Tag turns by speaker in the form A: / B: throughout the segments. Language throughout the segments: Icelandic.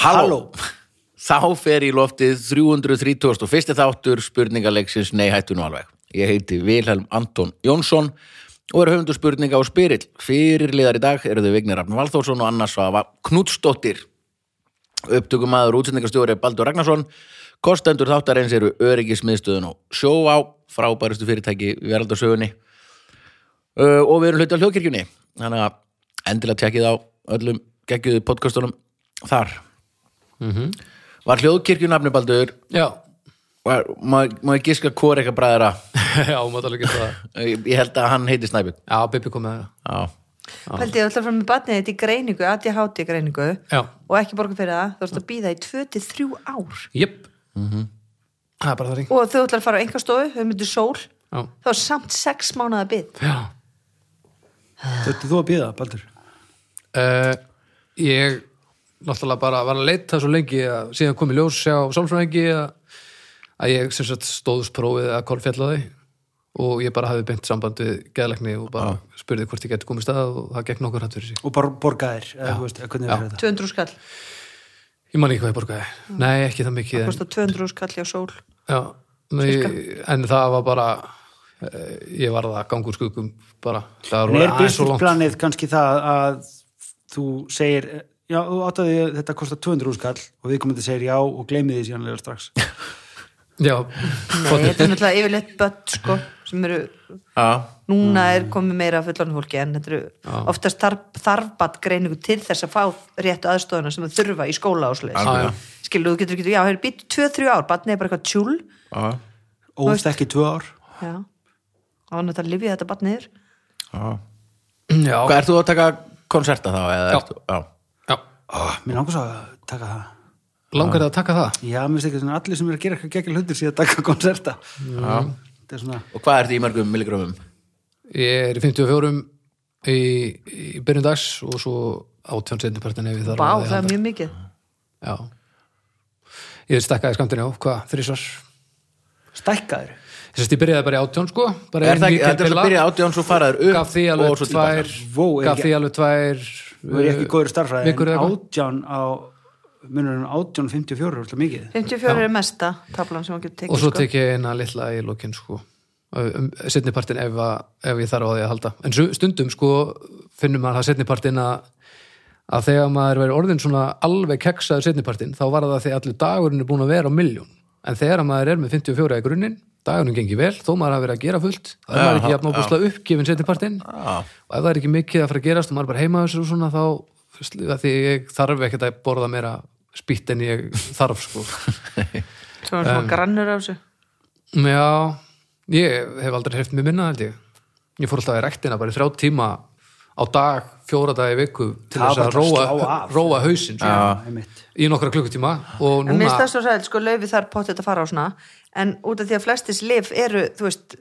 A: halló
B: Halló. Þá fer í loftið 331. þáttur spurningaleiksins Nei hættu nú alveg. Ég heiti Vilhelm Anton Jónsson og er höfundur spurninga á spyrill. Fyrirliðar í dag eru þau Vignir Rafn Valþórsson og Anna Svafa Knútsdóttir. Upptökumæður útsendingastjóri er Baldur Ragnarsson. Kostendur þáttarins eru öryggismiðstöðun og sjóvá, frábærustu fyrirtæki í veraldarsögunni. Uh, og við erum hluti á hljóðkirkjunni. Þannig að endilega tekið á öllum gegguðu podcastunum þar. Var hljóðkirkjun nafnibaldur
A: Já,
B: var, má, má ég giska hvort eitthvað bræðara
A: já, maður alveg geta það
B: ég ég held að hann heiti Snæbjörn
A: Já, Bibi kom með það
B: Já,
C: Paldi, þú ætlar að fara með batnið þetta í greiningu, ADHD greiningu
A: Já,
C: og ekki borga fyrir það, þú ætlar að býða í 23 ár
A: jöp Mhm. Það er bara það ring
C: og þú ætlar að fara á einhver stofu, þau myndir sól
A: Já,
C: þá er samt 6 mánuða bið
A: já
D: Þetta þú að býða, Baldur
A: uh, Ég náttúrulega bara var að leita svo lengi að síðan kom í ljós hjá sálfræðingi að, að ég sem sagt stóðust prófið að kolfjallaði og ég bara hafi beint samband við geðleikni og bara spurði hvort ég geti komið stað og það gekk nokkur hætt fyrir sig
D: og bara borgaðir, eða þú veist, eða hvernig er þetta
C: 200 skall,
A: Ég man ekki hvað ég borgaði. Nei, ekki það mikið. En,
C: kosta 200 skall hjá sól
A: já, nei, en það var bara, eh, ég varð að ganga úr skuggum bara. Það
D: En
A: var
D: er
A: aðeins svo langt.
D: businessplanið kannski það að þú segir já, þú áttaði að þetta kostar 200 skall og við komum segir já og gleymið því síðanlega strax
A: Já,
C: Nei, þetta er náttúrulega yfirleitt börn sko, sem eru,
B: já,
C: núna
B: Mm.
C: er komið meira fullan fólki en þetta eru oftast þarf, þarfbatt greiningu til þess að fá réttu aðstofuna sem þau þurfa í skóla ásleis
B: algjörlega.
C: skilur, þú getur ekki, já, hefur býtt 2-3 ár batnið er bara eitthvað tjúl
B: já,
D: og ekki tvö ár
C: já, þá er náttúrulega að lifja þetta batniður
B: já.
A: já,
B: Hvað, ert þú að taka konserta þá? eða
A: Já.
B: ert þú- já.
A: já.
D: oh, Mér langar svo að taka það
A: Langar það að taka það?
D: Já, mér finnst ekki svona allir sem eru að gera eitthvað geggjul hundir síðan að taka konserta
A: Mm.
D: Þetta er svona
B: Og hvað ertu í mörgum milligramum?
A: Ég er í 54 í, í byrjun dags og svo átján setnipartin ef ég þarf
C: Bá,
A: að
C: það er
A: halda.
C: mjög mikið
A: Já. Ég stakkaði skamtinn á, hvað, þrísvar?
D: stækkaður
A: Þess að ég byrjaði bara í átján, sko. Bara
B: Er
A: ein
B: það ekki,
A: weekend
B: þetta er að
A: bila.
B: byrja átján svo faraður upp
A: Gaf því
B: og
A: alveg
B: svo
A: tvær,
B: tilbaka
D: Vó, er
A: gaf
D: ekki-
A: því alveg tvær... eh,
D: Þú er ekki góður starfræði
A: vikur eða
D: en
A: eitthvað.
D: átján á munurinn 1854 er alltaf mikið
A: Eh.
C: 54 er mesta tablan sem hann getur tekið
A: og svo
C: sko.
A: tek ég eina litla í lokin sko um, setnipartin ef, að- ef ég þarf á því að halda en su- stundum sko finnum maður það setnipartin að að þegar maður verið orðin svona alveg keksaður setnipartin þá var það því að allir dagurinn er búin að vera á miljón en þegar maður er með 54 í grunninn dagurinn gengi vel, þó maður hafi verið að gera fullt þá er maður ekki jafn ábúslega uppgefin setnipartin
B: Já.
A: og ef það er ekki mikið að fara að gerast og maður er bara heima á þessu og svona þá að því ég þarf ekkert að borða meira spýtt en ég þarf sko
C: Svo er svona grannur af þessu
A: Já, ég hef aldrei heft mér minna held ég. Ég fór alltaf í rektina bara í þrjá tíma á dag, fjóra daga í viku til
D: Það
A: þess
D: var
A: að
D: bara að
A: róa,
D: slá af.
A: róa hausinn sko,
D: einmitt.
A: í nokkra klukkutíma og
C: En
A: núna
C: minnst það svo sæl, sko, laufi þar potið að fara á svona En út af því að flestis lif eru, þú veist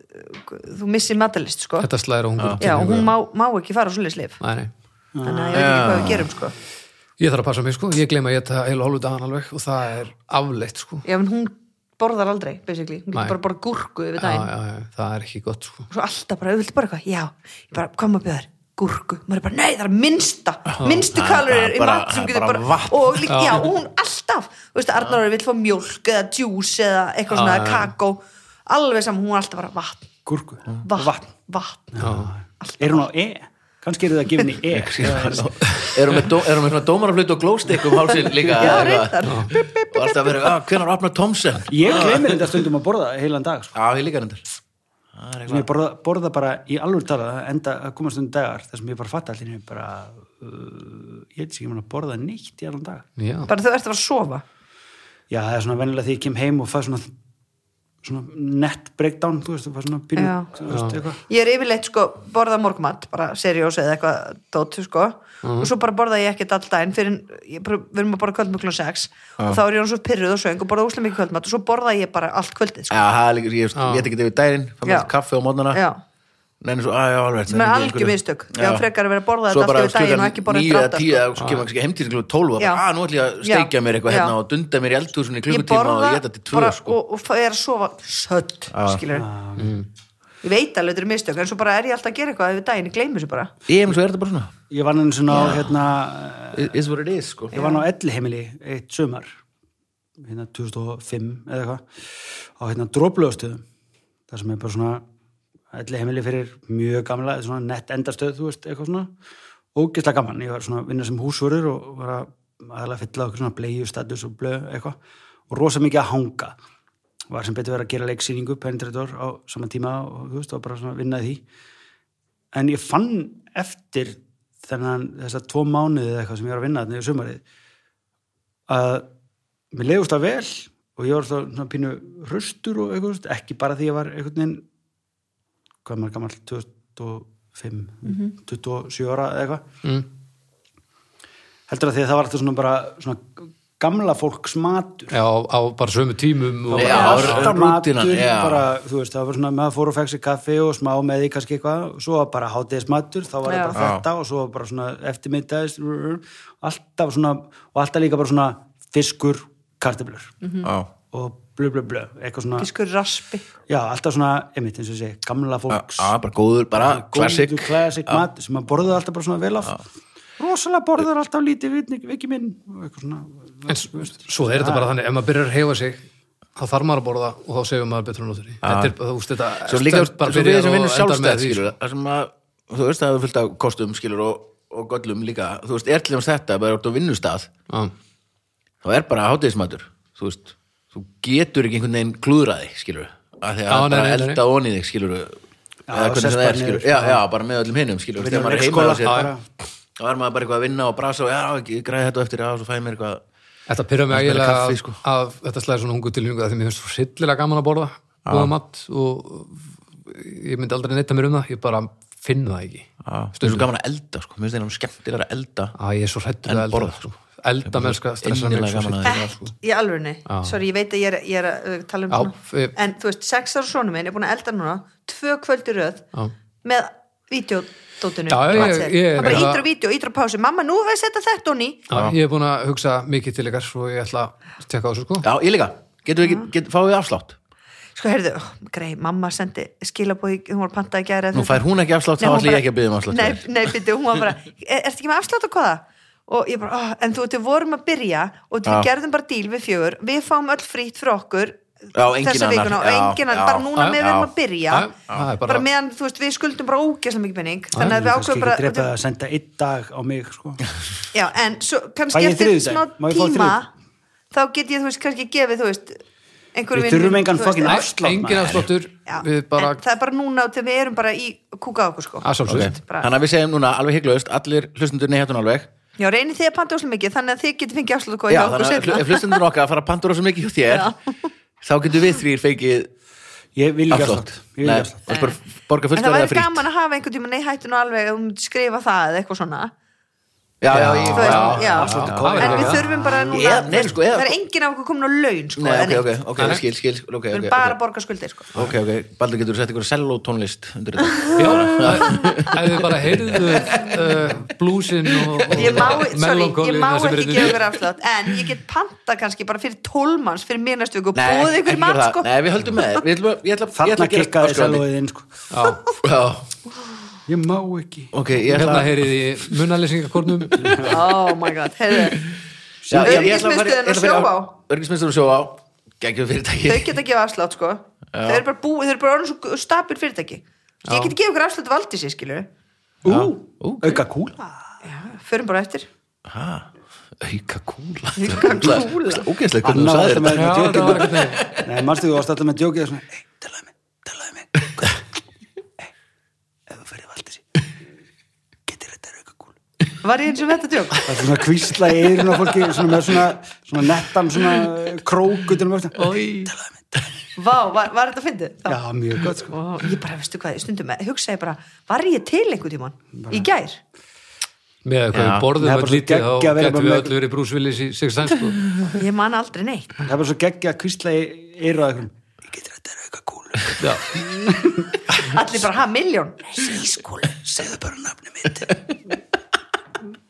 C: Þú missir matalist, sko
A: þetta slæðir á hungur.
C: Já, og hún má, má ekki fara á svona lif
A: Nei, nei.
C: Þannig að ég veit ekki hvað við gerum, sko
A: Ég þarf að passa mig sko, ég gleyma að ég þetta heila hólu dagan alveg og það er afleitt sko.
C: Já, en hún borðar aldrei, basically Hún
A: Nei.
C: getur bara bara gúrku yfir
A: Já,
C: daginn
A: já, já, það er ekki gott sko.
C: Og svo alltaf bara, auðvitað bara eitthvað, já Ég bara, hvað maður bjöðar? gúrku, maður er bara, nei það er minnsta minnstu kalorir í
B: bara-
C: mat sem
B: það er
C: getur
B: bara
C: bara,
B: vatn.
C: og líka, já, og hún alltaf, þú veist, Arnar vill fá mjólk eða djús eða eitthvað svona kakó, alveg saman, hún er alltaf bara vatn,
D: Gúrku
A: Eh.
C: vatn, vatn
D: Er hún á E? Kannski eru það að gefa henni
A: Eh.
D: E
B: Erum við, dó, erum við svona dómaraflut og glóstikk um hálsinn líka?
C: já,
B: eða eitthvað?
C: reyndar,
B: Og alltaf verið, að, hvenær opnar Thompson?
D: Ég gleymir þetta stundum að borða heilan dag sko.
B: Já, ég líka reyndar Það er
D: sem ég borða, borða bara í alveg tala enda að koma stundum dagar þar sem ég bara fatta allir bara, uh, ég veit ekki mér að borða neitt í allan dag
A: Já,
C: bara þú ert að fara að sofa
D: Já, það er svona venjulega því ég kem heim og fæ svona, svona net breakdown þú veist, það fæ svona pínu
C: Já.
D: þú veist, eitthvað.
C: ég er yfirleitt sko borða morgumat bara seriós eða eitthvað dót sko.
B: Mhm.
C: og svo bara borða ég ekkert all daginn fyrir, ég, bara- við erum að borða kvöldmat klukkan 6 og þá er ég hann svo pyrruð og söng og borða úslega mikið kvöldmat og svo borða ég bara allt kvöldið sko.
B: Já, það er líka, ég veit ekki yfir dærin Fá
C: Já.
B: mér kaffi á mótnana
C: já,
B: Nein, svo, að, já, alveg,
C: Sem er
B: nenni ekki
C: algjör
B: einhverju-
C: mistök. Ég á frekar að vera að borða
B: Svo
C: þetta
B: bara
C: alltaf í daginn
B: klukkan
C: og ekki borða
B: níu
C: eftir
B: eða
C: átta,
B: tíu, eða svo kemur kannski heim til klukkan 12 og
C: Já.
B: bara, að nú ætlum ég að
C: Já.
B: steikja mér eitthvað
C: Já.
B: hérna og dunda mér í eldhúsinu í
C: ég
B: klukkutíma og
A: sko.
C: borða
B: ég þetta til tvö
C: bara,
B: sko.
A: Mm.
C: og, og er að sofa sött skilur,
D: Já,
C: ég veit alveg þetta er mistök en svo bara er ég alltaf að gera eitthvað yfir daginn, ég gleymi þessu bara
B: Ég hef eins og er þetta bara svona
D: Ég var nú svona á, hérna,
B: It- It's what it is, sko
D: ég var nú á ellheimili eitt sumar, hérna 2005 eða eitthvað, á hérna dróplöðastöðum, það sem er bara svona ellheimili fyrir mjög gamla, eða svona nett endastöð, þú veist, eitthvað svona, ógislega gaman. Ég var svona að vinna sem húsvörður og var að aðalega fylla okkur svona bleiðu status og blöð eitthvað og rosa mikið að hanga. Var sem betur verið að gera leiksýningu, penetrator á sama tíma og þú veist, og bara svona vinna í því en ég fann eftir þennan, þessa tvo mánuði eða eitthvað sem ég var að vinna þarna í sumarið að mér leiðust það vel og ég var alltaf svona pínu hraustur og eitthvað, þú veist, ekki bara því ég var einhvern veginn hvað er maður gamall 25 27 ára eða eitthvað
A: mm.
D: heldur að því að það var alltaf svona bara svona gamla fólks matur
A: Já, á, á bara sömu tímum og,
B: Já,
D: alltaf
B: rútínan,
D: matur
B: já.
D: bara, þú veist, það var svona maður fór og fekk sér kaffi og smá með því kannski eitthvað og svo var bara hátíðismatur, þá var
C: Já.
D: það bara þetta og svo var bara svona eftirmiddagis alltaf svona, og alltaf líka bara svona fiskur kartöflur
C: Mhm.
B: Já,
D: og blö blö blö, eitthvað svona
C: fiskur raspi
D: já, alltaf svona, einmitt eins og ég segi, gamla fólks
B: Já, bara góður, bara classic
D: góðu classic mat sem maður borðið alltaf bara svona vel af rosalega borður alltaf lítið vitni, viki minn og eitthvað svona
A: En s- svo er
B: Ah.
A: þetta bara þannig, ef maður byrjar að heifa sig þá þarf maður að borða og þá segir maður betur en út í. Þetta er, þú veist, þetta
B: Ah. Svo líka,
A: stönd bara
B: svo við
A: byrjar
B: sem
A: og endar
B: vinnum
A: með því,
B: sjálfstæð,
A: sko.
B: skilur Það sem að, þú veist, það er fullt af kostum, skilur og, og göllum líka, þú veist, er til þess þetta bara út á vinnustað,
A: Já.
B: þá er bara hátíðismatur, þú veist þú getur ekki einhvern veginn klúðraði, skilur að því að
A: Já, nei,
B: bara
A: nei, nei, nei.
B: elda onni þig, skilur eða hvernig
D: og
B: sem
D: sest
B: það
D: bara
B: er, skilur,
D: niður,
B: já,
D: sko.
B: já, bara með öllum hinum, skilur, þegar
D: Vinna
B: maður er heima hjá
D: leikskóla,
B: sér,
D: bara.
B: þá er maður bara eitthvað að vinna og brasa og já, ég græði þetta á eftir, já, svo fæði mér eitthvað
A: Þetta pyrra mig
B: Það er
A: ægilega
B: kaffi,
A: að,
B: sko.
A: að þetta slæði svona hungu tilhengu að því mér finnst svo sillilega gaman að borða
B: Ah.
A: góða mat og ég myndi aldrei neyta mér um það, ég bara finn það ekki.
B: Mér er svo gaman að elda, sko, mér finnst þeirnum skemmtilega að elda
A: Að ég er svo hrættur
B: En
A: að elda.
B: borða,
A: Sko. Elda mennska stressa
B: Innilega
A: mig svo
B: gaman að
A: sillilega. Sko.
C: í alvörunni, sorry, ég veit að ég er, ég er að uh, tala um
A: Já,
C: svona,
A: ég-
C: en þú veist, sex ára sonu minn er búin að elda núna tvö kvöldi röð
A: Já.
C: með videodótinu
A: Já, ég- ég-
C: hann bara
A: ég-
C: ítur á vídeo, ítur á pásu mamma, nú hefur þetta þetta og ný
A: Já,
B: Ah.
A: Ég hef búin að hugsa mikið til ykkar svo ég ætla að tekka á þessu sko.
B: Já, ég líka, getur við ekki, get, fáið við afslátt
C: sko, heyrðu, ó, grei, mamma sendi skilabóði, hún var pantað að gera
B: Nú fær hún ekki afslátt, þá ætla ég ekki að byggja um afslátt
C: nei, nei byrju, hún var bara, er, ertu ekki með afslátt og hvaða? og ég bara, oh, en þú veit, við vorum að byrja og við
B: Já.
C: gerðum bara díl við fjögur við fáum öll frýtt fyrir okkur
B: Já, enginn
C: þessa
B: annar.
C: vikuna og
B: Já,
C: enginn
B: já.
C: annar, bara núna
A: Já,
C: með við
B: já.
C: erum að byrja
A: Já, það er bara-
C: bara, meðan, þú veist, við skuldum bara ógæslega mikið penning þannig að við
D: kannski
C: ákveðum
D: ekki drepa
C: bara
D: að senda einn dag á mig sko
C: já, en svo,
D: Fæ
C: kannski
D: ég
C: eftir
D: þriðjudag?
C: smá
D: Má ég fá
C: tíma
D: þriðjudag?
C: þá get ég, þú veist, kannski gefið, þú veist einhverjum
D: Við
C: vinum
D: þurfum
C: mínum,
D: engan
C: þú veist,
D: fucking
C: en-
D: afslátt,
A: Nei, engin
D: maður.
A: afsláttur,
C: Já,
A: við bara
C: en það er bara núna og þegar við erum bara í kúka á okkur sko
A: að sjálfsögst.
B: Ok,
C: Bara-
B: Þannig að við segjum núna alveg hygglaust, allir hlustundur neihetun alveg
C: Já, reynið þið að panta úslega mikið þannig að þið getið fengið afslut
B: Já,
C: og hjá okkur
B: þannig að
C: setna
B: ef hlustundur okkar fara að pandur rosa mikið hjá þér þá getum við þrýr fengið
D: ég vil ekki
B: afslátt
D: afslátt ég vil
B: Nei,
D: ekki afslátt
B: það er bara borga
C: En það
B: fullstæðið
C: væri
B: frí
C: gaman að hafa einhvern tíma nei hættu nú alveg um skrifa það eða eitthvað svona
B: Já, já,
A: Þú
B: ég-
C: Þú
B: já,
C: veist, já,
A: afsláttur kóður,
C: En við
A: já.
C: þurfum bara núna
B: Eða- nei, sko, eða-
C: Það er enginn af okkur komin á laun sko,
B: Nei,
C: eða
B: ok,
C: neitt.
B: ok, ok,
A: Nei, nei.
B: skil, skil, ok,
C: Við
B: ok,
C: erum bara að
B: ok,
C: borga skuldir sko.
B: ok, ok, Baldur getur sett ykkur sellótónlist undir þetta.
A: Já, ef við bara heyrðu uh, blúsin og,
C: Ég má,
A: og
C: sorry, ég má
A: það sem er
C: ekki
A: inni.
C: gefa ykkur afslátt En ég get panta kannski bara fyrir tólmanns fyrir mér næstu viku og
B: Nei,
C: búið
B: ekki
C: ykkur mann
B: það.
C: sko
B: Nei, við höldum með þér. Við ætlum að- Ég ætla ég ætla
D: þarna
B: að gera
D: kikkaði
B: áskorandi.
D: selvoðið inn sko
A: Já,
B: Já,
D: ég má ekki
B: ok, ég
A: hérna
B: ætla að
A: heyrið í munalýsingakornum
C: Oh my god, heyrðu
B: Já, ég- ég ætla að fara- ég
C: Öryggismiðstöðin
B: ætla
C: að
B: að fara-
C: sjóvá.
B: Öryggismiðstöðin að sjóvá, geggjum fyrirtæki.
C: Þau geta að gefa afslátt sko Þau eru bara búið, þau eru bara orðin svo stabil fyrirtæki Ég get að gefa ykkur afslátt valdísi skilur
D: ú,
B: ok.
D: auka kúla
C: Förum bara eftir
B: Ha, auka kúla.
C: Auka kúla.
B: Ógeðslega, hvernig þú
D: annar
B: sagðir
D: alltaf með
B: þetta.
A: Já,
D: djókið
A: það var einhvern veginn.
D: nei, mannstu þú varst alltaf með djókið svona, ei, talaði mig, talaði mig ei, ef þú ferði valdið sér getur þetta auka kúla
C: Var ég eins og með þetta djók?
D: það er svona kvísla í eirun á fólki svona með svona, svona nettan svona krók utan um öfna talaði mig, talaði mig
C: Vá, var, var þetta fyndið? Þá-
D: já, mjög gott sko
C: Ó, Ég bara, veistu hvað, stundum hugsa ég bara Var ég til einhvern tímann? Í gær?
A: með hvað
B: Já.
A: við borðum
D: Nei,
A: öll
D: bara svo
A: lítið þá
D: geggjað að vera
A: getum
D: bara
A: við
D: með-
A: öll verið brúsvillis í 6 times sko.
C: Ég man aldrei neitt
D: það er bara svo geggja að kvísla í eirun á einhverjum ég getur þetta auka kúla
A: Já.
C: Allir bara, ha, miljón
D: Ískúli, segðu bara nafni mitt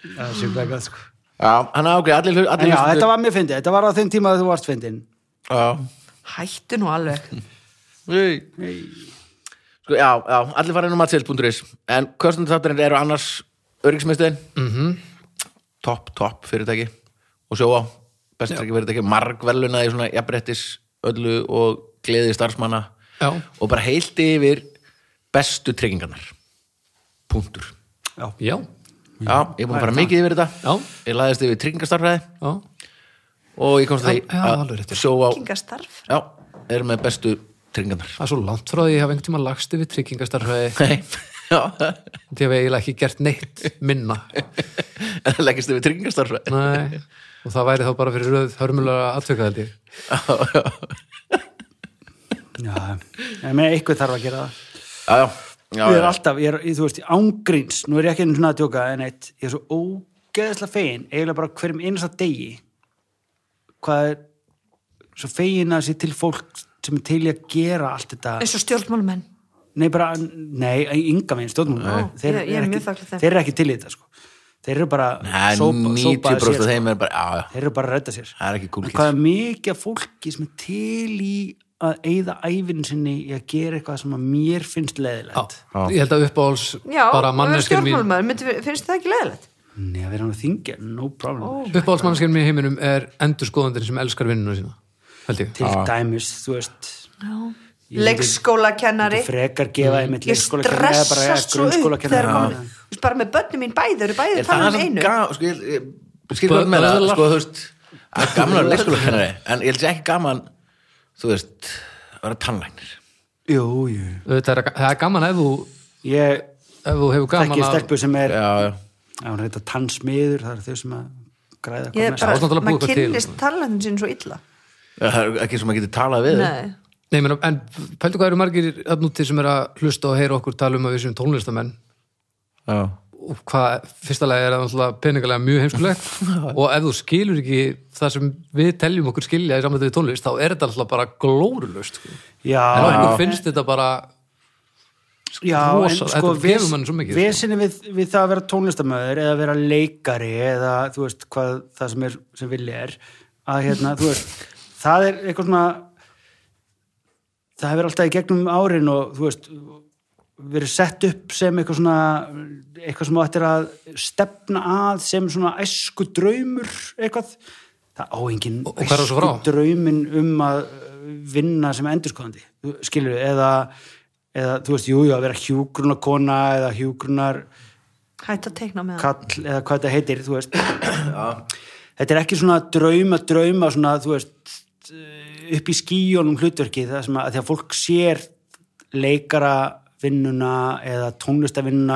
D: Það er sjúklega gott sko
B: Já, hann á, ok, allir hlu-
D: En
B: allir
D: já,
B: hlustendur-
D: þetta var mjög fyndið, þetta var á þeim tíma að þú varst fyndin
B: Já.
C: Hættu nú alveg
B: Hey. Sko, já, já, allir fara inn á matsels.is en kostandi þátturinn eru annars öryggismiðstöðin mm
A: Mhm.
B: -hmm. topp, topp fyrirtæki og sjóa, bestrækki fyrirtæki margveluna í svona jafnbrettis öllu og gleði starfsmanna
A: Já.
B: og bara heilt yfir bestu tryggingarnar punktur
D: Já,
A: Já,
B: já, ég er búin að fara mikið yfir þetta
A: Já.
B: ég laðist yfir tryggingastarfræði
A: já,
B: og ég komst að því
A: Já, já, alveg
B: að
A: rétt.
B: sjóa
C: Kinga starf
B: já, er með bestu tryggingarnar
A: það er svo langt frá því að ég hafa einhvern tíma lagst yfir tryggingastarfæði
B: Nei, já,
A: því að við eiginlega ekki gert neitt minna
B: en það leggist yfir tryggingastarfræði
A: Nei. og það væri þá bara fyrir röð hörmulega aðtöka held ég
D: já, en með eitthvað þarf að gera það
B: Já, já, já,
D: ég er
B: já.
D: alltaf, ég er, ég, þú veist, ángríns nú er ég ekki einu svona að djóka en eitt ég er svo ógeðslega fegin eiginlega bara hverjum einasta degi hvað er svo fegin að sé til fólk sem er til í að gera allt þetta
C: eins og stjórnmálumenn
D: nei bara, nei, ynga meginn stjórnum
C: Nei.
D: þeir,
C: Ég- ég er
D: eru
C: mjög
D: ekki-
C: þakklát þeim.
D: þeir eru ekki til í þetta sko. þeir eru bara
B: Nei,
D: sópa- sópaði
B: 90% af
D: sér, sko.
B: þeim er bara, já, já,
D: þeir eru bara að redda sér
B: það er ekki cool
D: En
B: kids
D: hvað er mikið af fólki sem er til í að eyða æfinn sinni í að gera eitthvað sem að mér finnst leðilegt
A: Já. Ég held að uppáhals
C: já,
A: bara
C: og vera
A: manneskinn mín
C: stjórnmálumenn, myndi- finnst þið það ekki leðilegt?
D: Nei, að vera hann að þingja, no problem
A: uppáhaldsmanneskinn mín í heiminum er endurskoðandinn sem elskar vinnuna sína held ég.
D: Til dæmis, þú veist
C: leikskólakennari
D: frekar
A: Mm.
D: gefa einmitt
C: ég
D: leikskóla kennara eða bara
C: stressast svo upp
D: grunnskóla
C: þegar
D: kennara
C: komin Þú veist, bara með börnum mín bæði, þau eru bæði
B: Er
C: að tala
B: það
C: um
B: sem
C: einu
B: gaman, sko, ég, ég- ég skil hvað með það,
A: Böðlar.
B: sko, þú veist að gamla leikskólakennari, en ég held sér ekki gaman þú veist, að vera tannlæknir
D: Jú, jú
A: Auðvitað er- það er gaman ef þú,
D: Ég
A: ef þú hefur gaman
D: þekki
A: að
D: stelpu sem er
B: Já, já,
D: ef hún reyta tannsmiður, það er þau sem að græða
C: ég er
D: mest.
A: Já, þú ert
C: bara,
A: náttúrulega
C: maður
A: búið eitthvað
C: kynnist talandin sín svo illa
B: það er ekki sem að geta talað við þau.
C: nei,
A: Nei, menn, en pældu hvað eru margir að núti sem er að hlusta og heyra okkur tala um að við séum tónlistamenn
B: Já,
A: og hvað, fyrsta lagi er það náttúrulega peningalega mjög heimskulegt og ef þú skilur ekki það sem við teljum okkur skilja í samvættu við tónlist þá er þetta alltaf bara glórulust sko. en
D: Já,
A: okkur finnst þetta bara
D: já, en
A: rosa-
D: sko
A: þetta gefur manni svo mikið, sko.
D: vesinni við, við það að vera tónlistamöður eða vera leikari eða þú veist hvað það sem, er, sem vilja er að hérna, þú veist það er eitthvað svona það hefur alltaf í gegnum árin og þú veist verið sett upp sem eitthvað svona eitthvað sem þú ættir að stefna að sem svona æsku draumur eitthvað, það á engin
A: Og- og hvar er svo frá?
D: draumin um að vinna sem endurskoðandi skilur við, eða, eða þú veist, jú, jú, að vera hjúgrunarkona eða hjúgrunar
C: hætt að teikna með það
D: kall eða hvað þetta heitir, þú veist þetta er ekki svona drauma, drauma svona, þú veist eh, upp í skíjónum hlutverki það sem að því að fólk sér leikara vinnuna eða tónlistavinnuna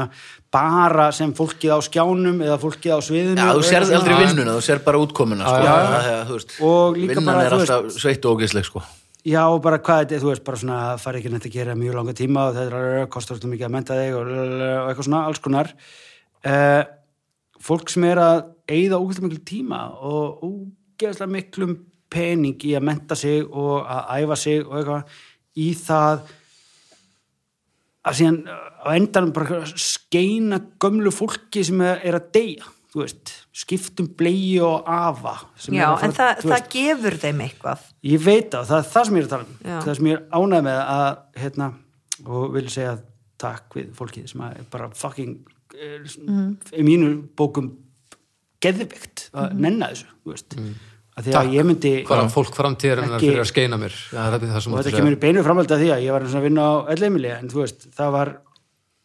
D: bara sem fólkið á skjánum eða fólkið á sviðinu
B: já þú
D: og
B: sér
D: eitthvað
B: aldrei
D: svona.
B: vinnuna, þú sér bara útkomuna, sko,
D: já.
B: það er, þú veist
D: Og líka
B: vinnan
D: bara,
B: er
D: þú
B: alltaf sveitt og ógisleg, sko
D: Já, og bara hvað þetta, er, þú veist, bara svona fari ekki nætt að gera mjög langa tíma og þetta er kostar alltaf mikið að menta þig og, og eitthvað svona, alls konar uh, fólk sem er að eigða ógeðslega miklu tíma og ógeðslega miklum pening í að menta sig og að æfa sig og eitthvað í það að síðan á endanum bara skeina gömlu fólki sem er að deyja, þú veist skiptum blei og afa sem
C: já,
D: er að fara-
C: en það,
D: þú
C: það gefur þeim eitthvað
D: Ég veit það, það er það sem ég er að tala um.
C: Já.
D: Það sem ég er ánægð með að, hérna, og vil segja takk við fólkið sem að er bara fucking, er, í mínu bókum, geðveikt að
C: Mhm.
D: nenna þessu, þú veist. Mm. Að því að ég myndi,
A: hvað er fólk framtíðarinnar
D: Ekki-
A: fyrir að skeina mér ja, það er það sem
D: og
A: þú
D: þetta
A: segir.
D: kemur í beinu framhaldið að því að ég var eins og að vinna á elleimili, en þú veist, það var,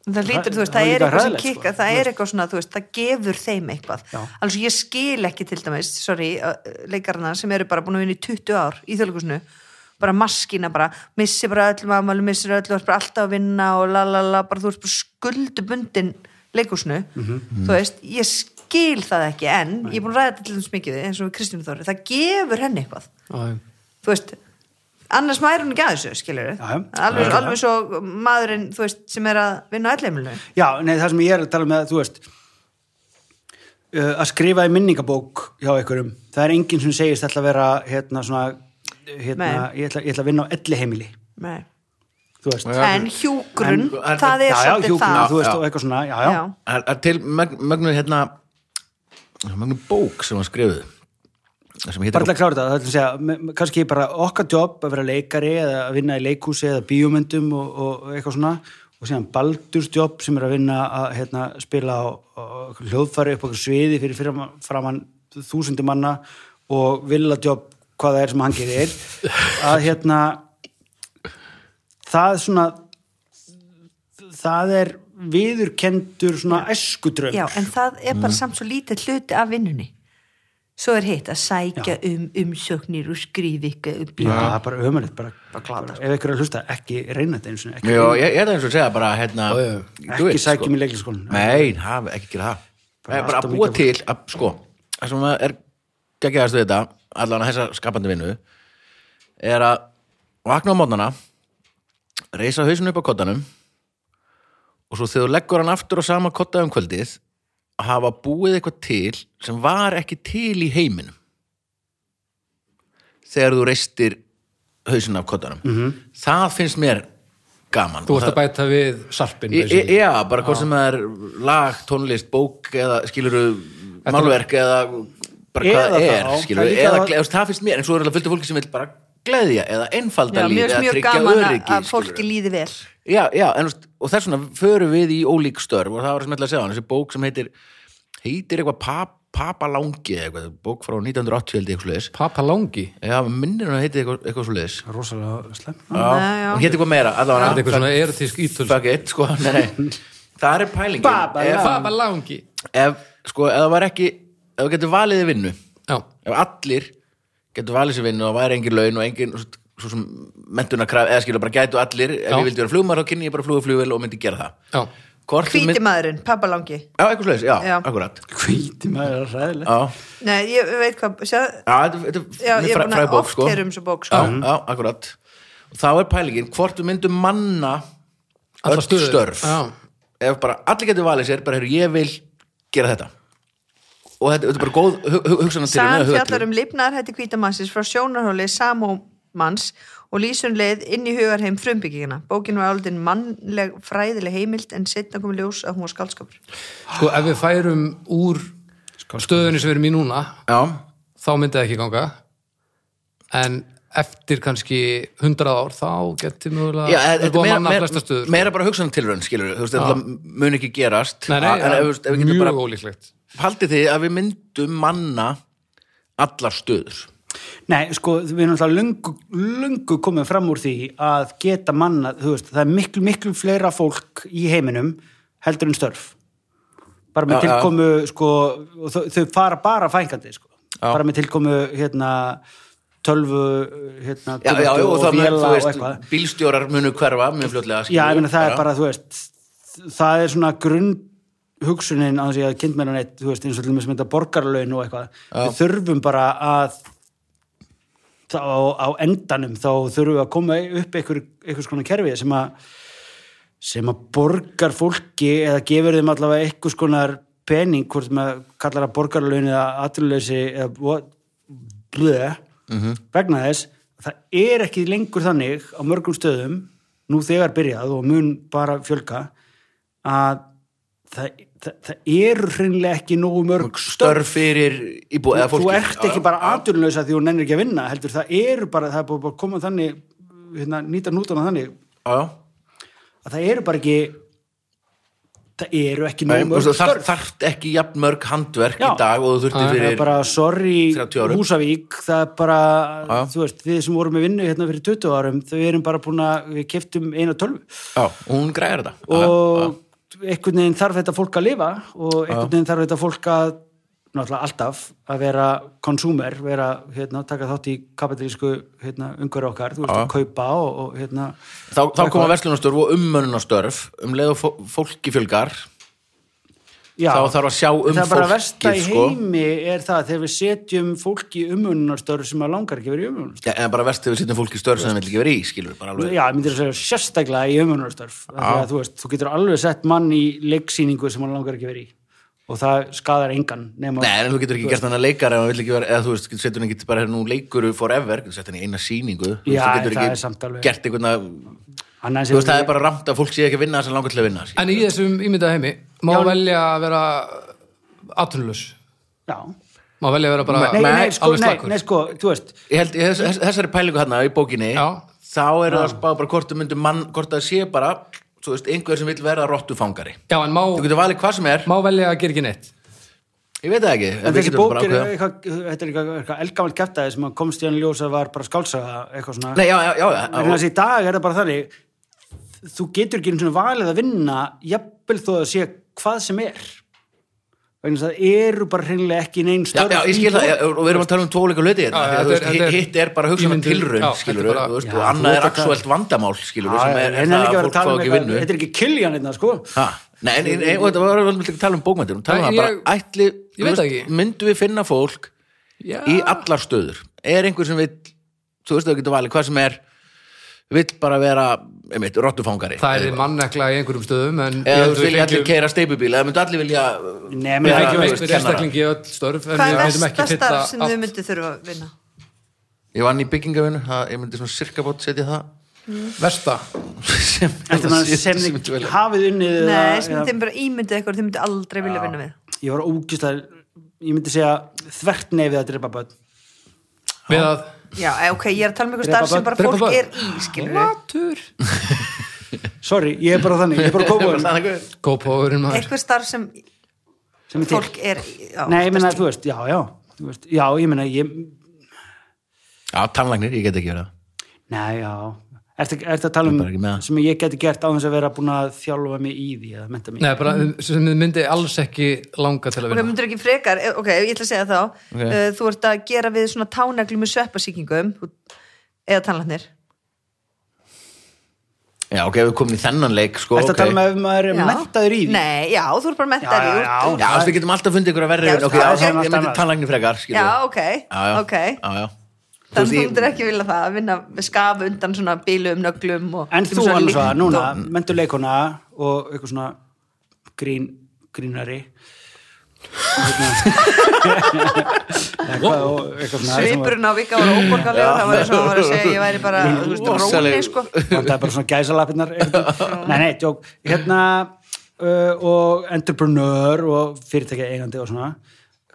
C: það lítur, þú veist,
D: það
C: það er
D: er líka
C: eitthvað sem
D: hræðilegt,
C: kikka
D: sko.
C: það er eitthvað svona, þú veist, það gefur þeim eitthvað
D: Já.
C: alveg svo ég skil ekki til dæmis sorry, ö, leikarana sem eru bara búin að vinna í 20 ár í þjóðleikusinu bara maskina bara, missi bara öllum afmælu missir öllu, þú ert bara alltaf að vinna og la la la, bara þú ert bara skuldubundin leikusinu,
D: Mhm.
C: þú veist ég skil það ekki, en ég er búin að ræða þetta til þess mikið, við, eins og við Kristján Þóri það gefur henni eitthvað
A: Já, já.
C: þú veist annars maður er hún ekki að þessu, skilur
D: Já, já.
C: alveg,
D: Já.
C: alveg svo maðurinn, þú veist, sem er að vinna á ellheimilinu
D: já, nei, það sem ég er að tala með, þú veist, uh, að skrifa í minningabók hjá einhverjum, það er enginn sem segist ætla að vera, hérna, svona, hérna,
C: Nei.
D: ég ætla, ég ætla að vinna á elleheimili,
C: Nei.
D: þú veist.
C: en hjúgrun,
B: En- en-
C: það er
D: já, já,
C: svolítið
D: hjúkrun,
C: það
D: þú veist,
B: Já.
D: og eitthvað svona, já, já,
C: já.
B: Það er til mögnu, hérna mögnu bók sem hann skrifuð sem heitir
D: bara til að klára þetta, það ætlum að segja me- me- kannski bara okkar jobb að vera leikari eða að vinna í leikhúsi eða bíómyndum og, og eitthvað svona og síðan Baldurs jobb sem er að vinna að hérna, spila á, á einhverju hljóðfæri upp á okkur sviði fyrir fyrir framann þúsundi manna og vilja jobb hvað það er sem hann gerir að hérna það er svona það er viðurkendur svona eskudraum
C: Já, en það er
B: Mm.
C: bara samt svo lítið hluti af vinnunni. Svo er hitt að sækja um umsöknir og skrifa ykkur upp í.
D: Já, það er bara ömulegt, bara,
C: Bara glata,
D: ef ykkur er að hlusta, ekki reyna þetta einu sinni, ekki,
B: sko. Já, ég, ég er það eins og að segja bara hérna,
A: Já, já. um
B: þú
D: ekki
B: veist,
D: sækjum
B: sko.
D: í leikliskólan.
B: Nei, haf, ekki gera það
D: Bara
B: Bara, bara
D: allt
B: að
D: of
B: búa
D: mikið
B: til að, sko, það sem er geggjast við þetta, allan að þessa skapandi vinnu er að vakna á mótnana reisa hausinu upp á kottanum og svo þegar þú leggur hann aftur á sama kotta um kvöldið að hafa búið eitthvað til sem var ekki til í heiminum þegar þú reistir hausinu af kottanum -hmm. það finnst mér gaman
A: Þú
B: Og
A: ert
B: það-
A: að bæta við sarpin
B: Í- í-
A: basically.
B: Já, bara hvort sem það er lag, tónlist, bók eða skiluru málverk eða bara
D: Eða
B: hvað það
D: þá,
B: er,
D: það er
B: skiluru,
D: líka
B: eða
D: að-
B: gleðast, það finnst mér, en svo er alltaf fullt af fólki sem vil bara gleðja eða einfalda
C: Já,
B: líf
C: mjög,
B: eða
C: mjög
B: tryggja
C: gaman að-
B: öryggi,
C: að fólki
B: skilurðu.
C: líði vel.
B: Já, já, en, þú veist, og þess vegna förum við í ólík störf og það var sem ætla að segja hann, þessi bók sem heitir heitir eitthvað pap, Papalangi eða eitthvað, bók frá 1980 heldig eitthvað svoleiðis,
A: Papalangi
B: já, minnir hann heitir eitthvað, eitthvað svoleiðis
D: Rósalega slemm.
C: Nei, já.
B: og hétt eitthvað meira,
A: Það er
B: allavega
A: eitthvað svona erotísk ítöls
B: fuck it, sko, nei, nei það er pælingin
D: Babalang.
B: Ef-
A: Papalangi
B: ef, sko, ef það var ekki ef þú getur valið þér vinnu
A: Já,
B: ef allir getur valið sér vinnu og það væri engin laun og engin svo, svo sem mentunarkraf eða skilur bara gætu allir ef
A: Já.
B: ég vildi vera flugmaður þá kynni ég bara flugu flugvel og myndi gera það
A: já
B: Hvort þú
C: Hvíti
B: mynd-
C: maðurinn, pappalangi.
B: Já, eitthvað slags, já,
C: Já.
B: akkurat
D: Hvíti maður er ræðilegt.
B: Já,
C: Nei, ég veit hvað, sér,
B: já þetta þetta
C: já,
B: mjög
C: ég er
B: fræ-
C: búin
B: fræg
C: að
B: bók,
C: oft
B: sko.
C: heyra um þessu bók,
B: Já,
C: sko.
B: já, akkurat og þá er pælingin, hvort við myndum manna
A: Alla
B: öll
A: stöður.
B: störf
A: Já.
B: ef bara allir getur valið sér bara, heyrðu, ég vil gera þetta og þetta, þetta er bara góð hu- hu- hugsanatýrin
C: Sam
B: eða hugallur.
C: fjallar um lifnar hætti kvítamannsins frá sjónarhóli samómanns og lýsun leið inn í hugarheim frumbyggingina. Bókin var áldin mannleg fræðileg heimild en setna kom í ljós að hún var skaldskapur.
A: Sko, ef við færum úr
D: sko.
A: stöðunni sem við erum í núna
B: Já,
A: þá myndi það ekki ganga en eftir kannski 100 ár þá geti mögulega
B: Já,
A: við
B: þetta
A: búið
B: er
A: að
B: meira,
A: manna flesta
B: meira,
D: sko.
A: stöður
B: meira bara hugsan tilraun skilur, þú veist, þetta mun ekki gerast
A: Nei, nei,
B: en ef, þú veist, ef við getum
A: mjög
B: bara
A: ólíklegt
B: haldið því að við myndum manna allar stöður
D: Nei, sko, við erum alltaf lungu, lungu komið fram úr því að geta manna, þú veist, það er miklu, miklu fleira fólk í heiminum heldur en störf. Bara með
B: Já, já.
D: tilkomu, sko, og þau, þau fara bara fængandi, sko.
B: Já.
D: Bara með tilkomu, hérna, tölvu, hérna,
B: já, já,
D: tölvu
B: og, og það
D: véla
B: mun, þú
D: og
B: veist,
D: eitthvað.
B: bílstjórar munu hverfa mjög fljótlega
D: Já, ég meina, það
B: já.
D: er bara, þú veist, það er svona grunn hugsunin að því að kynnt meira neitt, þú veist, eins og til þess að mynda borgarlaun og eitthvað. Við þurfum bara að þá, á endanum þá þurfum við að koma upp einhver, einhvers konar kerfi sem að sem að borgar fólki eða gefur þeim allavega einhvers konar pening, hvort maður kallar það borgarlaun eða atruleysi eða what- blö vegna þess, að það er ekki lengur þannig á mörgum stöðum nú þegar byrjað og mun bara fjölga að það, það, það eru hreinlega ekki nógu mörg störf
B: störf fyrir íbúi eða
D: þú
B: fólki
D: ert ekki bara atvinnulösa því hún nennir ekki að vinna heldur það eru bara, það er búið að koma þannig hérna, nýta nútana þannig
B: Já, já.
D: að það eru bara ekki það eru ekki
B: Nei,
D: nóg mörg
B: þú þarf,
D: störf
B: þarft ekki jafn mörg handverk
D: Já.
B: í dag og þú þurfti
A: Já,
D: það er
B: fyrir
D: bara, sorry
B: 30 árum.
D: Húsavík, það er bara
B: Já.
D: þú veist, við sem vorum með vinnu hérna fyrir 20 árum þau erum bara búin að, við keftum eina tölvu
B: já, og hún græðir þetta Já, já.
D: og einhvern veginn þarf þetta fólk að lifa og einhvern veginn þarf þetta fólk að náttúrulega alltaf að vera konsúmer, vera, hérna, taka þátt í kapitalísku, hérna, ungar okkar þú veist, að kaupa og, og hérna
B: þá, þá koma verslunarstörf og ummönnunarstörf um leið og fó- fólki fjölgar
D: já,
B: þá þarf að sjá um
D: það er bara
B: fólkið,
D: versta í
B: sko.
D: heimi er það þegar við setjum fólk í umununarstörf sem að langar ekki að vera í umununarstörf
B: Já, en bara verst þegar við setjum fólki í störf sem það vil ekki vera í, skilur bara alveg.
D: Já, ég myndir að segja sérstaklega í umununarstörf þegar þú veist, þú getur alveg sett mann í leiksýningu sem hann langar ekki að vera í og það skadar engan nema
B: Nei, en þú getur ekki gert hann að leikar ef hann vil ekki vera, eða þú veist, getur setjum hann ekki bara nú leikuru forever, getur sett hann í eina sýningu þú
D: Já,
B: veist, þú getur
D: en það
B: ekki
D: er samt alveg-
B: gert einhvern að
D: Annars
B: þú veist,
D: hefur-
B: það er bara ramt að fólk sé ekki að vinna þess að langar til að vinna skilur.
A: En í þessum ímyndaða heimi má velja að vera atvinnulaus
D: Já,
A: má velja að vera bara
D: nei, nei,
B: Nei,
D: sko,
A: alveg
D: nei,
A: slakur.
D: nei, sko, þú veist
B: Ég held, ég, þess, þessari pælingu hérna í bókinni
A: Já.
B: þá er það að spá bara hvort þau myndu mann hvort það sé bara, þú veist, einhver sem vil vera rottufangari.
A: já, en má,
B: Þú getur valið hvað sem er,
A: má velja að gera ekki neitt
B: ég veit það ekki
D: En
B: við
D: þessi
B: getum
D: bók
B: bara
D: er
B: ákveðið.
D: eitthvað, þetta er eitthvað, eitthvað elgamalt kæftæði sem að komst í hann ljósa var bara skálsaga eitthvað svona.
B: Nei, já, já, já, já,
D: En þessi í dag er það bara þannig, þú getur ekki einu svona valið að vinna, jafnvel þó að sé hvað sem er. Vegna þess að það eru bara hreinlega ekki neinn
B: já,
D: störf.
B: já, ég skil það, já, og við erum að tala um tvoleika hluti hérna,
A: Já, já,
B: því að, þú
A: þetta er-
B: veist,
A: þetta er-
B: hitt er bara hugsaðan
A: ímyndun-
B: tilraun,
A: já,
B: skilur
A: þetta er bara-
B: þú veist,
D: Já,
B: og
D: þú
B: annað er
D: veist þetta-
B: aktuelt vandamál, skilur
D: Já,
B: sem er,
D: Ah, en
B: er
D: það
B: það að
D: er líka verið
B: fólk
D: að
B: fá
D: tala um
B: ekki
D: eitthvað,
B: vinnu
D: þetta er ekki kiljan hérna, sko.
B: Ha, Nei, en, en, en og þetta var alveg að tala um bókmæntir um tala um
A: Nei,
B: það bara,
A: ég-
B: ætli
A: ég veit
B: þú
A: það ekki.
B: myndum við finna fólk
A: já,
B: í allar stöður er einhver sem vil, þú veist það getur valið hvað sem er, vill bara vera einmitt, rottufangari
A: það er mannekla í einhverjum stöðum en ég
B: eða þú
A: held
B: veist,
A: við
B: vilja allir
A: fengjum-
B: keira steipubíl eða myndu allir vilja
D: Nei,
A: við
D: menn
B: vera,
A: fengjum
B: þú
A: einhver
B: veist, kennara.
A: einstaklingi í öll störf en
C: Hvað
A: við
C: er
A: veitum
C: verst
A: ekki
C: bestar
A: fylla
C: sem þau
A: allt
C: myndi þurfa að vinna?
B: ég vann í byggingavinu, það- ég myndi svona sirkabót setja það
A: versta
B: sem
D: Þetta er maður sem
B: myndi
D: þið
B: velja.
D: hafið unnið.
C: Nei,
D: eða-
C: sem þeim bara ímyndið eitthvað þau myndi aldrei vilja vinna við.
D: Ég var ógíslega, ég myndi segja þvert nefið að drepa börn.
A: við að
C: Já, eh, ok, ég er að tala um eitthvað
D: Drepa
C: starf sem
D: börn,
C: bara
A: drepa
C: fólk
A: börn.
C: er í, skilur við.
A: matur
D: Sorry, ég er bara þannig, ég er bara
B: Bara
D: kókóðum.
B: þannig gaur.
A: gópóðurinn maður
C: Eitthvað starf sem
D: sem er til.
C: fólk er í. já,
D: Nei, ég meina,
C: stærsti.
D: þú veist, já, já, þú veist, já, ég meina, ég,
B: já, tannlagnir, ég get ekki verið það.
D: nei, já, ertu, ertu að tala
B: Ég er bara ekki með
D: um
B: það.
D: sem ég geti gert á þess að vera búin að þjálfa mig í því eða menta mig.
A: Nei, bara, um- sem þið myndi alls ekki langa til að
C: Ok,
A: vinna
C: myndur ekki frekar, eh, ok, ég ætla að segja þá okay. Þú ert að gera við svona tánaglu með sveppasýkingum eða tannlarnir
B: já, ok, við komum í þennan leik sko,
D: Ertu að tala um
B: ok.
D: ef maður er mentaður í því?
C: Nei, já, þú ert bara
D: Já,
C: mentaður í
D: já, já,
B: já, þú veist, við getum alltaf fundið ykkur að verri
C: Já,
B: ok,
C: það
B: já,
C: er
B: ég
D: annars
B: myndi
D: annað.
B: tannlagnir frekar skilur
C: já,
B: við.
C: ok,
B: já, já,
C: ok
B: já, já. Þú veist,
C: Þannig þú
B: ég-
C: myndir ekki vilja það að vinna með skaf undan svona bílum nöglum og
D: En þú,
C: svona
D: Annars,
C: líkt-
D: núna, mentur leikona og eitthvað svona grín, grínari. Eitthvað Eitthvað og eitthvað svona
C: Svipurinn á vika var óborgarlega það var eins og hann var að segja ég væri bara, þú veist,
B: Rosaleg-
C: róni sko
D: það er bara svona gæsalappirnar nei, nei, tjók, hérna uh, og entrepreneur og fyrirtækja eigandi og svona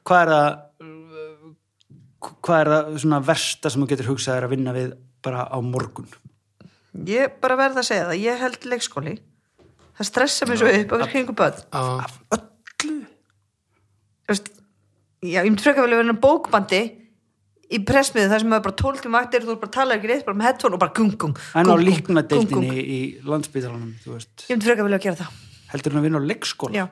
D: hvað er það uh, hvað er það svona versta sem þú getur hugsað er að vinna við bara á morgun
C: Ég bara verð að segja það, ég held leikskóli Það stressa mér svo upp að vera kringu börn
A: Já.
C: Þú veist, já, ég myndi frekar vel að vera bókbandi í pressmiðu þar sem maður bara tólkum vaktir þú bara talar ekki reitt, bara með headphone og bara gung gung
D: en á
C: gung, gung, gung,
D: líknadeildinni
C: gung.
D: í landsbytalanum þú veist,
C: ég myndi frekar vel að gera það
D: heldur hún að vinna á leikskóla
C: Já.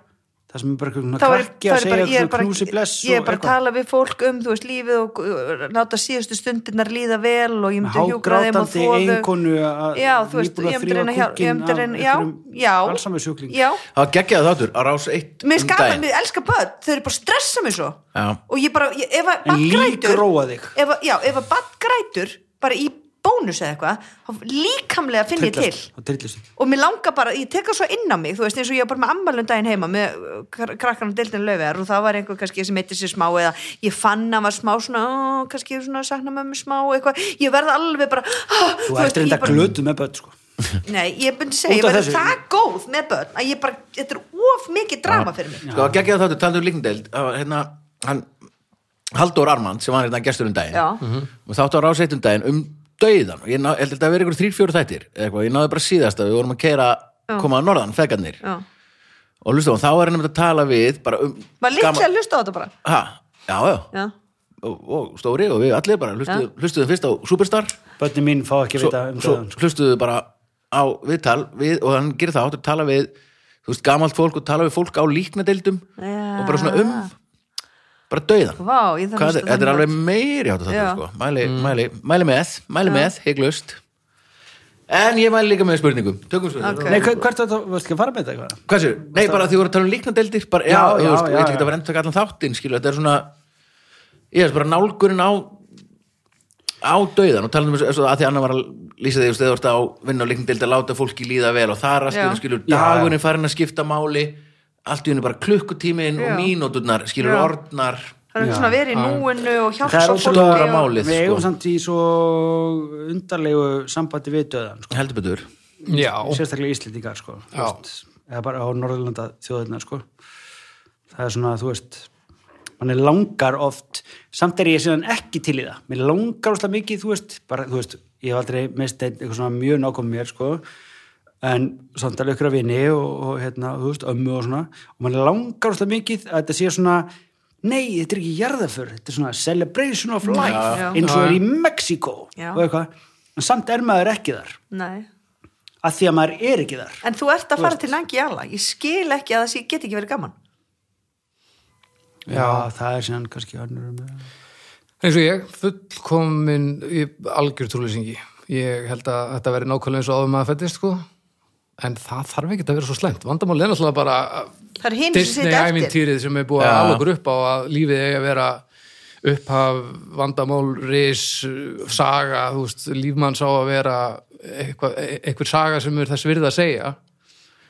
D: það sem er bara eitthvað
C: Þá
D: svona
C: er-
D: krakki
C: þá
D: að
C: er bara-
D: segja
C: ég er
D: svona
C: bara-
D: knúsi bless
C: ég er
D: og
C: bara að
D: eitthvað.
C: tala við fólk um þú veist lífið og uh, láta síðustu stundirnar líða vel og ég myndi hjúkra þeim og
D: hágrátandi
C: þóðu
D: einkonu að
C: já þú veist,
D: nýbúin að
C: ég myndi
D: þrífa
C: reyna hjá- ég
D: kúkinn
C: myndi
D: af
C: reyna já,
D: einhverjum
C: já,
D: Alzheimersjúklingi.
C: já
B: það var geggjað þáttur á rás 1
C: mér skapar, mér elskar börn, þau eru bara að stressa mig svo
B: Já.
C: og ég bara, ég, ef að
D: En
C: barn grætur-
D: líkróa þig.
C: ef, að- já, ef að bann grætur bara í bónus eða eitthvað þá líkamlega finn ég til
D: Trillast- og trillist
C: og mér langar bara, ég tek það svo inn á mig þú veist eins og ég var bara með ammalum daginn heima með uh, kr- krakkanum deildin löfjar og það var einhver kannski sem eittir sér smá eða ég fann að var smá svona, ó, kannski svona sakna mömmu smá eitthvað, ég verð alveg bara ah,
D: þú ert reynda
C: ég bara-
D: glötu með börn sko.
C: Nei, ég myndi segja,
D: Út
C: ég
D: af
C: verði
D: þessu.
C: það góð með börn að ég bara, þetta er of mikið drama fyrir mig
B: sko, það var geggjað þáttur, talaðu um líkndeild það var hérna, hann Halldór Armand sem var hérna gestur um daginn
C: Já.
B: og þáttu á rás 1 um daginn um döiðan og ég ná, ég held að þetta verið ykkur 3-4 þættir eða eitthvað, ég náði bara síðast að við vorum að keira koma að norðan, fegarnir
C: Já.
B: og hlustu, þá var hann einmitt að tala við bara um
C: maður líklega að hlusta á þetta bara
B: ha, já, já,
C: já,
B: Og, og stóri og við allir bara hlustuðu, hlustuðu fyrst á Superstar
D: börnin mín fá ekki að
B: svo,
D: vita um
B: svo
D: döðan sko.
B: hlustuðu bara á viðtal við, og hann gerir það áttur tala við þú veist, gamalt fólk og tala við fólk á líknadeildum
C: Já.
B: og bara svona um bara döiðan
C: vá, ég þarf
B: Hvað,
C: að
B: er- þetta er
C: þannig.
B: alveg meiri áttu þetta
C: Já.
B: sko. mæli,
D: Mm.
B: mæli, mæli með, mæli með heiklust en ég mæli líka með spurningum tökum spurningum
C: Ok.
D: Nei, hver- hvert þetta, varstu ekki að fara með þetta eitthvað?
B: Hvað sér? Nei, bara því voru að tala um líknadeildir bara, já,
D: Já,
B: já,
D: já,
B: veist, já,
D: já,
B: ég ætla ekki
D: já.
B: að vera endtaka allan þáttinn skilu, þetta er svona ég veist bara nálgurinn á á döiðan og tala um þessu að því annar var að lýsa því þegar þú ert að vinna á líknadeildi að láta fólki líða vel og þar að
C: Já.
B: skilur, skilur
D: Já, já.
B: dagurinn er farin að skipta máli allt í henni bara klukkutímin
C: Já.
B: og mínúturnar skilur
C: Já.
B: orðnar
C: það er svona verið í núinu og hjálpa
D: Það er
C: fólki
D: ótrúlega
C: og-
B: stóra málið.
D: Við
B: sko.
D: eigum samt í svo undarlegu sambandi við döðan sko.
B: heldur betur
A: já,
D: sérstaklega Íslendingar sko. Þú
A: Já.
D: veist, eða bara á Norðurlanda þjóðina sko. það er svona, þú veist mann er langar oft samt er ég síðan ekki til í það mér langar óslega mikið, þú veist, bara, þú veist ég hef aldrei mist einn- eitthvað svona mjög nákvæm mér sko, en samt alveg ykkur að vini og, og hérna, þú veist, ömmu og svona, og mann langar óslega mikið að þetta sé svona nei, þetta er ekki jarðaför, þetta er svona celebration of life,
C: Já.
D: eins og er í Mexiko
C: Já.
D: og eitthvað, en samt er maður ekki þar,
C: Nei.
D: að því að maður er ekki þar
C: En þú ert að fara til Nangiala, ég skil ekki að það sé, get ekki verið gaman.
D: já, það er síðan kannski önnur um það
A: eins og ég, fullkomin ég, algjör trúlýsingi ég held að þetta verði nákvæmlega eins og áður maður fættist sko. en það þarf ekki að vera svo slæmt vandamál er náttúrulega bara
C: Það eru hinir sem
A: Disney
C: sitja eftir.
A: ævintýrið sem er búið að
B: Já.
A: ala okkur upp á að lífið eigi að vera upphaf, vandamál, ris saga, þú veist, lífmanns á að vera eitthvað, einhver saga sem er þess virð að segja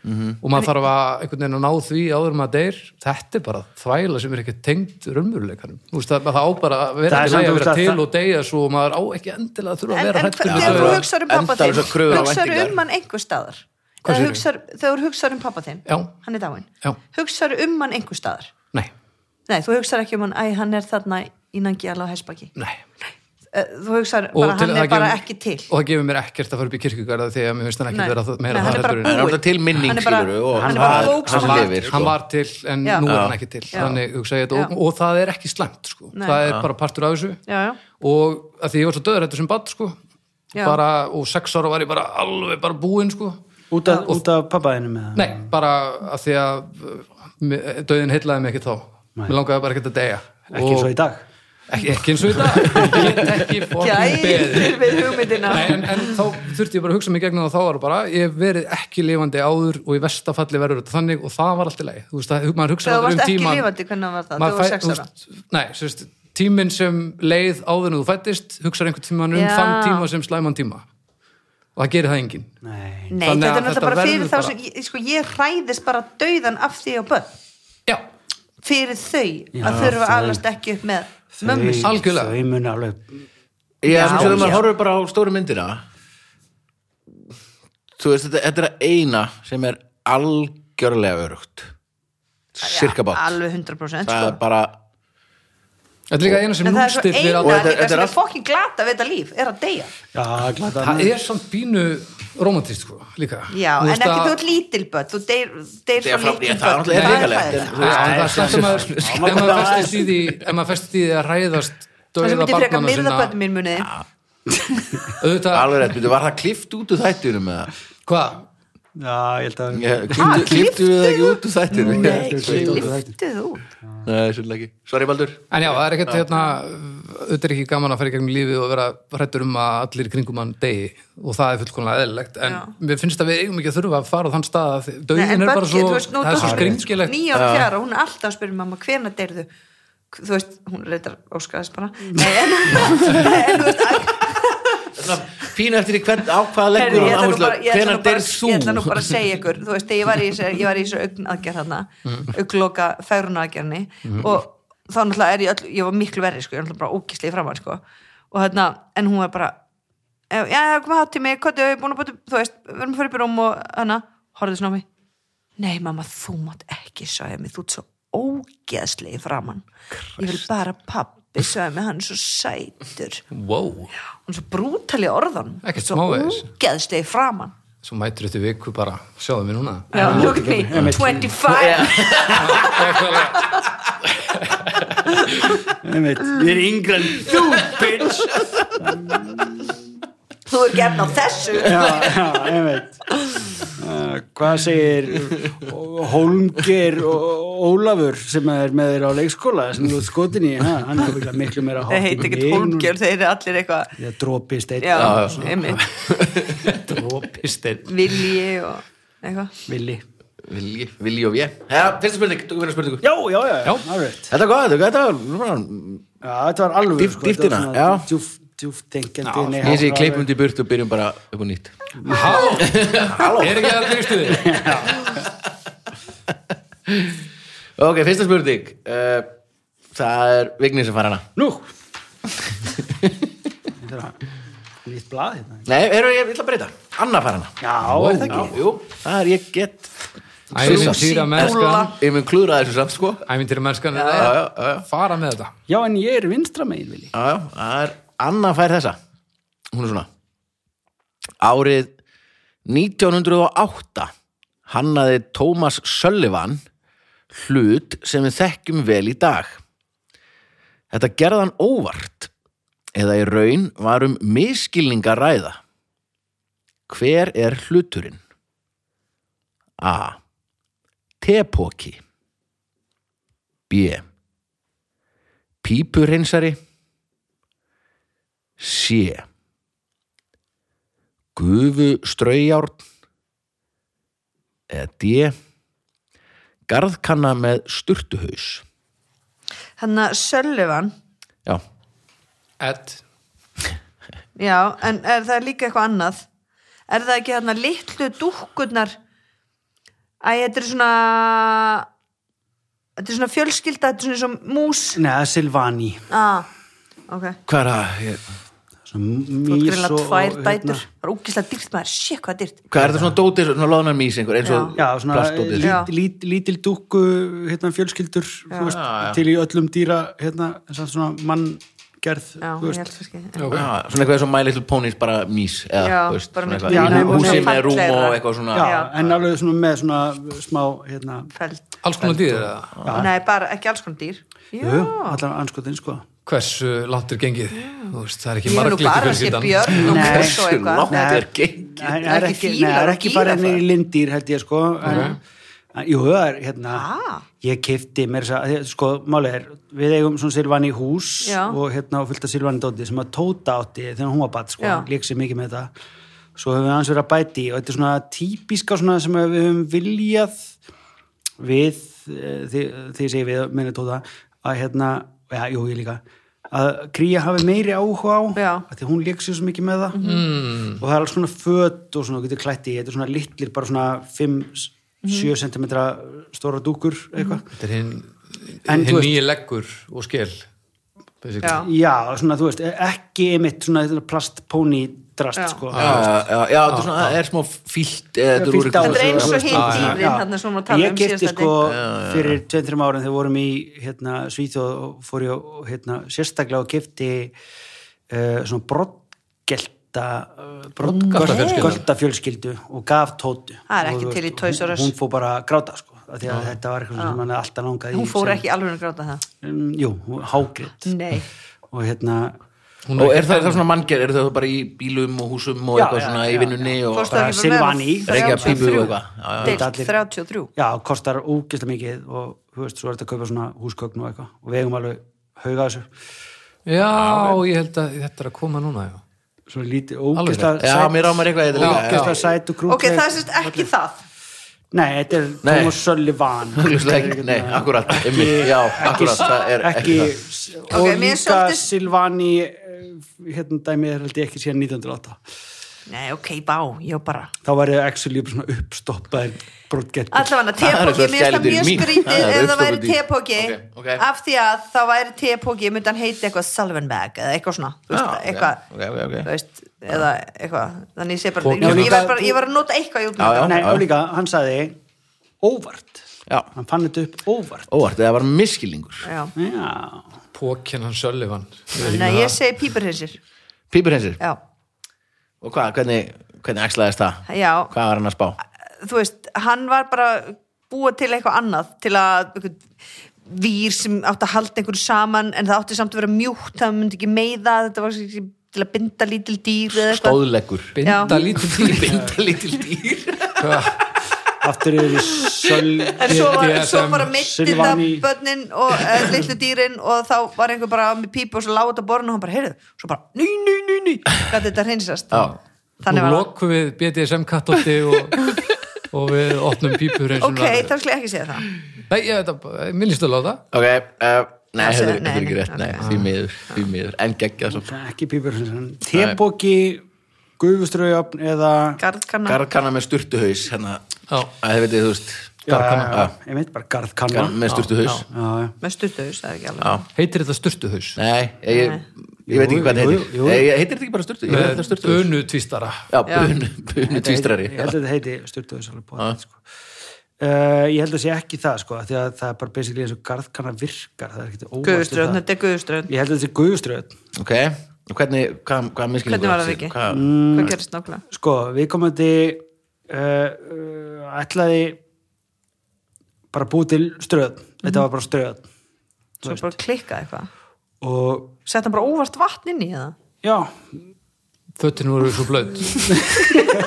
D: Mhm.
A: og maður þarf að einhvern veginn að ná því áður en maður deyr, þetta er bara þvæla sem er ekki tengd raunveruleikanum þú veist, það, það á bara að vera
D: Það er
A: ekki
D: samt,
A: leið
D: þú
A: að
D: veist,
A: vera
D: að
A: til
D: það-
A: og deyja svo og maður á ekki endilega að þurfa að
C: En,
A: vera
C: en
A: hrættur
C: þegar þú
B: dauðann.
C: hugsar um pappa þinn,
B: Endalausar kröfur á
C: hugsar
B: væntingar.
C: um hann einhver staðar.
A: Hvað
C: Eða
A: segirðu?
C: hugsar- Þegar þú hugsar um pappa þinn,
A: Já.
C: hann er dáinn,
A: Já.
C: hugsar um hann einhver staðar.
A: Nei,
C: Nei, þú hugsar ekki um hann, æ, hann er þarna í Nangiala á Hesbaki.
A: nei
C: Eh, Þú hugsar bara, hann er bara ekki til.
A: og það gefur mér ekkert að fara upp í kirkugarða því að mér finnst hann um- ekki
C: Nei.
A: vera það- meira
C: Nei, hann er
A: það
C: bara
A: heldur
B: Það
A: en
B: er náttúrulega til minning,
C: Hann er bara-
B: skilurðu, og
C: hann
D: er bara
B: það-
C: bók sem
B: hann
A: hann,
B: lifir,
A: var,
B: sko.
A: hann var til en
C: Já.
A: nú er
C: Já.
A: hann ekki til
C: Já.
A: þannig hugsa ég þetta og,
C: Já.
A: og það er ekki slæmt sko.
C: Nei.
A: það er bara partur af þessu
C: Já, já.
A: og að því ég var svo döður þetta sem bad sko.
C: Já.
A: bara, og sex ára var ég bara alveg bara búinn sko.
D: út af, út af pappaðinu með það
A: nei, bara að því að uh, mi- dauðin heillaði mig ekki þá mér langaði bara ekki að deyja
D: ekki eins og í dag
A: ekki, ekki eins og í dag ég get ekki fokkin beðið
C: Gæðir við hugmyndina.
A: Nei, en, en þá þurfti ég bara að hugsa mig gegnum það og þá var bara, ég hef verið ekki lifandi áður og í vestafalli verður þetta þannig og það var allt í leið, þú veist, að maður hugsa
C: Þegar þú
A: aldrei
C: varst
A: um
C: ekki
A: tíman
C: lifandi, hvernig var það?
A: Maður
C: Þegar þú varst
A: fæ-
C: sex ára?
A: þú veist, Nei, þú veist, tíminn sem leið áður en þú fættist, hugsar einhvern tíman um
C: Já.
A: þann tíma sem slæman tíma og það gerir það enginn
D: nei,
C: Nei,
A: Þannig
C: þetta
A: að
C: er náttúrulega
A: þetta
C: bara fyrir
A: verður
C: þá
A: bara-
C: sem, ég- sko, ég hræðist bara dauðan af því og börn.
A: Já,
C: Fyrir þau að
D: Já,
C: þurfa
D: þau.
C: að alast ekki upp með mömmu.
D: þau,
C: sinni.
A: algjörlega.
D: þau muni alveg
B: Já,
C: Já,
B: sem þegar maður
C: já.
B: horfir bara á stóru myndina Þú veist, þetta, þetta er að eina sem er algjörlega örugt Sirka bát
C: Alveg
B: Það
C: 100% sko.
B: er bara
A: þetta er líka eina sem
C: En það er svo
A: nústir við alla-
C: eina
B: Og þetta-
C: líka
B: þetta er
C: sem er
B: allt-
C: fokkin glata við þetta líf, er að deyja.
D: já, glata
A: Það er samt bínu romantist, sko, líka
C: Já,
A: Þú
C: en
A: veist
C: ekki
A: að-
C: þú ert lítilböld, þú deyr, deyr
B: Deyja
C: frá
B: frá-
C: lítilböld.
B: Ég, það er náttúrulega hrikalegt, en-
A: Þú veist, en það er samt sem að
D: Já,
A: ef
D: maður
A: maður
D: bara-
A: festist í því ef maður festist í því að ræðast
C: Það sem
A: dauða
C: myndi freka
A: barnana
C: myrða
A: sinna
C: bönnum mín muniði.
A: auðvitað,
B: alveg rétt, byrju, var það klift út úr þættinum eða?
A: hvað?
D: já, ég held að
B: Ég- klipptu- Klipptu við það ekki út úr þættinum?
C: Lyftu þú.
B: Nei, svolítið ekki Sorry, Baldur
A: En já, það er ekkert hérna auðvitað er ekki gaman að fara í gegnum lífið og vera hrættur um að allir í kringum hann degi og það er fullkomlega eðlilegt en
C: Já.
A: mér finnst að við eigum ekki að þurfa að fara á þann stað að
C: Nei,
A: dögin
C: en
A: er bara
C: Böggi,
A: svo,
C: þú veist, nú
A: það er svo
C: dóttir mín,
A: skringilegt
C: níu ára fjara, hún er alltaf að spyrja mamma hvena deyrðu þú veist, hún reyndar óskaðist bara Nei, en, en þú veist að-
B: Fín eftir því hvern ákvaða
C: Heyrðu,
B: leggur
C: ég ætla nú
B: áherslu
C: bara- ég ætla nú
B: Hvenær
C: bara-
B: deyr þú?
C: ég ætla nú bara að segja ykkur þú veist, þegar ég var í þessu- ég var í þessu augn aðgerð þarna
B: Mm.
C: augloka færuna aðgerðinni
B: Mm-hmm.
C: og þá náttúrulega er ég öll ég var miklu verri, sko, ég var náttúrulega bara ógislega framar sko. og þarna, en hún var bara já, já, kom hát til mig, hvað er búin að búin þú veist, við erum að fara upp í rúm og hana horfðu svona á mig nei mamma, þú mátt ekki sögja mig, þú ert svo ógeðslega framann ég vil bara pappi sögja mig, hann er svo sætur
A: wow,
C: hún er svo brútali orðan
A: Ekkert
C: svo
A: smávegis.
C: ógeðslega framann
A: svo mætur þetta viku bara sjáðu mér núna
C: Já, look at me, 25
D: Einmitt, ég er yngra en þú, bitch
C: Þú er gefn á þessu
D: já, já, ég veit uh, hvað segir Holmger og Ólafur sem er með þér á leikskóla sem þú ert skotin í, ha? hann er örugglega miklu meira hátt
C: Það heit
D: en
C: ekkert
D: mig.
C: hólmgjör, þeir eru allir eitthvað
D: ég dropi steitt
C: Já, einmitt,
A: drópisteinn
C: vilji og eitthvað
D: villi
B: Vilji, vilji og ég Já, fyrsta spurning, tökum við spurningu
D: já, já, já,
A: Já.
D: alveg
B: Þetta er gott, þetta er gott
D: já, þetta var alveg
B: Dýpt- dýptina, já.
D: djúft djúf tenkjandi nei,
B: Ég sé
D: hátt-
B: kleipum til burt og byrjum bara upp á nýtt
A: halló, er ekki það í stuði?
B: Ok, fyrsta spurning uh, Það er Vigni sem fara hana
D: Nú Þetta er að- Nýtt blað hérna
B: Nei, er, ég, ég ætla að breyta Anna fara hana
D: Já,
B: Jú, það er ég get
A: Ævintýra mennskan
C: Dúlla.
B: Ég mun klúra þessu samt sko
A: Ævintýra mennskan
B: Já,
A: er
B: já, já,
A: að fara með þetta
D: Já, en ég er vinstra megin, Vili.
B: já, já, það er Anna fær þessa Hún er svona Árið 1908 hannaði Thomas Sullivan hlut sem við þekkjum vel í dag Þetta gerði hann óvart eða í raun var um miskilninga ræða Hver er hluturinn? A. Tepoki B. Pípurheinsari C. Gufu ströyjárn eða D. Garðkanna með sturtuhaus
C: Þannig að Söllivan
B: Já,
A: Ed,
C: Já, en er það líka eitthvað annað? Er það ekki þarna litlu dúkkurnar? Æ, þetta er svona Þetta er svona fjölskylda, þetta er svona eins og mús
D: Nei, það er Silvani.
C: ah, Ok,
B: hvað er það? Ég-
C: þú
D: Þú
C: ert greinlega tvær
D: hérna-
C: dætur Það er úkislega dýrt maður, sé hvað dýrt
B: Hvað er það svona dótið, svona loðnar mís einhver, eins og
D: Já, svona
B: plastdótið?
C: Já.
D: lít, lít, lítil dúkku hérna, fjölskyldur þú veist,
B: Já, já.
D: til í öllum dýra hérna, en samt svona manngerð
C: Já,
D: þú
C: ég
D: veist.
C: held kannski
A: ok.
B: Já, svona eitthvað sem My Little Ponies bara mís eða,
C: Já,
B: þú veist,
C: bara
B: svona
C: miklu
B: eitthvað.
D: minna og
B: húsi
D: svona
B: með rúm
C: fallegra.
B: og eitthvað svona
D: já,
C: Já.
D: en alveg svona með svona smá hérna,
C: Feld
A: alls konar dýr eða?
C: Nei, bara ekki alls konar dýr Já,
D: jú, allar anskotin sko
A: hversu langt er gengið þú veist, það er ekki
C: ég er nú
A: marglitt
C: bara að sé björn og
D: Nei.
C: mús og
B: Hversu
C: eitthvað
B: langt
D: Nei.
B: er gengið?
D: Nei, það er
C: Ekki
D: ekki,
C: fílar
D: nei, það er
C: og
D: ekki bara
C: gíraffar.
D: niður í lindýr held ég sko en, en, jú, það er hérna
C: Ah.
D: ég kefti mér þess að, sko, málið er við eigum svona Silvani hús
C: Já.
D: og hérna og fullt af Silvani dóti sem að Tóta átti þegar hún var bat, sko,
C: Já.
D: lík sér mikið með þetta svo höfum við hans verið að bæti og þetta er svona típiska svona sem við höfum viljað við eh, því, því segi við, minni Tóta að hérna, já, jú, ég líka að kríja hafi meiri áhuga á
C: Já. Mhm.
D: að því hún lék sér svo mikið með það mm. og það er alls svona fött og svona þú getur klætt í, þetta er svona litlir bara svona 5-7
C: Mhm.
D: cm stóra dúkur eitthvað
A: þetta er hinn
D: En
A: hin
D: þú veist-
A: nýja leggur og skel basically.
C: Já.
D: já, svona þú veist, e-, ekki einmitt svona þetta plastpóni drast
C: Já.
D: sko
B: Já, já, já, já, þetta er svona, það er smá fílt eða þetta er úr-
D: Fyllt á
C: Þetta er
D: þessu,
C: eins og
D: þú veist.
C: hin
D: Já, já,
C: dýrin,
D: já.
C: þarna sem við vorum að tala um
D: Ég kefti
C: síðasta
D: sko
C: daginn.
D: fyrir 2-3 árum þegar við vorum í hérna, Svíþjóð og fór ég og, hérna, sérstaklega og kefti uh, svona brottgelta
A: Broddgaltafjölskyldu.
D: fjölskyldu og gaf tótu
C: Það er ekki
D: Og,
C: til í
D: þú veist,
C: Toys R Us.
D: Hún fór bara að gráta sko af því að þetta var eitthvað sem hann alltaf langaði í,
C: Hún fór
D: sem-
C: ekki alveg að Mm. gráta það
D: Mm, Jú, hágritt
C: Nei
D: og hérna
A: Hún
B: Og
A: er
B: er það, er það svona manngerð, er það bara í bílum og húsum og
D: Já,
B: eitthvað
D: já,
B: svona
D: já,
B: í vinnunni og
C: Fórstu ekki
D: bara
C: bara með
D: Silvani,
C: hana?
B: reykja pípu og
C: 33.
B: eitthvað Já, já, já.
C: Deilt
D: Allir-
C: 33
D: já, kostar ógislega mikið og þú veist, svo er þetta að kaupa svona húskögn og eitthvað og við eigum alveg hauga þessu
A: já, ég held að þetta er að koma núna já.
D: svo lítið
A: Alveg
D: ógislega
B: Já, mér á mér eitthvað í þetta líka, já.
D: ógislega sæt og krútt
C: Ok, það er sérst ekki það
D: nei, þetta er
B: Nei.
D: Thomas Sullivan
B: Augljóslega ekki, nei, akkurat, ymmið, já, akkurat, það er ekki
D: ekki,
B: það.
D: og
C: Ok, mér
D: líka
C: er svolítið-
D: Silvani eh, hérna dæmið er held ég ekki síðan 1908
C: Nei, ok, bá, ég var bara
D: þá var ég actually bara svona uppstoppaðir brotgett
C: Allavega,
B: Það er svo
C: tepóki, mér finnst það
B: skældur í
C: mjög
B: mín.
C: skrítið
B: Það er
C: ef það væri
B: uppstoppun í-
C: tepóki
B: Ok, ok.
C: af því að þá væri tepóki myndi hann heiti eitthvað Salvenberg eða eitthvað svona þú veist,
B: Já, ok,
C: eitthvað,
B: ok, ok, ok.
C: þú veist, eða eitthvað þannig ég sé bara,
A: Póki.
C: ég, ég,
D: Já,
C: var
D: líka-
C: bara ég var að nota eitthvað í
B: Já, já.
C: útmyndan
D: nei, og líka, hann sagði óvart
B: Já,
D: hann fann þetta upp óvart
B: óvart, það var miskilningur.
C: já.
D: já,
A: Pókin hann Söllivan
C: Nei, ég segi pípurhinsir
B: Pípurhensir,
C: já,
B: og hvað, hvernig, hvernig axlaðist það?
C: já,
B: Hvað var hann að spá?
C: þú veist, hann var bara að búa til eitthvað annað til að eitthvað, vír sem átti að halda einhverju saman en það átti samt að vera mjúkt það myndi ekki meiða, þetta var ekki til að binda lítil dýr eða eitthvað
B: Stóðleggur.
A: binda
C: Já.
A: lítið dýr
B: Binda lítil dýr.
D: aftur yfir í söl
C: en svo, var,
A: DSM,
C: svo bara mittir það
D: Silvani.
C: börnin og uh, litlu dýrin og þá var einhver bara með pípu og svo lág þetta borun og hann bara, heyrðu, svo bara, ný, ný, ný, ný hvað þetta hreinsast
B: Já.
A: Nú
C: þannig var það,
A: lokum við BDSM kattótti og, og við opnum pípur eins og
C: ok,
A: var-
C: það skulle ég ekki segja það
A: Nei, ég veit að, minnist að láta
B: Ok, uh, nei,
C: Það
B: þetta
C: sé-
B: er
C: nei,
B: þetta er ekki
C: nei,
B: rétt, nei, því miður, því miður, en geggjað svo.
D: ekki pípur tebóki, gufuströðjöfn eða
C: garðkanna,
B: Garðkanna með sturtuhaus, hérna,
A: Já.
B: að þið veitir, þú veist,
D: garðkanna ég veit bara garðkanna
B: garð með sturtuhaus.
D: Já, já.
C: með stuttöðus, það er ekki alveg
B: Já.
A: Heitir þetta sturtuhaus?
B: Nei, ég, ég, veit ekki hvað það
D: Jú, jú,
B: heitir.
D: jú.
B: Nei, ég- Heitir þetta ekki bara sturtu? Ég veit þetta er
A: Með
B: sturtuhaus.
A: bunu tvistara
B: Já, bunu, bunu tvístrari.
D: ég held að þetta heiti styrtuðis alveg bóðið sko. Uh, ég held að sé ekki það sko, af því að það er bara basically eins og garðkanna virkar, það er ekkert óvart við
C: Guðuströðn,
D: það.
C: þetta er guðuströðn
D: Ég held að Mm. þetta sé guðuströð.
B: ok, og hvernig, hvað, hvað miskilum
C: Hvernig var það, Viki?
B: Hvað,
C: Hvað gerist nákvæmlega?
D: Sko, viðkomandi uh, uh, ætlaði bara að búi til ströð,
C: Mhm.
D: þetta var bara ströð
C: Svo bara klikkað eitthvað
D: og
C: Sett hann bara óvart vatn inn í það
D: já,
A: Fötin voru svo blöð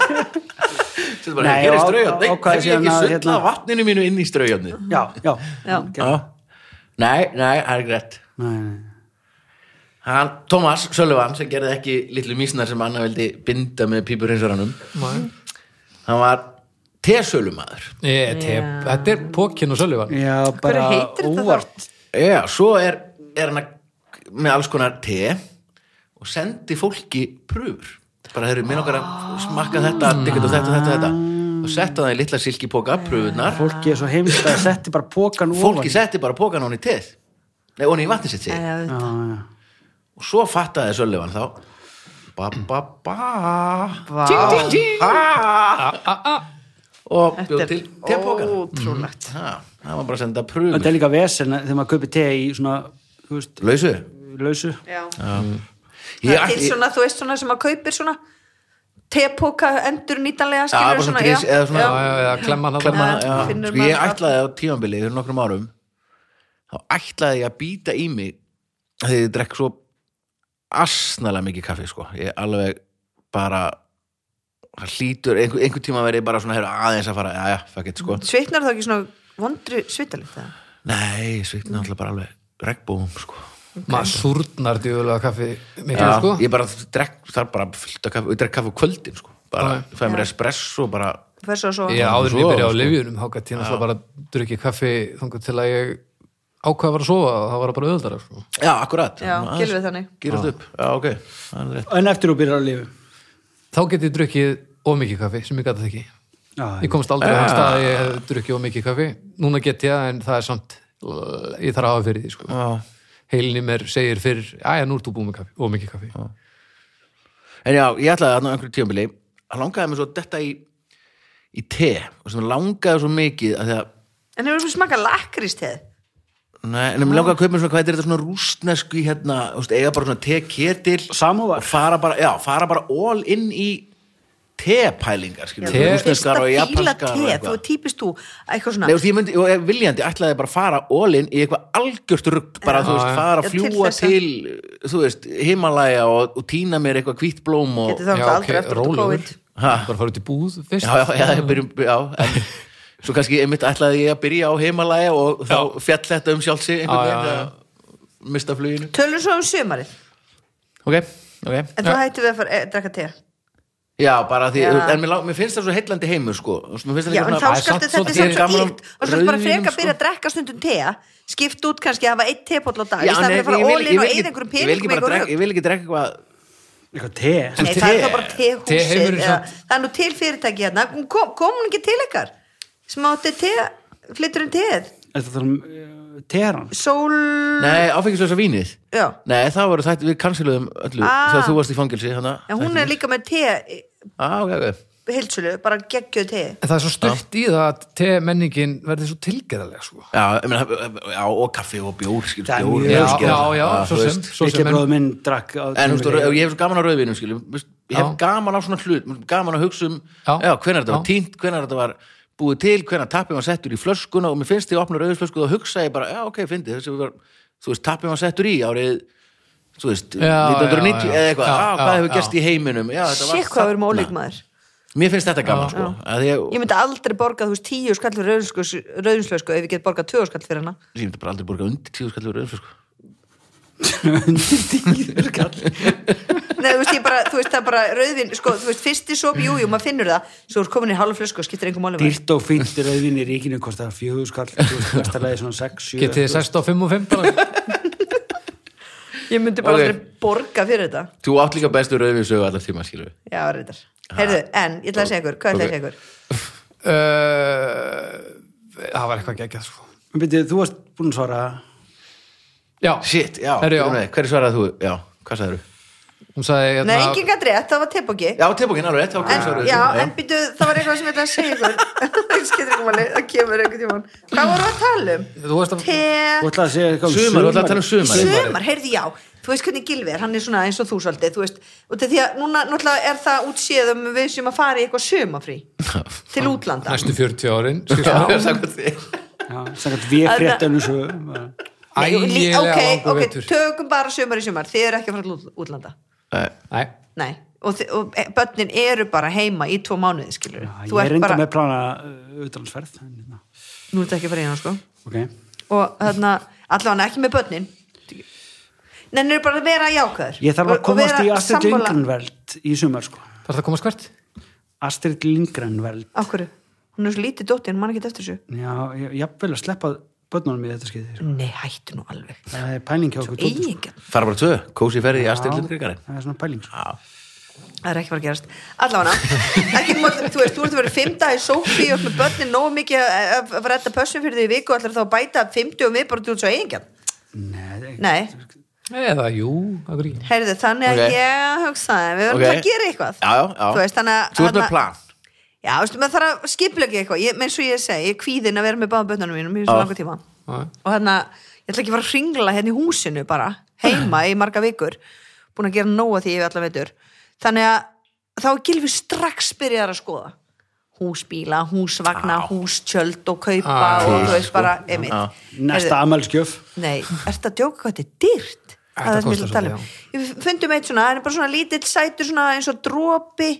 B: Þetta bara,
D: Nei,
B: hér er
D: á-
B: straujan,
D: á-
B: nei,
D: ákvað
B: hef ég
D: síðan
B: ekki
D: að,
B: sullað
D: hérna-
B: vatninu mínu inn í straujanni
D: já, já,
C: Já.
D: já.
B: Nei, nei, það er greitt
D: Nei, nei.
B: Hann, Thomas Sullivan, sem gerði ekki litlu mísnar sem Anna vildi binda með pípurhinsaranum Hann var tesölumæður
A: Ég, tep, Þetta er pókin og söljuvan
D: já,
C: Hverju
D: bara
C: heitir þetta
D: óvart
B: Já, svo er, er hann að- með alls konar te og sendi fólki pröfur bara þeir eru minn okkar að smakka þetta dikkert og þetta, þetta, þetta og setta það í litla silkipoka pröfunar
D: fólki er svo heimst að setti bara pókan
B: fólki
D: ofan.
B: setti bara pókan honi í teð nei, honi í vatni sitt sig
C: Eða,
D: Já, já.
B: og svo fattaði Söllivan þá ba ba ba
C: Vá. Ah,
B: ting ting ting ha. Ah. og bjóð
C: Þetta
B: til
C: er
B: tepokan
C: ótrúlegt
B: það var bara að senda
D: Þetta
B: pröfum
D: er líka vesen að- þegar maður kaupir te í svona, þú veist,
B: lausu
D: lausu.
C: Já.
B: Mm.
C: Það
B: ég
C: er til
B: ætti
C: svona, þú veist svona sem að kaupir svona tepoka endur nýtanlega skilur
B: bara svona gris- eða svona-
A: Já, já, já, klemma hann
B: klemma
A: allan
B: hana, já.
C: finnur
B: sko ég
C: maður-
B: ætlaði á tímambili fyrir nokkrum árum þá ætlaði ég að býta í mig þegar ég drekk svo asnalega mikið kaffi sko ég alveg bara það hlýtur, einhver, einhver tíma verið bara svona heyrðu, aðeins að fara, já já, fuck it sko
C: Sveitnar þá ekki svona vondri svitalikt það?
B: Nei,
C: Mm.
B: svitna alltaf bara alveg regnbúum sko.
A: Maður súrnar djúðulega kaffi mikið
B: Já,
A: sko
B: Ég bara drekk, þar bara fyllt að kaffi, ég drekk kaffi á kvöldin sko. bara, ég fæði mér espresso bara,
C: Fær svo svo
A: Já, áður en
B: Svo,
A: ég byrja á
B: sko.
A: livjunum þá gæti ég náttúrulega bara drukkið kaffi þangur til að ég ákvað var að sofa og það var bara auðvöldara sko.
B: Já, akkurat
C: Já,
B: Aðeins
C: Gylfi þannig.
B: Gýrast upp, já, ok Það er rétt.
D: En eftir þú byrjar á lífi.
A: Þá geti ég drukkið of mikið kaffi sem ég gæti það ekki
D: Já,
A: Ég komst aldrei á þann stað að ég hef drukkið of mikið kaffi Núna get ég það en það er samt ég þarf að hafa fyrir því sko.
B: Já.
A: Heilinni mér segir fyrr Æja, nú ert þú búið með kaffi, of mikið kaffi
B: En já, ég ætlaði að á einhverju tímabili að langaði mér svo detta í í te, og sem langaði svo mikið að því að,
C: En hefur þú smakað lakrísteð?
B: nei, en mér langaði að kaupa mér svona hvað er þetta svona rústnesku í hérna, þú veist, eiga bara svona te ketil
D: Samúvar.
B: og fara bara, já, fara bara all in í tepælingar skilur
A: Te-
B: við,
C: Þú veist
B: rússneskar
C: að
B: og
C: fíla
B: japanskar og
C: te, þú
B: eitthvað.
C: er típist þú eitthvað
B: Nei,
C: svona
B: þú veist, ég myndi, og ef viljandi ætlaði bara að fara all in í eitthvað algjört rugg bara, þú veist,
A: já.
B: fara
C: Já,
B: að
C: til
B: fljúa
C: þess að-
B: til, þú veist, Himalaya og, og tína mér eitthvað hvít blóm og,
C: Getur það
A: Já,
C: náttúrulega
A: ok,
C: aldrei eftir út á
A: rólegur
C: COVID
A: Bara fara út í búð fyrst
B: já, já, já, já, byrjum, já en, svo kannski einmitt ætlaði ég að byrja á Himalaya og þá fjall þetta um sjálfsi einhvern
A: Já, já,
B: veginn
A: já.
B: að mista fluginu
C: Tölum svo um sömarið
B: ok, ok
C: En þá hættum við að fara að drekka te
B: já, bara því,
C: Já.
B: en mér, lang- mér finnst það svo heillandi heimur sko, Þú veist, mér finnst það
C: Já,
B: líka
C: en þá
B: svona-
A: samt
C: skaltu þetta er
A: svolítið
C: samt svo
B: gaman
C: íkt og svo bara
B: rauðvínum,
C: freka að
B: sko.
C: byrja að drekka stundum te skipt út kannski að hafa eitt tepóll á dag í
B: Já,
C: staðan
B: nei,
C: fyrir að fara
B: ég vil- ég
C: ólinn og
B: vil ekki-
C: eða einhverjum
B: ég vil ekki bara
C: peningum eitthvað
B: drekka- ég vil ekki drekka eitthvað
D: Eitthvað te.
C: Nei, það er
B: te-
C: þá bara tehúsið
A: teheimurinn
C: eða-
A: samt-
C: Það er nú til fyrirtæki hérna Hún kom, kom hún ekki til ykkar sem átti te, flytturinn teð
D: Þetta þarf um uh, teran.
C: Sól
B: nei, áfengislösa vínið
C: Já,
B: Nei, það voru þetta, við kansiluðum öllu
C: Ah.
B: þegar þú varst í fangelsi hana.
C: en hún er líka með te
B: ah, okay, okay.
C: heilsölu, bara geggjöð te
A: En það er svo stutt í það að te menningin verði svo tilgerðarlega sko.
B: Já, ég meina, já, og kaffi og bjór, skil,
D: Það er
B: bjór
A: Já,
D: mjög-
B: er
A: já,
B: skil,
A: já,
B: ah,
A: svo
B: þú
A: sem,
B: veist.
A: svo
D: Litli
A: sem en-
D: bróður minn drakk á
B: En þú veist, og ég hef svo gaman á rauðvinum, skil Ég hef
A: Já.
B: gaman á svona hlut, gaman að hugsa um
A: Já.
B: Já, hvenær þetta
A: Já.
B: var tínt, hvenær þetta var búið til Hvenær tappið var settur í flöskuna Og mér finnst því að opna rauðisflösku og hugsa ég bara Já, ok, fyndi, þessi var, þú veist, tappið var settur í árið Þú veist,
A: Já, já,
B: 1990
A: já.
B: eða eitthvað,
A: Já,
B: á, hvað
A: já,
B: hefur gerst
A: já.
B: í heiminum Já, þetta var
C: Sér hvað við erum
B: þarna.
C: ólík maður
B: Mér finnst þetta gaman, sko að Ég,
C: Ég myndi aldrei borga þú veist tíu skall fyrir rauðinslösku ef ég get borgað tvö skall fyrir hana
B: ég myndi bara aldrei borga undir tíu skallur rauðflösku
C: Nei, þú veist, ég bara, þú veist, það er bara rauðin sko, þú veist, fyrsti sop, jú, jú, maður finnur það svo er komin í hálf flösku og skiptir einhver máli maður.
D: Dýrt og fínt rauðvin í ríkinu kostar fjögur skall, þú veist, mestarlega svona 6, 7
A: Getið þið 6 og 5 og 5 bara
C: Ég myndi bara
B: Ok.
C: aldrei borga fyrir þetta
B: Þú átt líka bestu rauðvinsögu allar tíma, skilur við.
C: Já, reyndar. Heyrðu, en ég ætla að segja ykkur, hvað ætla
B: Ok.
C: að segja ykkur?
A: Uh, Það var eitthvað geggjað sko.
D: Byrju, þú varst búin að svara
A: Já,
B: Shit, já.
A: Herri, já.
B: Hverju svaraði þú? Já, hvað sagður þú?
A: hún sagði hérna,
C: Nei, engin gætt rétt, það var tebóki
B: Já, tilbúkin alveg, þá
C: En,
B: kemur svo
C: já, en býtu, það var eitthvað sem ég ætla að segja ykkur Ég skilur ekki máli, það kemur einhvern tímann Hvað vorum við að tala um?
A: þú veist að
D: Þú
C: Te...
D: ætlaði að segja eitthvað
B: Sumar, þú ætlaði að tala um sumar
C: Sumar, heyrði já Þú veist hvernig Gilvi er, hann er svona eins og þú svolítið Þú veist, og til því að núna náttúrulega er það útséð um við sem að fara í eitthvað sumafrí Til útlanda
A: næstu 40 árin sko,
B: Já, samkvæmt því.
D: Já, Sannkvæmt við fréttanum svo
C: Nei, jú, lí-
A: ægilega
C: Ok,
A: langur
C: ok,
A: vetur
C: tökum bara sumar í sumar Þið eru ekki að fara til út- útlanda
B: Nei.
A: Nei,
C: Nei, og, þi- og e, börnin eru bara heima í tvo mánuði, skilur
D: Ég er reynda með plana eh, auðvitaðsferð
C: Nú er þetta ekki að fara í hana, sko
D: hérna, Ok,
C: og þarna, allavega ekki með börnin Nennir bara að vera jákvæður
D: ég þarf að
C: Og- og
D: komast
C: vera
D: í Astrid
C: sammála-
D: Lindgrenveld í sumar sko
A: þarf það að komast hvert?
D: Astrid Lindgrenveld
C: Af hverju? Hún er svo lítið dóttir, hún man ekki eftir þessu
D: Já, ég er vel að sleppa börnunum í þetta skeiði sko.
C: Nei, hættu nú alveg
D: Það er pæling hjá okkur dóttur, sko.
C: Eigingan,
B: Fara bara tvö, kósi ferði í Astrid Lindgrengarinn
D: Það er svona pæling sko.
C: það er ekki fara að gerast Allavega, ekki mátt, þú veist, þú ert að vera fimm dag í sófi og ert með börnin nógu mikið að- að vera þetta pössum fyrir því í viku og ætlar þá að bæta 50 og miðbara út svo eigingan
D: Nei,
C: Nei,
A: Eða, jú, það er ekki
C: heyrðu, þannig að
B: Ok.
C: ég hugsaði, við verðum
B: Ok.
C: að gera eitthvað
B: Já, já, já.
C: Þú veist, þannig
B: Þú
C: að
B: ert með
C: þannig að-
B: plan
C: Já, þú veist, maður þarf að skiplega eitthvað ég, eins og ég segi, ég er kvíðin að vera með báðbötnunum mínum í svo langa tíma
A: Já.
C: og þannig að ég ætla ekki að fara að hringla hérna í húsinu bara, heima í marga vikur búin að gera nóga því ég við allar veitur þannig að þá er gilfi strax byrjaðar að skoða húsbíla, húsvagna,
B: Á.
C: hústjöld og kaupa
A: Á,
C: og þú veist bara einmitt.
B: Á.
D: Næsta amælskjöf
C: Nei, ertu að djóka hvað þetta er dýrt?
A: Þetta
C: Það er það sem ég
A: kostar
C: vil tala um. Við fundum eitt svona, það er bara svona lítill sætur svona eins og dropi í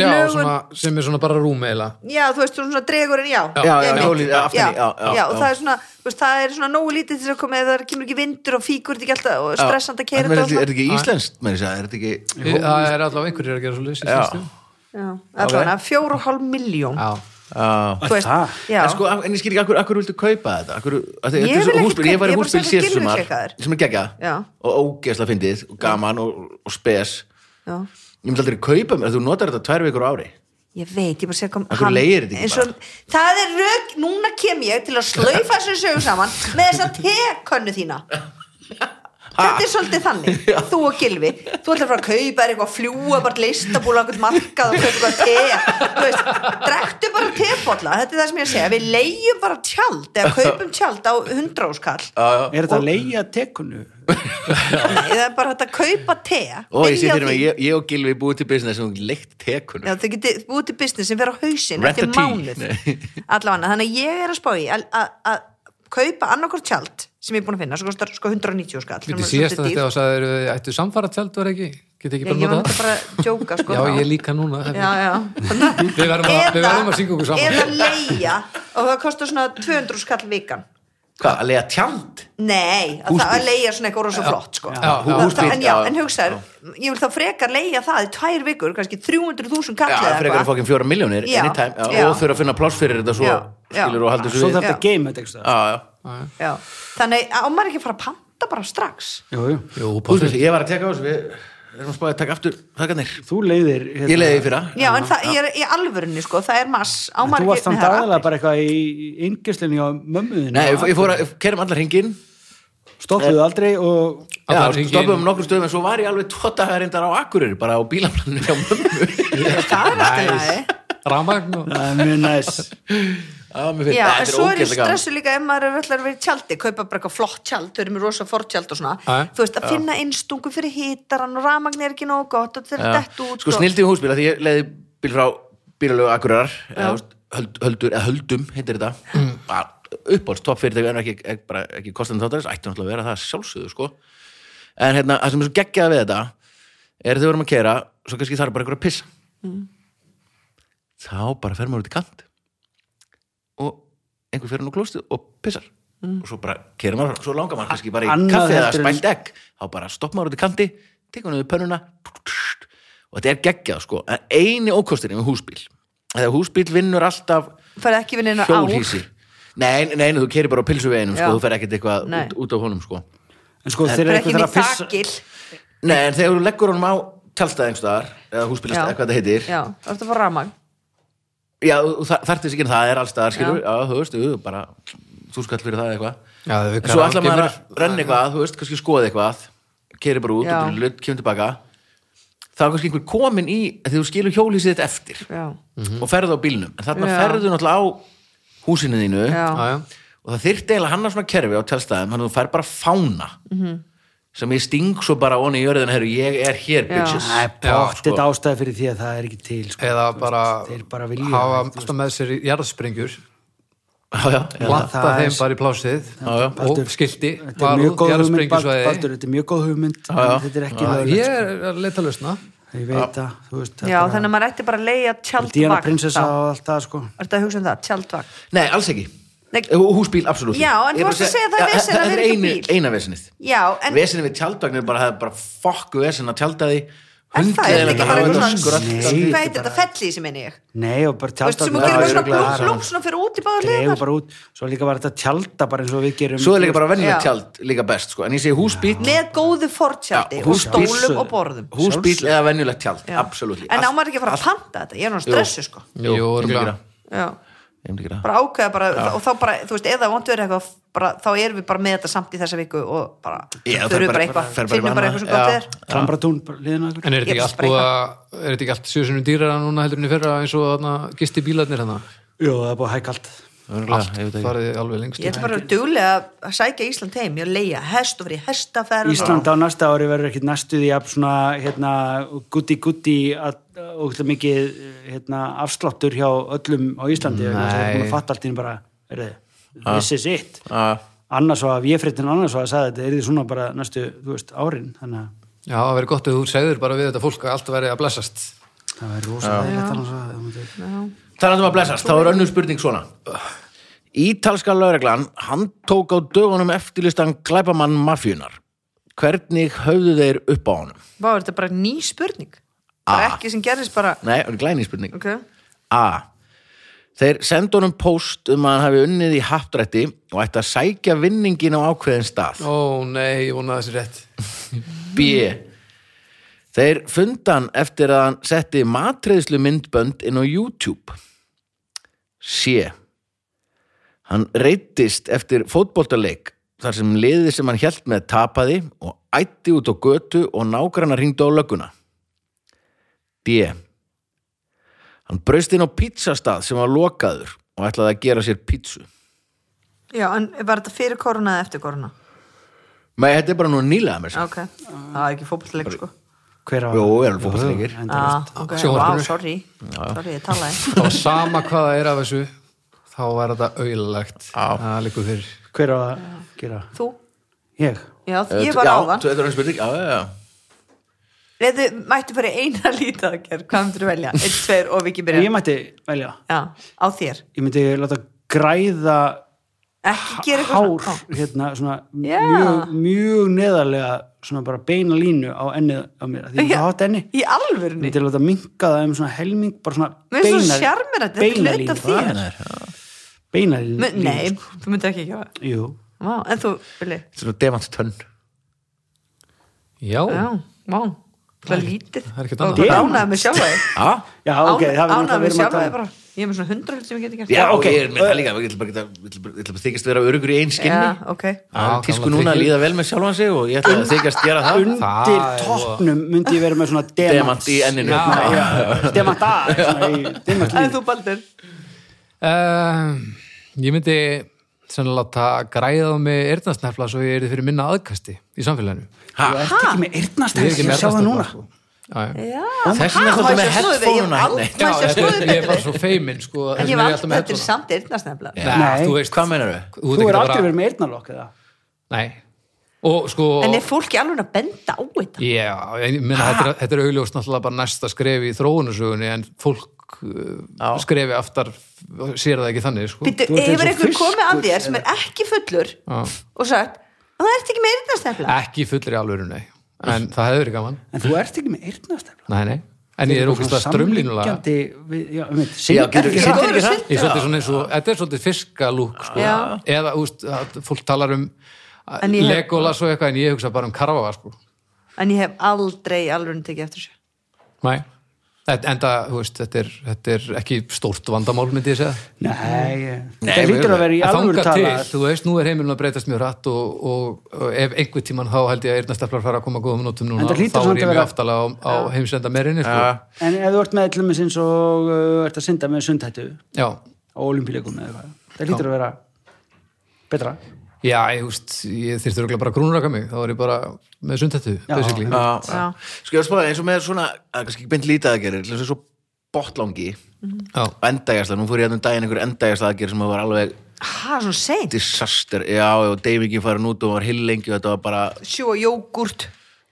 A: Já,
C: lögun.
A: svona, sem er svona bara rúm eila
C: Já, þú veist, svona dregurinn, já
B: Já, já,
C: einmitt.
B: hjólið, aftan í,
C: já,
B: já, já,
C: og
B: já.
C: það er svona, þú veist, það er svona nógu lítið til þess að koma eða það kemur ekki vindur og fíkur þetta ekki alltaf og stressandi að
B: En
C: keira
B: Er
C: þetta og
B: þetta er
C: svona
B: þetta ekki íslenskt, með þess að, er þetta ekki
A: Það er allavega einhverjir að gera svo leysi
B: Já.
C: Já, allavega, fjóra og hálf miljón
A: Já,
B: Já.
C: Þú veist,
D: Það?
C: já
B: En, sko, af- en ég skil ekki, akkur, akkur viltu kaupa þetta? Akkur, að,
C: Ég
B: þetta er
C: vil
B: svo,
C: ekki
B: húsbíl,
C: kaupa,
B: ég var í
C: ég er bara að
B: húsbíl
C: segja
B: síðast
C: Gylfi
B: sumar
C: klikkaður.
B: sem er gegja
C: Já.
B: og ógeðsla fyndið og gaman og, og spes
C: Já,
B: Ég myndi aldrei kaupa mér, þú notar þetta tvær vikur á ári
C: ég veit, ég bara segja kom
B: Af hverju leigir þetta ekki
C: eins og, Það er rök, núna kem ég til að slaufa þessu sögu saman með þessa tekönnu þína Þetta er svolítið þannig, þú og Gilvi Þú ætlar að fara að kaupa þér eitthvað að fljúa bara til listabúla okkur markað og kaupa eitthvað te Þú veist, drektu bara tebolla Þetta er það sem ég er að segja, við leigjum bara tjald eða kaupum tjald á hundráskall
D: Er þetta að leia tekunu?
C: Nei, það er bara hægt að kaupa te
B: Og ég sé
C: byrja á
B: fyrir mig,
C: því.
B: ég, ég og Gilvi búið til business og leikt tekunum
C: Já, þau getið búið til business sem fer á hausinn eftir
B: Rent-a-tea.
C: mánuð
B: Nei.
C: allavega, þannig að ég er að spá í að- að að kaupa annarkort tjald sem ég er búin að finna, svo kostar sko 190 skall sem er
A: við
C: svolítið
A: síðast að þetta
C: dýrt.
A: var sagður Ættu samfara tjald var ekki? Geti ekki
C: Já,
A: bara
C: ég var
A: notað
C: náttúrulega bara að djóka sko,
A: það? Já,
C: þá.
A: ég líka núna
C: já, já.
A: Við verðum að- við verðum að syngja okkur saman.
C: eða leia og það kostar svona 200 skall vikan
B: Hvað, að leiða tjand?
C: nei, að það að leia svona eitthvað rosa flott sko.
A: já,
C: Það-
B: húsbíl,
C: það- en, já,
B: já.
C: en hugsaður, ég vil þá frekar leia það í tvær vikur, kannski 300.000 kall
B: Já,
C: eða
B: frekar
C: eitthvað.
B: að fókin fjóra miljónir
C: Já,
B: anytime já,
C: já.
B: og þurfa að finna pláss fyrir þetta svo
C: Já, já.
B: skilur og haldur
D: Svo
B: svo við
D: þarf þetta
C: Já.
D: að geima þetta eitthvað
B: Já, já.
C: Já. þannig að á maður ekki að fara að panta bara strax
D: Jú, jú.
A: Jú,
B: Húsbíl,
A: pásir
B: Ég var að teka á þessu, við erum að spáði að taka aftur þakkanir
D: Þú leiðir hérna,
B: Ég leiði fyrra
C: Já, en það er í alvörunni sko, það er mass á
D: Þú
C: maður
D: varst þann
C: nei, það er
D: dagalega bara eitthvað í yngjörslunni á mömmuðinu
B: Nei, ég ég fór að, kerum allar hringin
D: Stoppuðu aldrei og
A: Allan
B: Já,
A: hringinn.
B: stoppum um nokkrum stöðum en svo var ég alveg tóta reyndar á Akureyri bara á bílaplaninu hjá mömmu
C: allt- Það er alltaf lagi
A: Ramagn og
D: það er mjög næs
B: Já, mér finnst
C: Já,
B: þetta
C: en
B: er
C: svo er ég
B: ógeðslega gaman.
C: stressu líka ef maður er ætlar að vera í tjaldi, kaupa bara eitthvað flott tjald þau eru með rosa fortjald og svona
A: Já, já.
C: þú veist, að finna innstungu fyrir hítaran og rafmagn er ekki nóg gott og þetta er dett
B: Já.
C: út
B: Sko
C: og-
B: snildi í húsbíla því ég leiði bíl frá bílalögu Akureyrar eða, þú veist, höld, höldur, eða höldum heitir þetta mm. uppáls, topp fyrirtæk en ekki, ekki, bara ekki kostandi þáttarins ætti náttúrulega að vera það að sjálfsögðu sko en hérna, það sem er svo geggjað við þetta er þegar við vorum að keira svo kannski þarf bara einhver að pissa þá bara fer maður út í kant og einhver fer hann á klóstið og pissar og svo bara keira maður, svo langar maður kannski bara í
D: Annað
B: kaffi eða
D: heldur en-
B: spælt egg þá bara stopp maður út í kanti, tekur hann við pönnuna og þetta er geggjað sko en eini ókosturinn með húsbíl þegar húsbíl vinnur alltaf
C: Færðu ekki við neina á
B: hjólhísi Nei, nei, nei, þú keirir bara á pilsuveginum sko,
C: Já.
B: þú fer ekkert eitthvað
C: Nei.
B: út, út á honum sko.
D: En sko
C: Það
D: þeir
C: er
D: eru
C: ekki
D: eitthvað
C: inn í
D: þar að pissa
C: þakil
B: Nei, en þegar þú leggur honum á tjálstæðingstæðar eða húsbílastæðar,
C: Já.
B: hvað þetta heitir
C: Já, þú ert að fá rafmagn
B: Já, þarfti ekki en það er allstaðar, skilur já. þú veist, þú bara, þú skall fyrir það eða eitthvað
A: Já, það
B: En
A: virkar
B: svo ætla maður
A: algemur.
B: að renna eitthvað, þú veist, kannski skoða eitthvað keiri bara út
C: Já.
B: og lutt, kemur tilbaka þá er kannski einhver komin í að þú skilur hjólísið þitt eftir
C: já,
B: og ferðu á bílnum en þarna
C: Já.
B: ferðu náttúrulega á húsinu þínu
C: já,
A: já, já,
B: og það þyrfti eiginlega að hanna svona kerfi á tjálstæðum þannig að þú fær bara fána -hmm.
C: Mhm.
B: sem ég sting svo bara onni í jörðin herru, ég er hér bitches
D: Það er
A: Já,
D: bóttið
B: sko.
D: ástæði fyrir því að það er ekki til sko.
A: eða bara,
D: Þeir bara vilja
A: hafa
D: það,
A: alltaf með sér jarðsprengjur
B: já, já, já,
A: latta
D: það er-
A: þeim bara í plásið
B: já, já.
A: og skilti
D: Þetta er
A: varúð,
D: mjög góð hugmynd, Bal-
A: jarðsprengjusvæði.
D: Baldur, þetta er mjög góð hugmynd
B: já.
D: en þetta er ekki sko. lögulegt
A: ég er að leita að lausna
D: ég veit að, þú veist
C: já þannig að maður ætti bara að leia
D: Diana
C: tjaldvagn
D: prinsessa og allt það sko
C: Er þetta að hugsa um það, tjaldvagn
B: nei, alls ekki
C: Nei.
B: Hú- húsbíl, absolutt
C: Já, en
B: Ég bara
C: þú varst að segja það er
B: Já,
C: vesen að
B: það
C: vera ekki bíl.
B: eina, eina vesenið
C: Já, en
B: vesenið við tjaldvagn er bara, það er bara fokku vesen að tjálta því
C: En það er ekki
B: Hundleiðinlegt að hafa
C: bara eitthvað
B: þetta
C: svona,
B: skrölt.
D: Nei,
C: hvað
D: þetta
C: heitir
D: bara-
C: þetta felli sem minni ég?
D: nei og bara
C: Þú veist,
D: tjálta
C: sem hún
B: Já,
C: gerir bara um svona hérna?
B: örugglega.
C: blúm, blúm, svona fyrir út í báða
D: dregur
C: leðar
D: bara út, svo líka var þetta tjálta bara eins og við gerum
B: svo er líka bara venjulegt
C: Já.
B: tjald líka best sko. en ég segi húsbíl,
C: með góðu fortjaldi
B: Já,
C: og
B: húsbíl.
C: stólum og borðum
B: húsbíl
D: Sjálfsögðu.
B: eða venjulegt tjald
C: Já.
B: absolutt
C: En á maður ekki að fara að panta þetta, ég er nú stressu sko
A: Jú, örugglega.
C: Já,
B: ég myndi gera
C: bara ákveða bara og þá bara, þú veist, eða vondu verið eitthvað bara, þá erum við bara með þetta samt í þessa viku og bara,
B: Já, fer
C: þurfum
B: bara-
C: bara eitthvað
B: fer bara
C: finnum bara
B: bara
C: eitthvað sem
B: annað,
C: gott
B: já.
C: er
D: klambratún liðin okkur
A: en er þetta
C: Ég
A: ekki allt
C: vissi bara
A: búið að er þetta ekki allt sjösunum dýrara núna heldur enn í fyrra eins og þarna gisti bílarnir hana
D: jú, það er búið hækalt
A: allt farið alveg lengst
C: Ég ætla bara að duglega að sækja Ísland heim ég leia hest og verið hestaferð
D: Ísland á næsta ári verður ekkit næstu því að svona, hérna, gutti gutti og það mikið hérna, afsláttur hjá öllum á Íslandi vegna þess að það er búin að fatta allt í einu bara heyrðu, this is it
B: Ah,
D: annars var, ég fréttin annars var að sagði þetta er því svona bara næstu, þú veist, árin þannig að
A: já, það verið gott að þú segður bara við þetta fólk að allt verið að blessast
D: það væri rosalega leitt annars að það myndi-
B: Talandum að blessast, þá er önnur spurning svona Ítalska lögreglan hann tók á dögunum eftirlistan glæpamann mafjunar Hvernig höfðu þeir upp á honum?
C: Vá, er þetta bara ný spurning bara
B: Ah.
C: ekki sem gerðist bara
B: Nei, það er glæni spurning
C: okay.
B: A. Þeir sendu honum post um að hann hafi unnið í haftrætti og ætti að sækja vinningin á ákveðin stað
A: ó nei, ég vonaði þessi rétt
B: B. Þeir fundan eftir að hann setti matreiðslu myndbönd inn á YouTube. C. Hann reytist eftir fótboltaleik þar sem liðið sem hann hjælt með tapaði og ætti út á götu og nágranna hringdu á lögguna. D. Hann braust inn á pizzastað sem var lokaður og ætlaði að gera sér pizzu.
C: Já, en var þetta fyrir korona eða eftir korona?
B: Nei, þetta er bara nú nýlega með sér.
C: Ok, það er ekki fótbolleik sko
D: hver á
B: Jó, er alveg fótboltaleikir.
C: ah, ok,
A: Sjónvarpinu.
C: wow, sorry Sorry, ég talaði
A: þá sama hvað það er af þessu þá var þetta auðlilegt það liggur fyrir
D: hver á að gera
C: Þú?
D: ég,
C: Já, ég var
B: já,
C: áðan
B: Þetta er hann spurning, já, já, já.
C: Ef þau mættu fyrir eina lítadagerð, hvað myndir þú velja? Einn, tveir og Viki
D: ég
C: byrja
D: mætti velja
C: Já, á þér
D: ég myndi láta græða
C: Ekki gera eitthvað
D: hár
C: svona- Ó,
D: hérna svona
C: Já.
D: mjög, mjög neðarlega svona bara beina línu á ennið á mér, því
C: Já.
D: það hátt enni
C: Í alvörunni
D: myndi láta minka það um svona helming bara svona
C: Mér finnst svo
D: beinar-
C: sjarmerandi, þetta er
D: beina
C: hluti
D: línu,
C: af þér.
D: bara. beina línu
C: M- Nei, þú myndir ekki ekki hafa
D: jú,
C: Vá, en þú, Vili
B: Þetta er svona demantstönn.
A: já,
C: Já, vá, hvað lítið
A: það er ekkert
C: Og
A: annað.
C: bara ánaði með sjálfa þig
B: Já,
D: já ok það verður
C: Ánaði
D: náttúrulega
C: með
D: verið að
C: sjálfa þig
D: tala- um
C: bara Ég er með svona hundra hlut sem ég geti gert
B: já, ok.
D: ok.
B: Ég er með það líka, ég ætla bara geta, ég ætla bara- ég ætla bara þykist vera örugur í einn
C: Já,
B: skinni.
C: ok
B: Það er
A: Já,
B: tísku
A: gamla
B: núna að
A: trikkið.
B: líða vel með sjálfan sig og ég ætla að þykast gera það.
D: undir
A: Það er
D: toppnum myndi ég vera með svona demant
B: Demant í enninu.
A: Já.
D: demant að svona í demant
C: En
D: línu
C: þú, Baldur
A: um, ég myndi sennilega láta græða á mig eyrnasnefla svo ég er fyrir minna aðkasti í samfélaginu
B: Ha,
D: þú ert ekki með
A: ég er
D: yrnastæk
A: ekki
D: ég
A: með
D: sjá það núna
A: eyrnasnepla, sko. Já, já.
C: Já,
B: Þess vegna
C: ha,
B: þáttu
C: maður
B: með
C: sé snúið við, ég hef
B: headphone-una.
C: aldrei-
A: Já,
B: Nei.
C: maður sé
A: þetta er-
C: snúið við
A: ég er bara
C: við.
A: svo feimin sko,
C: En ég
A: þess vegna
C: var
A: ég alltaf með
C: alltaf til
A: headphone-a.
C: samt eyrnasnefla
A: Nei,
D: Nei.
A: þú veist
B: Hvað meinar þau?
A: þú ert
D: þú er
A: ekki
D: aldrei
A: bara
D: verið með eyrnalokk eða
A: nei, og sko
C: En er fólk í alveg að benda á þetta?
A: já, ég meina þetta er- þetta er augljóst náttúrulega bara næsta skref í þróunarsögunni en fólk uh, skrefi aftar sér það ekki þannig sko
C: Býttu,
D: Þú ert eins
C: hefur
D: og
C: einhver
D: fiskur,
C: komið að þér sem er ekki fullur
A: Já.
C: og sagt, það ert ekki með eyrnasnefla
A: ekki í fullri alvöru, nei en það hefur verið gaman,
D: en þú ert ekki með eyrnastæk
A: nei, nei en ég er ógæst að strömlínulega
D: um
B: Já, getur-
D: strömlínulega
B: getur- ekki hratt?
A: Ég er
C: Já.
A: svolítið svona eins og, þetta er svolítið fiskalúk sko.
C: Já.
A: eða úst, fólk talar um
C: En ég hef-
A: Legolas og eitthvað en ég hugsa bara um karfa sko.
C: En ég hef aldrei alveg tekið eftir þessu
A: Nei, Enda, þú veist, þetta er, þetta er ekki stórt vandamál, myndi ég segja.
D: Nei,
B: Nei,
D: þetta
B: við-
D: lítur að vera
A: En
D: í alvöru
A: þangað
D: tala
A: til, þú veist, nú er heimilin að breytast mjög rætt og, og, og ef einhver tíman þá held ég að eyrnasteflar fara að koma góðum nótum núna
D: En það
A: og
D: hlýtur
A: þá er
D: samt
A: ég mjög
D: að vera-
A: aftala á, á heimsenda meirinni, sko.
B: Já.
D: En ef þú ert með allmest eins og uh, ert að synda með sundhættu
A: Já,
D: á olimpíuleikum eða eitthvað, það lítur að vera betra.
A: já, ég veist, ég þyrftur örugglega bara að grúnraka mig, þá er ég bara með sundhættu,
D: Já.
A: basically.
B: Já, já.
C: Já.
B: Skal Sko, ég spáði eins og með svona, það er kannski ekki beint lítið aðgerðir, eins og svo botlangi
A: Já,
B: og endægjasla, nú fór ég hérna um daginn einhver endægjasla aðgerð sem var alveg
C: Hæ, svona seint
B: disaster, já, og deyfingin farin út og var hillengi og þetta var bara,
C: Sjúa jógurt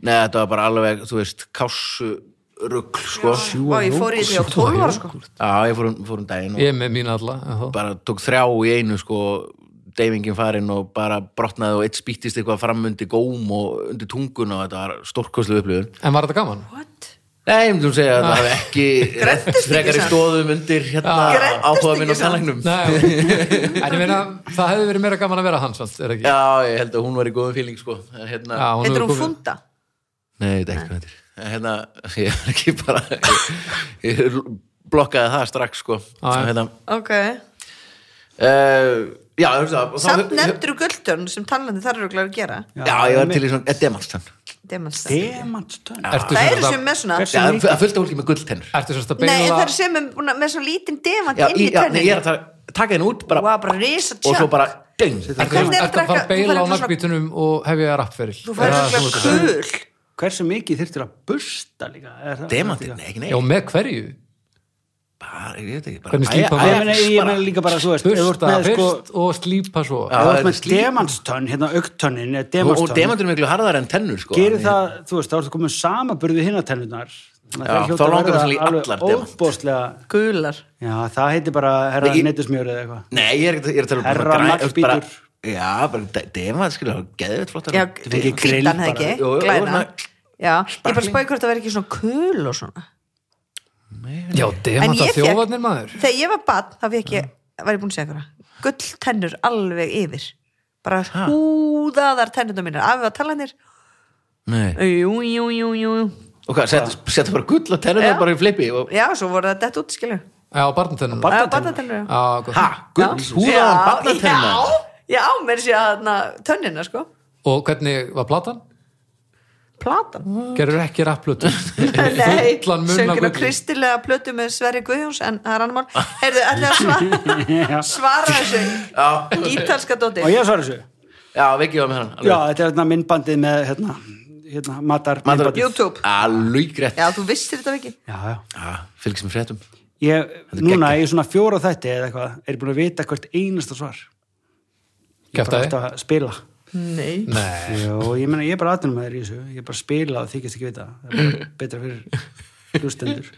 B: neða, þetta var bara alveg, þú veist, kássu rugl, sko.
C: Vá, ég fór í því á 12 ára sko
B: Já, ég fór um, fór um daginn og
A: ég er með mín alla. já.
B: bara tók þrjá í einu, sko, deyfingin farin og bara brotnaði og eitt spýttist eitthvað fram undir góm og undir tungun og þetta var stórkoslu upplifun.
A: En var þetta gaman?
C: What?
B: Nei, ég myndum segja að það hafi ekki
C: Grenntist ekki
B: frekari
C: samt.
B: stóðum undir hérna
A: Já.
C: Grenntist
B: áhuga minn á
C: ekki samt.
B: tannlæknum
A: Nei, en ég meina, það hefði verið meira gaman að vera hans, allt, er það ekki?
B: Já, ég held að hún var í góðum fíling sko. En hérna,
A: Já, hún
C: Heitir
A: hefur
C: hún
A: komið-
C: funda?
B: Nei, þetta er ekki hvað þetta er. En hérna, ég er ekki bara ég, ég blokkaði það strax sko.
A: Já, já.
B: hérna,
C: Ok
B: uh, Já, þú veist það og þá-
C: Samt nefndur gultun sem talandi þar eru glæður að gera
B: Já, ég var til í svona eh, edemanstan
C: Demanstæð
D: Demantstönn.
A: Ertu
C: Það
A: sem
C: eru
A: sagt
C: sem
A: að-
C: með svona
B: Já,
D: Hversu-
B: það er fullt af fólki með gulltennur
A: ertu sem sagt að
C: Nei, en það eru
A: beila
C: sem með, búna- með svona lítinn demant
B: Já,
C: inn
B: í,
C: í
B: já nei, ég er
C: tönninni
B: að ta- taka henni út bara,
C: Vá, bara risa
B: og svo
C: tjökk
B: bara ding,
A: Ertu ertu
C: Hvernig er
A: að
C: að
A: fara
C: drekka-
A: að
C: þú
A: beila
C: færð
A: á
C: eitthvað svona-
A: nakkbítunum og hefja rappferil?
C: Þú færði alltaf kul
D: Hversu mikið þyrftir að busta líka? Er það-
B: demantin, nei, ekki nei
A: Já, með hverju?
B: bara, ég veit ekki, bara
A: Hvernig
B: æ-
A: slípa
B: æ-
A: maður?
D: Ég meina, ég meina líka bara, þú veist, ef þú ert
A: Bursta
D: með sko,
A: fyrst og slípa svo
B: Já.
D: ef þú
B: þetta
D: ert með
B: er slípa.
D: demantstönn, hérna augtönnin
B: og,
D: eða
B: og
D: demantstönn,
B: demantur er miklu harðar en tennur sko.
D: gerir það, þú veist, þá ertu komið samaburði hinn að tennunar.
B: Já, þá langar það í allar demant.
D: Óbóðslega,
C: Gular
D: já, það heitir bara herra
B: Nei, ég-
D: neytusmjör eða eitthvað.
B: Nei, ég er ekki ég er að tala um
D: Herra
B: bara græn-
D: naglbítur.
B: bara- Já, bara demant, skilja, geðveit flott
C: Já,
B: Þetta er
D: fengið
B: ekki-
D: grill
C: hvítan
D: bara.
C: hegi,
B: Jú, jú,
C: glæna
B: svona-
C: Já, ég bara spáði hvort það verði ekki svona kul og svona
A: Já,
C: En
A: demanta
C: ég fékk-
A: þjófarnir maður
C: Þegar ég var bann, þá fekk ég, var ég búin að segja ykkur gull tennur alveg yfir bara húðaðar tennurna mínar afið að tala um hennir
B: Nei.
C: jú, jú, jú, jú
B: Og hvað, set- setja bara gull á tennuna
C: Já.
B: bara í flipi og
C: Já, svo voru það dett út, skilju
A: Já, barntennum
D: Barn- Barnatennur.
C: Barnatennur, já
B: Ha, gull, húðaðan barnatennar
C: Já, já, mér sé að tönnina, sko
A: Og hvernig var platan?
C: Platan
A: Gerður ekki rapplötu
C: Nei,
A: Fullan munn af
C: söngur á
A: gulli.
C: kristilega plötu með Sverri Guðjóns en það er annar mál Heyrðu, ætlaðu að svara, svara þessu
B: Já,
C: Ítalska dóti
D: Og ég svar þessu.
B: já, vekkið var með hann
D: Já, þetta er hérna myndbandið með hérna, hérna matar
B: Matar-
D: myndbandið.
C: YouTube
B: Alveg greitt
C: Já, þú vissir þetta ekki
D: Já, já.
B: Fylgis með fréttum
D: Ég, núna í svona fjóra þætti eða eitthvað, er ég búin að vita hvert einasta svar. Ég er bara
A: Kjaftaði?
D: alltaf að spila.
C: Nei
A: Nei
D: Jó, ég meina, ég er bara aðtunum að þér í þessu. Ég er bara að spila og þykist ekki vita. Það er bara betra fyrir hlustendur.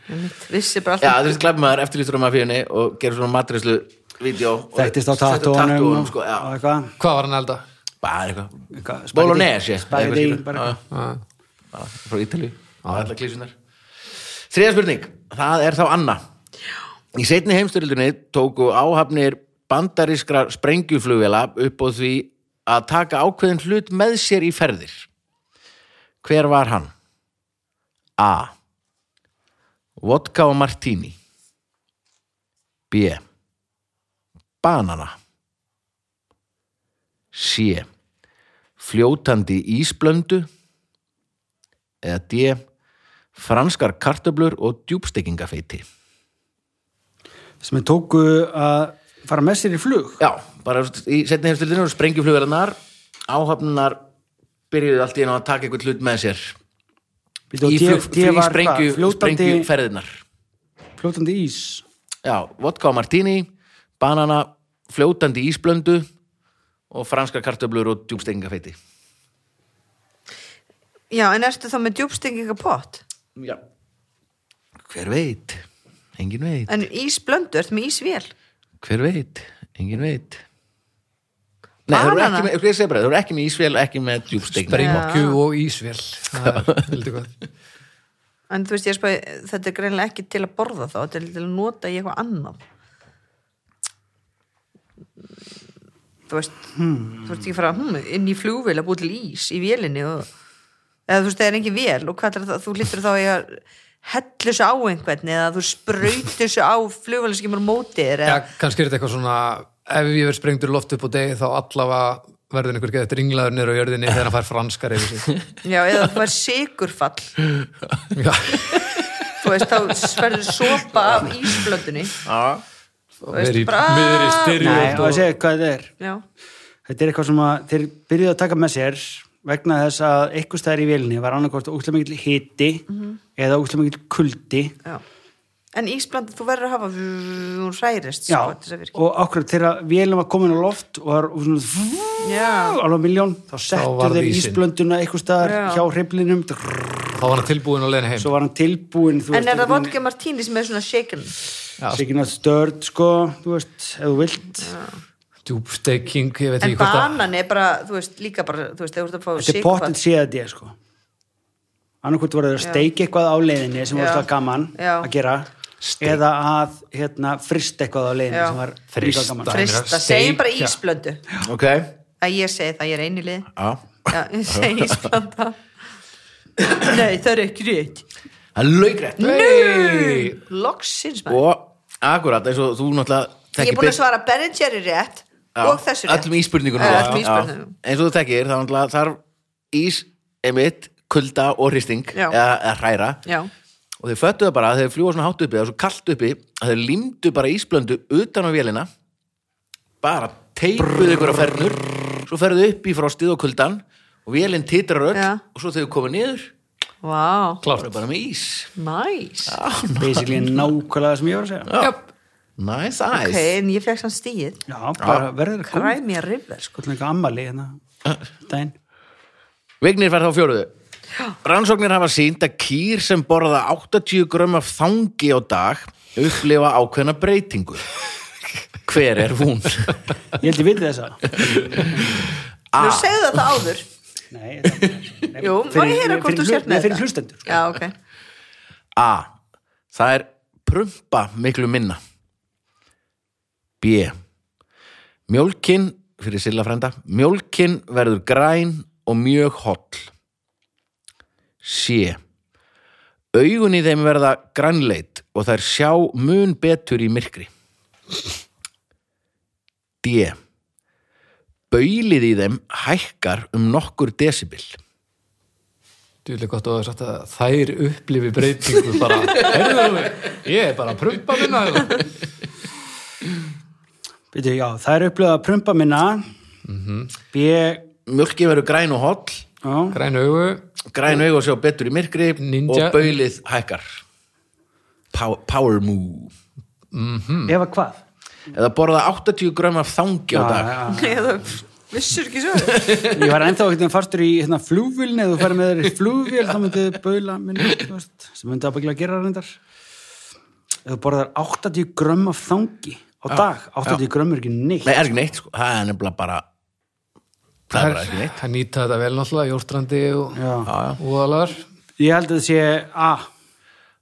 C: Vissi bara
B: Já,
C: alltaf
B: þú veist, glæfum maður eftirlýstur á mafíunni og gerir svona matrislu vídeo og
D: Þættist á
B: setur
D: tattóanum
B: tattúanum,
D: og,
B: sko,
D: og
B: já,
D: eitthvað.
A: Hvað var hann að elda?
B: bara eitthvað
D: eitthvað spaghetti-
B: Bolognese eitthvað
D: Spaghetti,
B: skilur.
D: bara
B: Já, já.
A: Ah.
D: eitthvað.
B: Já, frá Ítali allar klísunar þriða spurning, það er þá Anna í setni heimstyrildunni tóku áhafnir bandarískra sprengjuflugvela upp á því að taka ákveðin hlut með sér í ferðir hver var hann? A vodka og martini B banana C fljótandi ísblöndu eða D franskar kartöblur og djúbstekingafeiti
D: Sem ég tóku að fara með sér í flug.
B: Já, bara í setni heimstöldinu og sprengjuflugvelarnar áhafnunar byrjuðu allt í enn að taka eitthvað hlut með sér
D: Bíddu, og
B: í
D: ég-
B: flug,
D: ég
B: flug,
D: var hvað,
B: sprengju,
D: fljótandi-
B: sprengjuferðinar
D: Fljótandi ís.
B: Já, vodka og martini banana, fljótandi ísblöndu og franskar kartöblur og djúbstekingafeiti
C: Já, en ertu þá með djúbstenginga pott?
B: Já Hver veit? Engin veit
C: En ísblöndu, ertu með ísvél?
B: Hver veit? Engin veit Nei, þeir eru
C: Banana?
B: ekki með, ég segi bara, þeir eru ekki með ísvél, ekki með djúbstekinga
A: Brengju og ísvél Það er heldur hvað.
C: En þú veist, ég spæði, þetta er greinlega ekki til að borða þá, þetta er til að nota í eitthvað annað. Þú veist, þú veist ekki að fara hmm, inn í flugvél að búi til ís í vélinni og, eða þú veist, það er engin vél og hvað er það, þú lítur þá í að hellu svo á einhvern eða þú sprautir svo á flugvælinskimur mótir
A: Já,
C: eða,
A: kannski er þetta eitthvað svona ef ég verð sprengdur í loft upp og degi þá allavega verður einhver geðið ringlaður niður á jörðinni þegar hann fær franskar yfir sig
C: já, eða þú er sigurfall
A: Já,
C: þú veist, þá verður sopa af ísblöndunni
B: Já,
C: þú veist,
A: Verið í-
C: bara-
A: miðri styrjöld.
D: Nei,
A: Jú,
D: og að segja hvað þetta er
C: já,
D: Þetta er eitthvað sem að þeir byrjuðu að taka með sér vegna þess að eitthvað stæðar í vélinni var annarkvort úslega mikill hiti eða úslega mikill kuldi
C: já en ísblönd, þú verður að hafa hún hrærist
D: Já,
C: svo, til þess að virki.
D: og akkurat þegar vélum var komin á loft og var og svona vú,
C: já,
D: alveg miljón, þá settu
A: varð
D: þeir
A: ísinn.
D: ísblönduna eitthvað staðar
C: Já.
D: hjá hriflinum
A: þá var hann tilbúin að leiðin heim
D: svo var hann tilbúin þú
C: en er það
D: einhvern
C: vodka martini sem er svona shaken
D: veginn sikinn að störd sko, þú veist, ef þú vilt
A: Djúbsteking, ég veit
C: en
A: ekki hvort að
C: banan er bara, þú veist, líka bara þú veist, þegar þú ert að fá
D: þetta er pottin
C: sigurfall
D: séð að ég sko annarkvort voru þeir að steiki eitthvað á leiðinni sem var
C: Já.
D: alltaf gaman
C: Já.
D: að gera eða að hérna, frista eitthvað á leiðinni
C: Já.
D: sem var
A: Frysta.
D: líka gaman
A: Fry-
C: frista,
A: Steikja.
C: segjum bara ísblöndu
B: ok Já,
C: að ég segi það, ég er einni lið já, ég segi ísblönda nei, það er ekki rétt
B: það er laugrætt
A: Nei!
C: loksins maður
B: Og akkurat, eins og þú náttúrulega
C: ég
B: þekkir
C: er búin að
B: bet-
C: svara Ben Jerry rétt
B: Já,
C: og þessu rétt
B: Öllum íspurningunum
C: Já,
B: rétt.
C: öllum
B: Já.
C: íspurningunum.
B: Eins og þú þekkir, þá náttúrulega þarf ís, emitt, kulda og hristing
C: Já.
B: eða, eða hræra
C: já,
B: og þeir föttuðu bara að þeir fljúa svona hátt uppi það er svo kallt uppi að þeir límdu bara ísblöndu utan á vélina bara teipuðu ykkur að ferður svo ferðu upp í frostið og kuldan og vélinn titrar öll
C: Já.
B: og svo þegar þau komið niður
C: vá,
B: klára bara með ís
C: næs
D: Ah, basically nákvæmlega sem ég var að segja
A: Jöp.
B: Nice
C: ok,
B: ice
C: en ég fekk sann stíð
D: já, bara verður að koma
C: Crimea River sko.
D: sko til einhver ammali hérna daginn
B: Vignir fær þá fjóruðu. Rannsóknir hafa sínt að kýr sem borða 80 grömm af þangi á dag upplifa ákveðna breytingu. Hver er hún?
D: ég held ég viti þessa
C: þú segðu það það áður
D: Nei, þetta- nei,
C: Jú, má ég heyra hvort þú
D: fyrir,
C: sért með
D: hlu- fyrir
C: þetta?
D: hlustendur sko.
C: já, ok,
B: A. Það er prumpa miklu minna. B. Mjólkin, fyrir Silla frænda, mjólkin verður græn og mjög holl. C. Augun í þeim verða grænleit og þær sjá mun betur í myrkri. D. Baulið í þeim hækkar um nokkur desibel.
A: Djúlega gott og sagt að þær upplifi breytingu bara, heyrðu þú mig, ég er bara að prumpa minna hérna. þetta.
D: Bíddu, já, það er upplöða að prumpa minna
B: Mhm.
D: B já,
B: Mjólkin verður græn og holl.
A: Græn augu,
B: græn augu og sjá betur í myrkri
A: Ninja.
B: og baulið hækkar power, power move Mm.
D: ef að hvað
B: eða borða 80 grömm af þangi á dag
D: já.
C: ég þú vissur ekki svo
D: Ég var ennþá ekkert fastur í hérna, flugvílni eða þú færi með þeir í flugvíl þá myndið baula minni, þú veist, sem myndið að byggja að gera reyndar Ef þú borðar 80 grömm af þangi á dag, 80 grömm er ekki neitt
B: nei, er ekki neitt, sko. það er nefnilega bara það er bara ekki neitt
A: það nýta þetta vel náttúrulega, jórstrandi og
D: Já.
A: úðalar.
D: Ég held að það sé A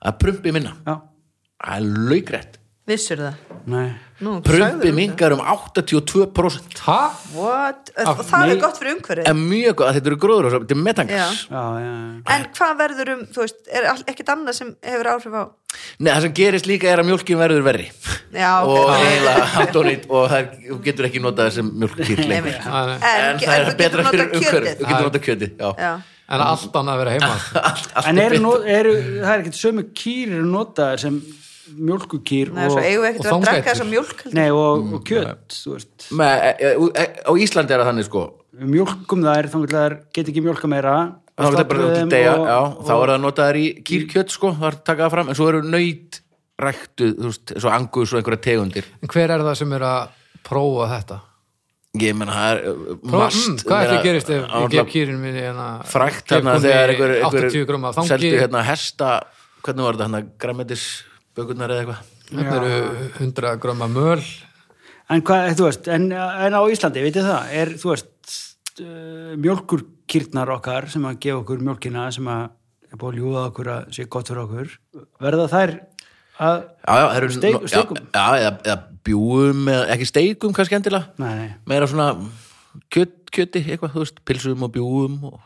B: það er prumpi minna,
D: Já,
B: það er laugrætt
C: vissur það
D: nei
C: Nú,
B: prumpi
C: sagðirðu
B: mingar um 82%
A: Hæ?
C: það. What? og það er gott fyrir umhverfið
B: en mjög góð, þetta eru gróður og svo, þetta er metangas
D: Já, já, já
C: en hvað verður um, þú veist, er all- ekkert annað sem hefur áhrif á
B: Nei, það sem gerist líka er að mjólkin verður verri
C: Já, ok.
B: og
C: Já.
B: eiginlega autónýtt og það er- þú getur ekki notað það sem mjólkýr
C: Nei,
B: lengur
C: veit.
A: Nei, nei.
B: en
C: ge-
B: það er
C: þú getur
B: betra fyrir
C: notað
B: umhverfið
C: kjötið.
B: þú getur notað kjötið, já
C: já,
A: En allt annað að vera heima.
B: Allt- allt
D: En
B: er
D: eru,
B: betra.
D: nú- eru, það er ekkert sömu kýr eru notaðar sem mjólkukýr
C: það er svo eigum við ekkert
A: og
C: að vera að drakka
A: þangætur.
C: þessa mjólk heldur.
D: Nei, og,
B: Mm,
D: og kjöt, þú veist
B: Með, e, e, á Íslandi er það þannig sko
D: Við Mjólkum þær, þá getur þær get ekki mjólka meira
B: þá er það bara
D: Slátrið
B: út í
D: þeim
B: degja
D: og-
B: já,
D: og-
B: þá er það notaðar í kýrkjöt sko það er takað það fram, en svo eru nöyt ræktuð, þú veist, svo angus og einhverja tegundir
A: En hver er það sem er að prófa þetta?
B: ég menna, það er uh,
A: Prófa,
B: mast
A: mm, hvað er það
B: vera-
A: gerist ef
B: að-
A: ég gef kýrin minni hérna
B: frækt
A: gef
B: hérna
A: kúnni
B: þegar einhver, einhver
A: 80 gróma af þangi
B: seldu hérna hesta, hvernig var þetta hérna græmetis bökurnar eða eitthvað
A: hérna eru 100 gróma möl
D: En hvað, þú veist, en, en á Íslandi, vitið það, er, þú veist, uh, mjölkurkýrnar okkar sem að gefa okkur mjölkina sem að er búið að ljúða okkur að sé gott fyrir okkur, verða þær að,
B: já, já, það eru
D: Steik-
B: já,
D: steikum?
B: já, eða, eða bjúum, eða, ekki steikum kannski endilega
D: nei, nei,
B: meira svona kjöt, kjöti, eitthvað, þú veist, pilsum og bjúum og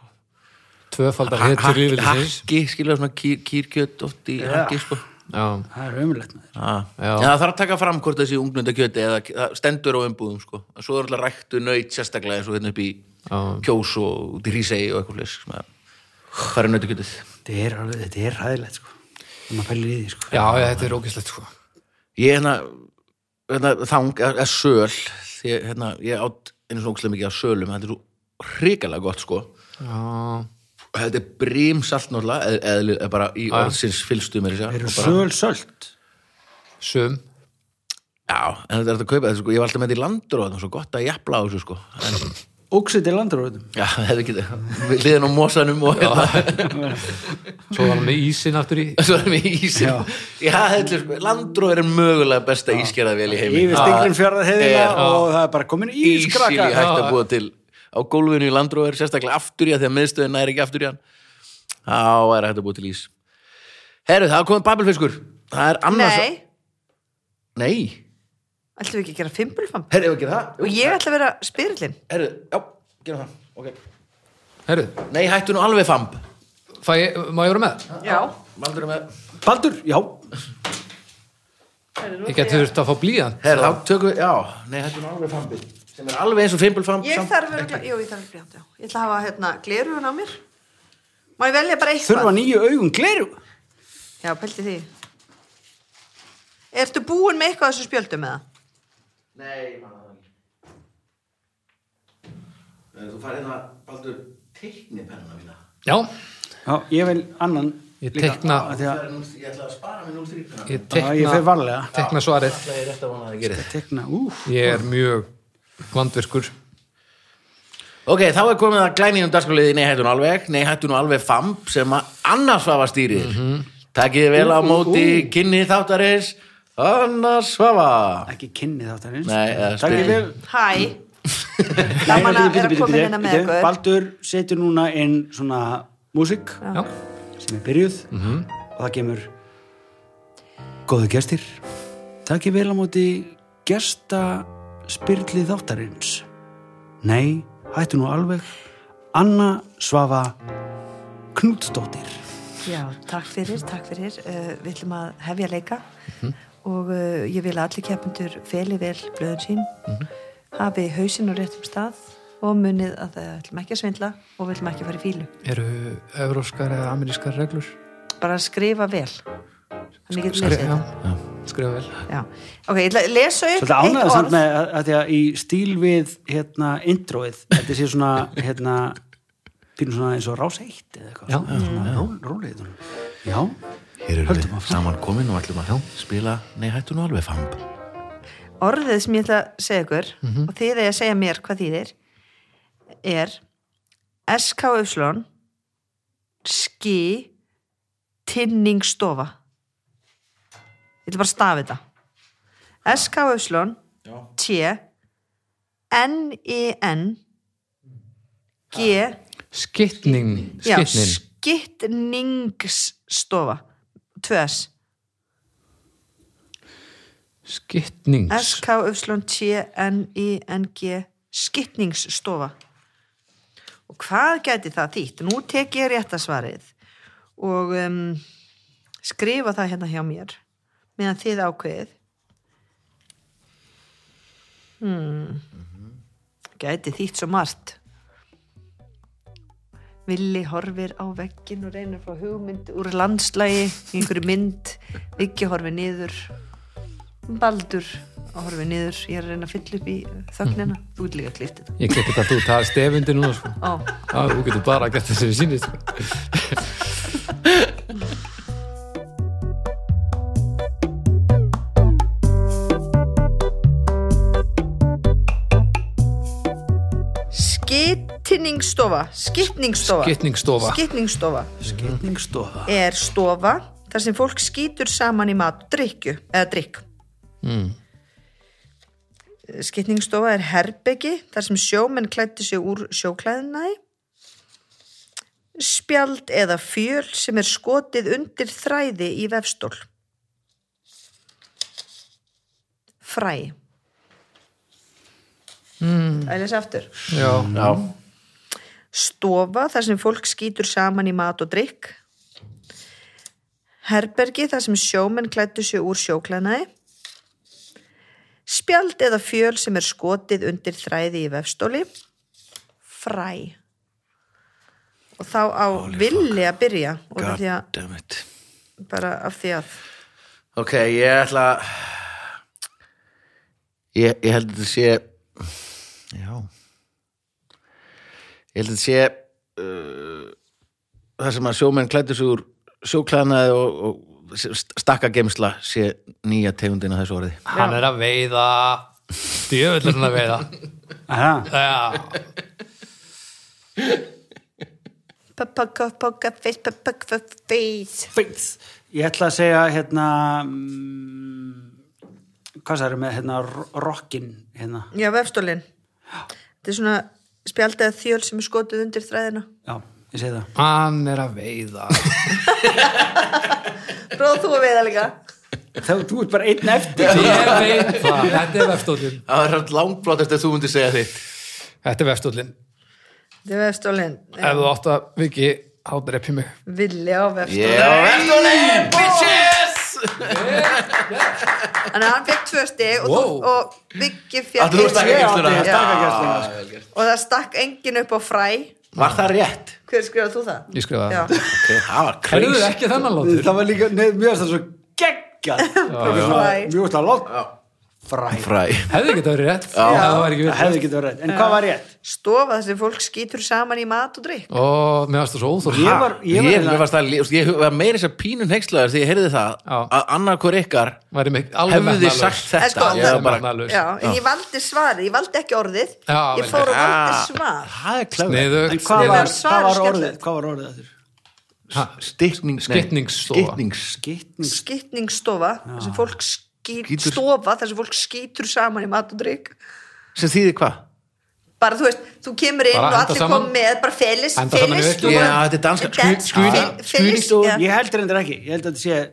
A: tvöfaldar
B: Ha-
A: hittur
B: hakki-
A: lífilsins
B: hakki, skilja svona kýr, kýrkjöt oft í hakki sko.
A: já,
D: það er umlegt með þér
B: ah.
A: Já.
B: það þarf að taka fram hvort þessi unglundakjöti eða það stendur á umbúðum sko. En svo er alltaf ræktu nöyt sérstaklega eins og hérna upp í
A: Já.
B: kjós og út í hrísegi og eitthvað leys það er nöytakjötið
D: þetta er alveg, þetta er ræðilegt sko þegar maður pælir í því sko
A: já, já, þetta er ógislegt sko
B: ég hérna, hérna þang að söl ég, hérna, ég átt einu svona ógstlega mikið að sölum þetta er svo hrikalega gott sko
A: já,
B: þetta er brímsalt náttúrulega eð, eðli, eð bara í orðsins fylstu mér
D: eru söl sölt
A: sum
B: Já, en þetta er þetta að kaupa þetta sko, ég var alltaf með þetta í landur og þetta er svo gott að jafla á þessu sko en,
D: ógsið til landarvöðum
B: Já, það hefði ekki við liðin á mosanum og hérna
A: svo var hann með ísin aftur í
B: svo erum við ísir Já, þetta er sko, landróður er mögulega besta ískerða vel í heiminn
D: yfir stinglum fjörðað heiðina
B: Er-
D: og það er bara komin í
B: Ísili
D: skraka
B: hægt að búa til á gólfinu í landróður, sérstaklega aftur í að því að miðstöðin er ekki aftur í hann Þá er hægt að búa til ís Herru, það er komið babelfiskur Það er annars
C: Nei,
B: Nei,
C: ætlum við ekki að gera fimbulfamb
B: herru, ef ekki það
C: Og ég ætla að vera spyrillin
B: Herru, já, gerum það, ok
A: herru,
B: Nei, hættu nú alveg famb
A: fæ ég, má ég vera með?
C: Já,
B: Valdur er með
D: Baldur, já,
A: ég geti þurft að fá blíðan
B: Her, þá tökum við, já, nei, þetta er nú alveg fambið sem er alveg eins og fimbulfamb
C: ég
B: samt-
C: þarf að Jú, ég þarf að bríðan, já Ég ætla að hafa hérna glerugun á mér Má ég velja bara eitthvað?
D: þurfa nýju augum gleru
C: Já, pælti því Ertu búin með eitthvað af þessu spjöldum eða?
B: Nei, manna það ekki Þú farið það, Baldur, teiknipennuna mína
A: já,
D: já, ég vil annan
A: Ég
D: líka,
A: teikna-
D: af því að-
B: Það er nú- Ég ætla að spara mér 0,3 pennuna
A: ég
D: Já, ég fer
A: tekna,
D: varlega
A: tekna svarið
B: Það er rétt að vona að það gerir
D: tekna, úf,
A: ég er mjög vandvirkur
B: Ok, þá er komið að glæningum dagskáliði Nei, hættu nú alveg, nei, hættu nú alveg famb sem að annars svafa stýrir mm Takið þið vel á móti kynni þáttarins Annars svafa
D: ekki kynni þáttarins
B: Nei, eða
D: Takk ég
B: spyrjum.
D: vel
C: Hæ,
D: Nei,
C: gaman að
D: bíddu,
C: vera
D: bíddu,
C: komin
D: bíddu,
C: hérna með
D: bíddu.
C: ykkur.
D: Baldur setur núna inn svona músík
A: já,
D: sem er byrjuð
A: Mhm.
D: og það kemur góðu gestir takk ég vel á móti gesta spyrli þáttarins nei, hættu nú alveg Anna Svafa Knútsdóttir
C: já, takk fyrir, takk fyrir. Uh, við ætlum að hefja leika
D: Mhm.
C: og uh, ég vil að allir keppendur feli vel blöðun sín,
D: Mhm.
C: hafi hausinn á réttum stað og munið að það ætlum ekki að svindla og við ætlum ekki að fara í fílu.
A: eru evróskar eða amerískar reglur
C: Bara skrifa vel. Þannig getur
A: Skri,
C: lesið
A: já,
C: þetta.
A: skrifa vel
C: Já. Ok, ég ætla að lesa upp
D: Svolítið ánægða
C: eitt
D: samt
C: orð.
D: með að, að því að í stíl við hérna introið, þetta sé svona hérna, pínur svona eins og rás eitt eða eitthvað,
A: Já,
D: svona, svona ró, rólið svona. Já,
B: Hér erum
D: Höldum
B: við
D: áfram.
B: saman komin og ætlum að spila Nei, hættu nú alveg famb
C: Orðið sem ég ætla að segja ykkur og þið er að segja mér hvað þýðir er SKY ski tinningstofa Ég ætla bara að stafa þetta SKY T N-I-N G
A: skittning,
C: já,
A: skittnin
C: skittningsstofa 2S
A: skittnings
C: S-K-Y-T-N-I-N-G skittningsstofa og hvað gæti það þýtt? Nú tek ég rétta svarið og um, skrifa það hérna hjá mér meðan þið ákveðið hmm. Hmm. gæti þýtt svo margt Villi horfir á veggin og reynir frá hugmynd úr landslægi í einhverju mynd, Viki horfir niður Baldur að horfi niður, ég er að reyna að fylla upp í þögnina, þú ert líka að klifta þetta
A: ég geti hvað þú taðar stefundi núna sko.
C: Ó,
A: Já, þú getur bara að geta þessi við sínist sko.
C: skitningstofa skitningstofa
A: skittningstofa
C: skitningstofa
A: Mhm.
D: skitningstofa.
C: er stofa þar sem fólk skýtur saman í mat og drykju, eða drykk mm. skitningstofa er herbyggi þar sem sjómenn klætti sig úr sjóklæðinæði spjald eða fjöl sem er skotið undir þræði í vefstól fræ mm. að lesa aftur
A: já,
B: Já,
C: stofa þar sem fólk skýtur saman í mat og drikk herbergi þar sem sjómenn klættu sig úr sjóklænaði spjald eða fjöl sem er skotið undir þræði í vefstóli fræ og þá á villi að byrja út af því að,
B: Goddammit
C: bara af því að
B: Ok, ég ætla að- ég, ég held að þetta sé Já Ég held að þetta sé uh, Það sem að sjómenn klættu sig úr sjóklæðnaði og, og st- stakkageymsla sé nýja tegundin að þessu orði
A: Hann er að veiða Djöfull er hann að veiða
D: Aha,
A: Já,
C: Puppa, puppa, face, puppa, puppa, face
D: Faith. Ég ætla að segja hérna mm, hvað það eru með hérna ro- rockin hérna.
C: Já, vefstólin Þetta er svona spjaldið að þjöl sem er skotið undir þræðina
D: Já, ég segi það.
A: hann er að veiða
C: Bróða þú að veiða líka
D: Þá, þú ert bara einn eftir.
A: Ég veit það, þetta er vefstóllin
B: Það er hann langblótt eftir að þú myndir segja þitt
A: Þetta er vefstóllin
C: Þetta er vefstólin
A: Ef þú átt að viki, hátar eppi mig
C: Villi á vefstólin
B: Já, vefstólinn, bitches
C: Þannig að hann fekk tvö stig og,
A: Wow.
C: þú- og Viggi
B: Að
C: fekk
B: þú stakka
D: Ég átti
B: geymsluna
D: stakkageymsluna.
B: Já, vel gert.
C: Og það stakk engin upp á fræ
B: Var það rétt?
C: Hver skrifað þú það?
A: Ég skrifaði það.
C: Já,
B: Ok, það var
A: Heyrðu
B: kreis
A: ekki þennan látur
D: Það var líka, neð, mjög að það svo geggjað. Það var svona,
C: Fræ.
D: Mjög að það lótt. Fræ.
B: Fræ
A: Hefði ekki það verið rétt
B: Já.
A: Það var ekki
D: Það
A: verið
D: hefði ekki verið rétt. En hvað var rétt?
C: stofa þar sem fólk skýtur saman í mat og drikk
A: Og mér varst það svo óþór
D: Ég var,
B: Ég,
D: ég var,
B: mér
D: hérna-
B: fannst það, lí- þú veist, ég var meira þess að pínum hengslaður því ég heyrði það
A: Já.
B: að annarkur ykkar
A: Væri mig alveg
B: hefði
A: metnaðarlaus.
B: sagt
C: En
B: þetta
C: sko,
B: Ég
C: það-
B: var bara,
A: Metnaðarlaus.
C: Já, en ég valdi svarið, ég valdi ekki orðið
A: Já,
C: Ég
A: vel
C: fór og valdi
B: Ah,
C: svar
B: það er klæður
A: Sniðugt.
D: en hvað
C: Ég
D: var,
C: var svarið
D: hvað var orðið?
C: skemmtilegt.
D: Hvað var orðið þettur?
B: Stittning,
A: Skytningsstofa.
B: Skittnings
D: Skittnings.
C: Skýtningsstofa þar sem fólk skýt,
B: Skýtur-
C: stofa þar sem fólk skýtur saman í mat og drikk
B: sem þýðir hvað?
C: bara þú veist, þú kemur inn
A: Bara
C: og
A: henda
C: allir
A: saman-
C: kom með, bara félis
A: Henda saman í virkni.
B: Já, þetta er danska-
C: dansk,
B: sku-
C: félis,
B: skuni-
C: félis,
B: skuni-
C: já,
D: Ég heldur endur ekki. Ég held að þetta sé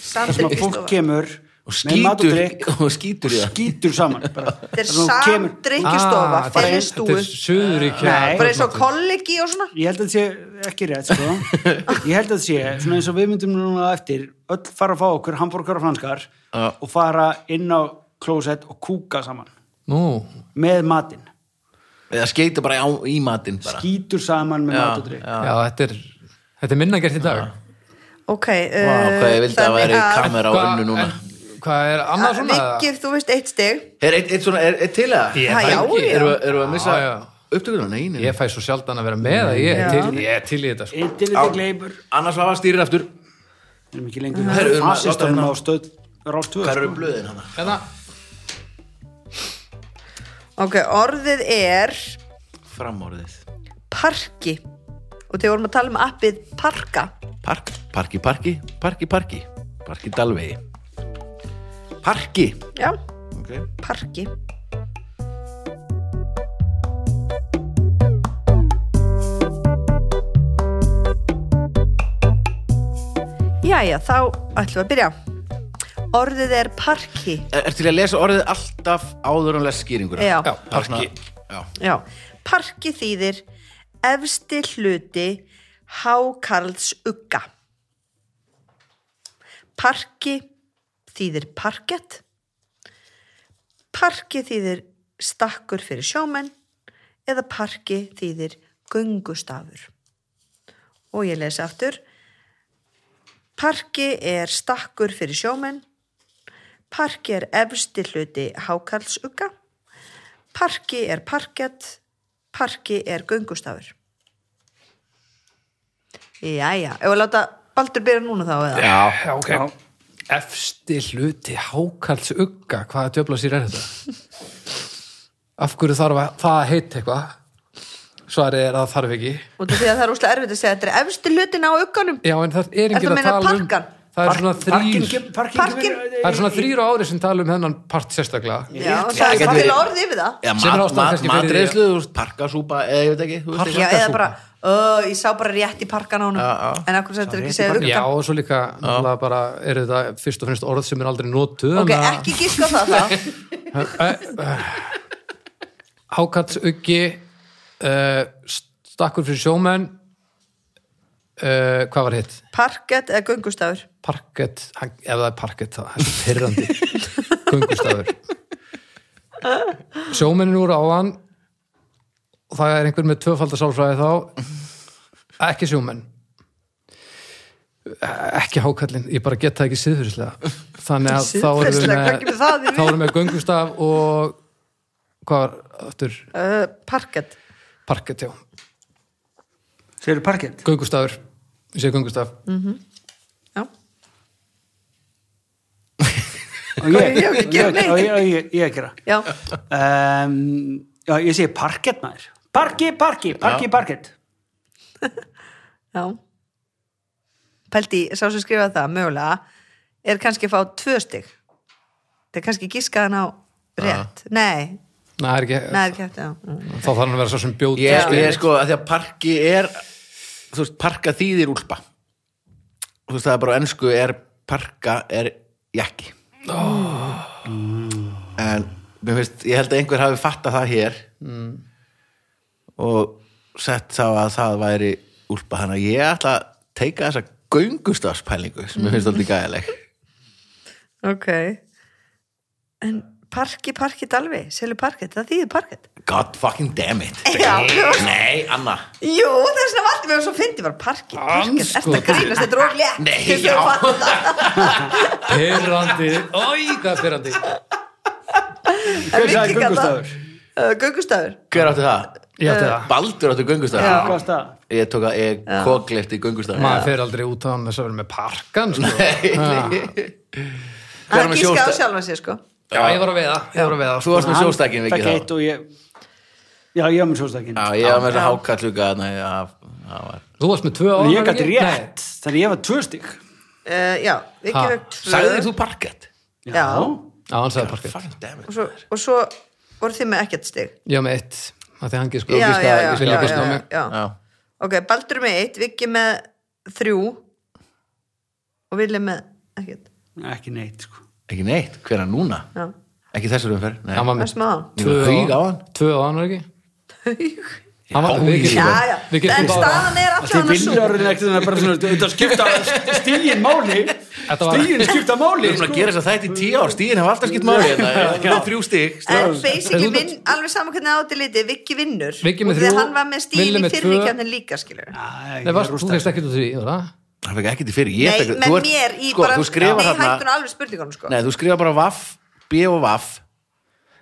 D: þar sem að fólk
C: samdrykkistofa.
D: kemur
B: og
D: með mat og
B: skýtur
D: drikk
B: og skýtur í það
D: skýtur saman bara.
C: þetta er
D: Þar sem þú kemur-
C: samdrykkistofa
A: Ah, þetta er-
C: félisstúi,
A: Þetta er söðuríkja
D: Nei.
C: bara eins og kollegi og svona
D: ég held að þetta sé ekki rétt sko. ég held að þetta sé, svona eins og við myndum núna eftir, öll fara að fá okkur hambúrgar og franskar
B: Já.
D: og fara inn á klósett og kúka saman
A: Nú,
D: með matinn,
B: eða skeytur bara á, í matinn bara.
D: skýtur saman með
B: Já,
D: mat og drikk
B: já.
A: já, þetta er Þetta er minna gert í dag
C: ok,
B: Vá, hvað ég vildi að
C: þannig
B: væri
C: að-
B: kamera á
A: Hvað-
B: önnu núna
A: en Hvað er annað svona?
C: Viggi, þú veist eitt stig
B: Er eitt eitt svona, er eitt til eða?
A: Ég
C: Ha,
A: fæ
C: já,
A: ekki-
C: já.
B: Erum við- erum við að missa
A: Já, já.
B: upptökuna? Nei, nei,
A: Ég
B: nei
A: fæ svo sjaldan að vera með að ég er
C: Já.
A: til, ég er til í þetta sko.
D: eitthvað við gleipur
B: Annars var að stýrir aftur
D: erum ekki lengur
B: Herru, um að-
D: fasistunum
B: láta
D: á stöð rástöð
B: Hvað eru blöðin hann?
A: Hérna,
C: ok, orðið er
B: Framorðið
C: parki og þegar vorum að tala um appið parka
B: Park, parki, parki, parki, parki Parki Dalvegi Parki
C: já,
B: okay.
C: parki Jæja, þá ætlum við að byrja Orðið er parki
B: er, er til að lesa orðið alltaf áður en les skýringur
C: Já,
A: já, parki
B: Já.
C: já Parki þýðir efsti hluti hákarls ugga Parki þýðir parkett Parki þýðir stakkur fyrir sjómenn eða parki þýðir göngustafur. Og ég lesi aftur. Parki er stakkur fyrir sjómenn. Parki er efsti hluti hákarlsugga. Parki er parkett. Parki er göngustafur. Jæja, ef við láta Baldur byrja núna þá eða?
B: Já.
A: Já, ok Efsti hluti hákarls ugga Hvaða djöfla sér er þetta? Af hverju þarf að, það að heita eitthvað? Svarið er að það þarf ekki
C: Út af því að það er úslega erfitt að segja þetta er efstu hlutin á ugganum.
A: Já, en það er
C: Ertu
A: enginn
C: að
A: að
C: meina
A: tala um
C: parkan?
A: Það er svona þrýr
D: parkin,
C: Parkin-
A: Það er svona þrýr á ári sem tala um hennan part sérstaklega
C: Já,
B: Já,
C: það er
B: getur
C: bara til
B: verið-
C: orðið yfir það.
B: Já,
A: Sem er
B: mat,
A: ástæðan
B: mat,
A: kannski fyrir því að-
B: matreislu, þú veist, parkasúpa eða ég veit ekki þú veist
C: Já,
B: eitthvað.
A: Þetta er
C: eða
A: súpa.
C: bara, ö, ég sá bara rétt í parkan á honum
B: Já, já.
C: en akkur sættir ekki
D: rétt í
C: segja
A: Já,
C: rugga
A: og svo líka náttúrulega bara eru þetta fyrst og fremst orð sem er aldrei notuð
C: ok,
A: þannig að-
C: ekki gíska á það þá
A: Hákarlsuggi uh, stakkur fyrir sjómenn uh, hvað var hitt?
C: Parkett eða göngustafur
A: parkett, hann, ef það er parkett það er svo pyrrandi gungustafur sjómennin úr á hann og það er einhver með tvöfaldasálfræði þá ekki sjómenn ekki hákallin, ég bara get það ekki siðfyrslega þannig að þá erum við
C: Siðferðislega,
A: með
C: hvað kemur það í
A: þá erum við með göngustaf og hvað var aftur
C: uh, Parkett
A: parkett, já,
D: Segir parkett?
A: göngustafur ég sé göngustaf,
C: Mm. Já,
D: Og ég,
C: ég hef ekki gert neitt.
D: og ég, og ég, ég að gera.
C: já,
D: Um, já, ég segi parkett maður. Parki, parki, parki, parkett.
C: já Pældi, sá sem skrifaði það mögulega er kannski að fá tvö stig það er kannski giskaðan á rétt, nei,
A: Nei, það er ekki
C: nei, er ekki hægt já, mm.
A: þá þarf hann að vera svo sem bjóð
B: Ég, ég sko, að því að parki er þú veist, parka þýðir úlpa þú veist, það er bara á ennsku er parka er jakki oh. en mér finnst, ég held að einhver hafi fattað það hér Mm. og sett þá að það væri úlpa, þannig að ég ætla að teika þessa göngustafspælingu sem mér finnst alltaf gæðileg
C: ok en parki, parkett alveg selu parkett, það þýðir parkett
B: God fucking damn it
C: Já.
B: Nei, Anna
C: Jú, það er svona vart við svo fyndi var parki, parki,
A: Andskotinn.
C: þetta grínast þetta er of létt
B: sko. Nei,
C: til þau
B: já.
C: fatta.
A: Pyrrandi, oi, hvað er pyrrandi
C: En
D: Hver sagði
C: Viki kallar-
D: göngustafur?
C: Uh, Göngustafur
B: Hver átti það?
A: Ég átti það
B: Ah. Baldur áttu göngustafur
C: Já.
D: Hvað stað?
B: Ég tók að ég koklert í göngustafn
A: maður fer aldrei út á hann þess að vera með parkan sko.
B: Hver
C: Það
B: er
C: er
B: með
C: gíska á
B: sjósta-
C: sjálfan sér sko
A: já, ég var að veiða, ég var að veiða
B: Þú
A: sko.
B: varst með sjóstakinn
D: Hann
B: vikið
D: fekk
B: þá
D: eitt og ég... Já, ég var með sjóstakinn.
B: Já, ég var með þess að hákall líka þarna, já, það var-
A: þú varst með tvö
D: En
A: ára
D: ég gæti rétt, þannig ég var tvö stygg.
C: uh, Já,
A: Ha.
C: Viki högt tvö
B: Sagðir þú parkett?
C: Já.
A: já, hann sagði parkan
B: Fucking damn
C: og
B: it
C: svo, og svo voru þið með ekkert stig
A: ég var með eitt, af því að sko. hann gíska
C: Já,
A: ég
C: já, já,
A: vilja
C: já,
A: gíska á
C: já,
A: mig
C: já.
B: Já,
C: Ok, Baldur með eitt, Viki með þrjú og Vili með ekkert
D: Ekki neitt, sko.
B: ekki neitt, hver er hann núna?
C: Já,
B: Ekki þessar umferð? Nei,
A: hann var
C: það er
A: með
C: smá
A: tvö
B: Þú haug á hann?
A: tvö ára, hann var ekki hann var,
B: Já,
A: við
B: já.
A: getum
C: Já, já,
A: við
C: en
A: getum báða
C: staðan er
D: Þið
C: alltaf hann að
D: vinnur árið ekkert þannig að bara svona, þetta skipta stígin máli,
A: var-
D: stígin skipta
B: Við
D: máli,
B: erum að
D: sko.
B: gera þess að þetta í tíu ár, stíðin hefur alltaf skipt máli hérna, ég er með þrjú stík
C: En basically
A: En þú-
C: vinn, alveg saman hvernig átti liti, Viki vinnur
A: Viggi með
C: Og því að
A: þrjú,
C: hann var með stíl
A: Villi
C: í
A: með tvö.
C: fyrirkjarnin líka skilur
D: Æ,
A: Nei,
D: ég
A: varst, þú
D: rústaði.
A: veist ekki út því, var það?
B: Það fekk ekki til fyrir, ég
C: Nei,
B: fekk
C: með
B: þú ert-
C: mér í
B: Sko,
C: bara
B: þú skrifar
C: Nei, hættun
B: þarna
C: alveg spurningunum sko
B: Nei, þú skrifar bara vaff, b og vaff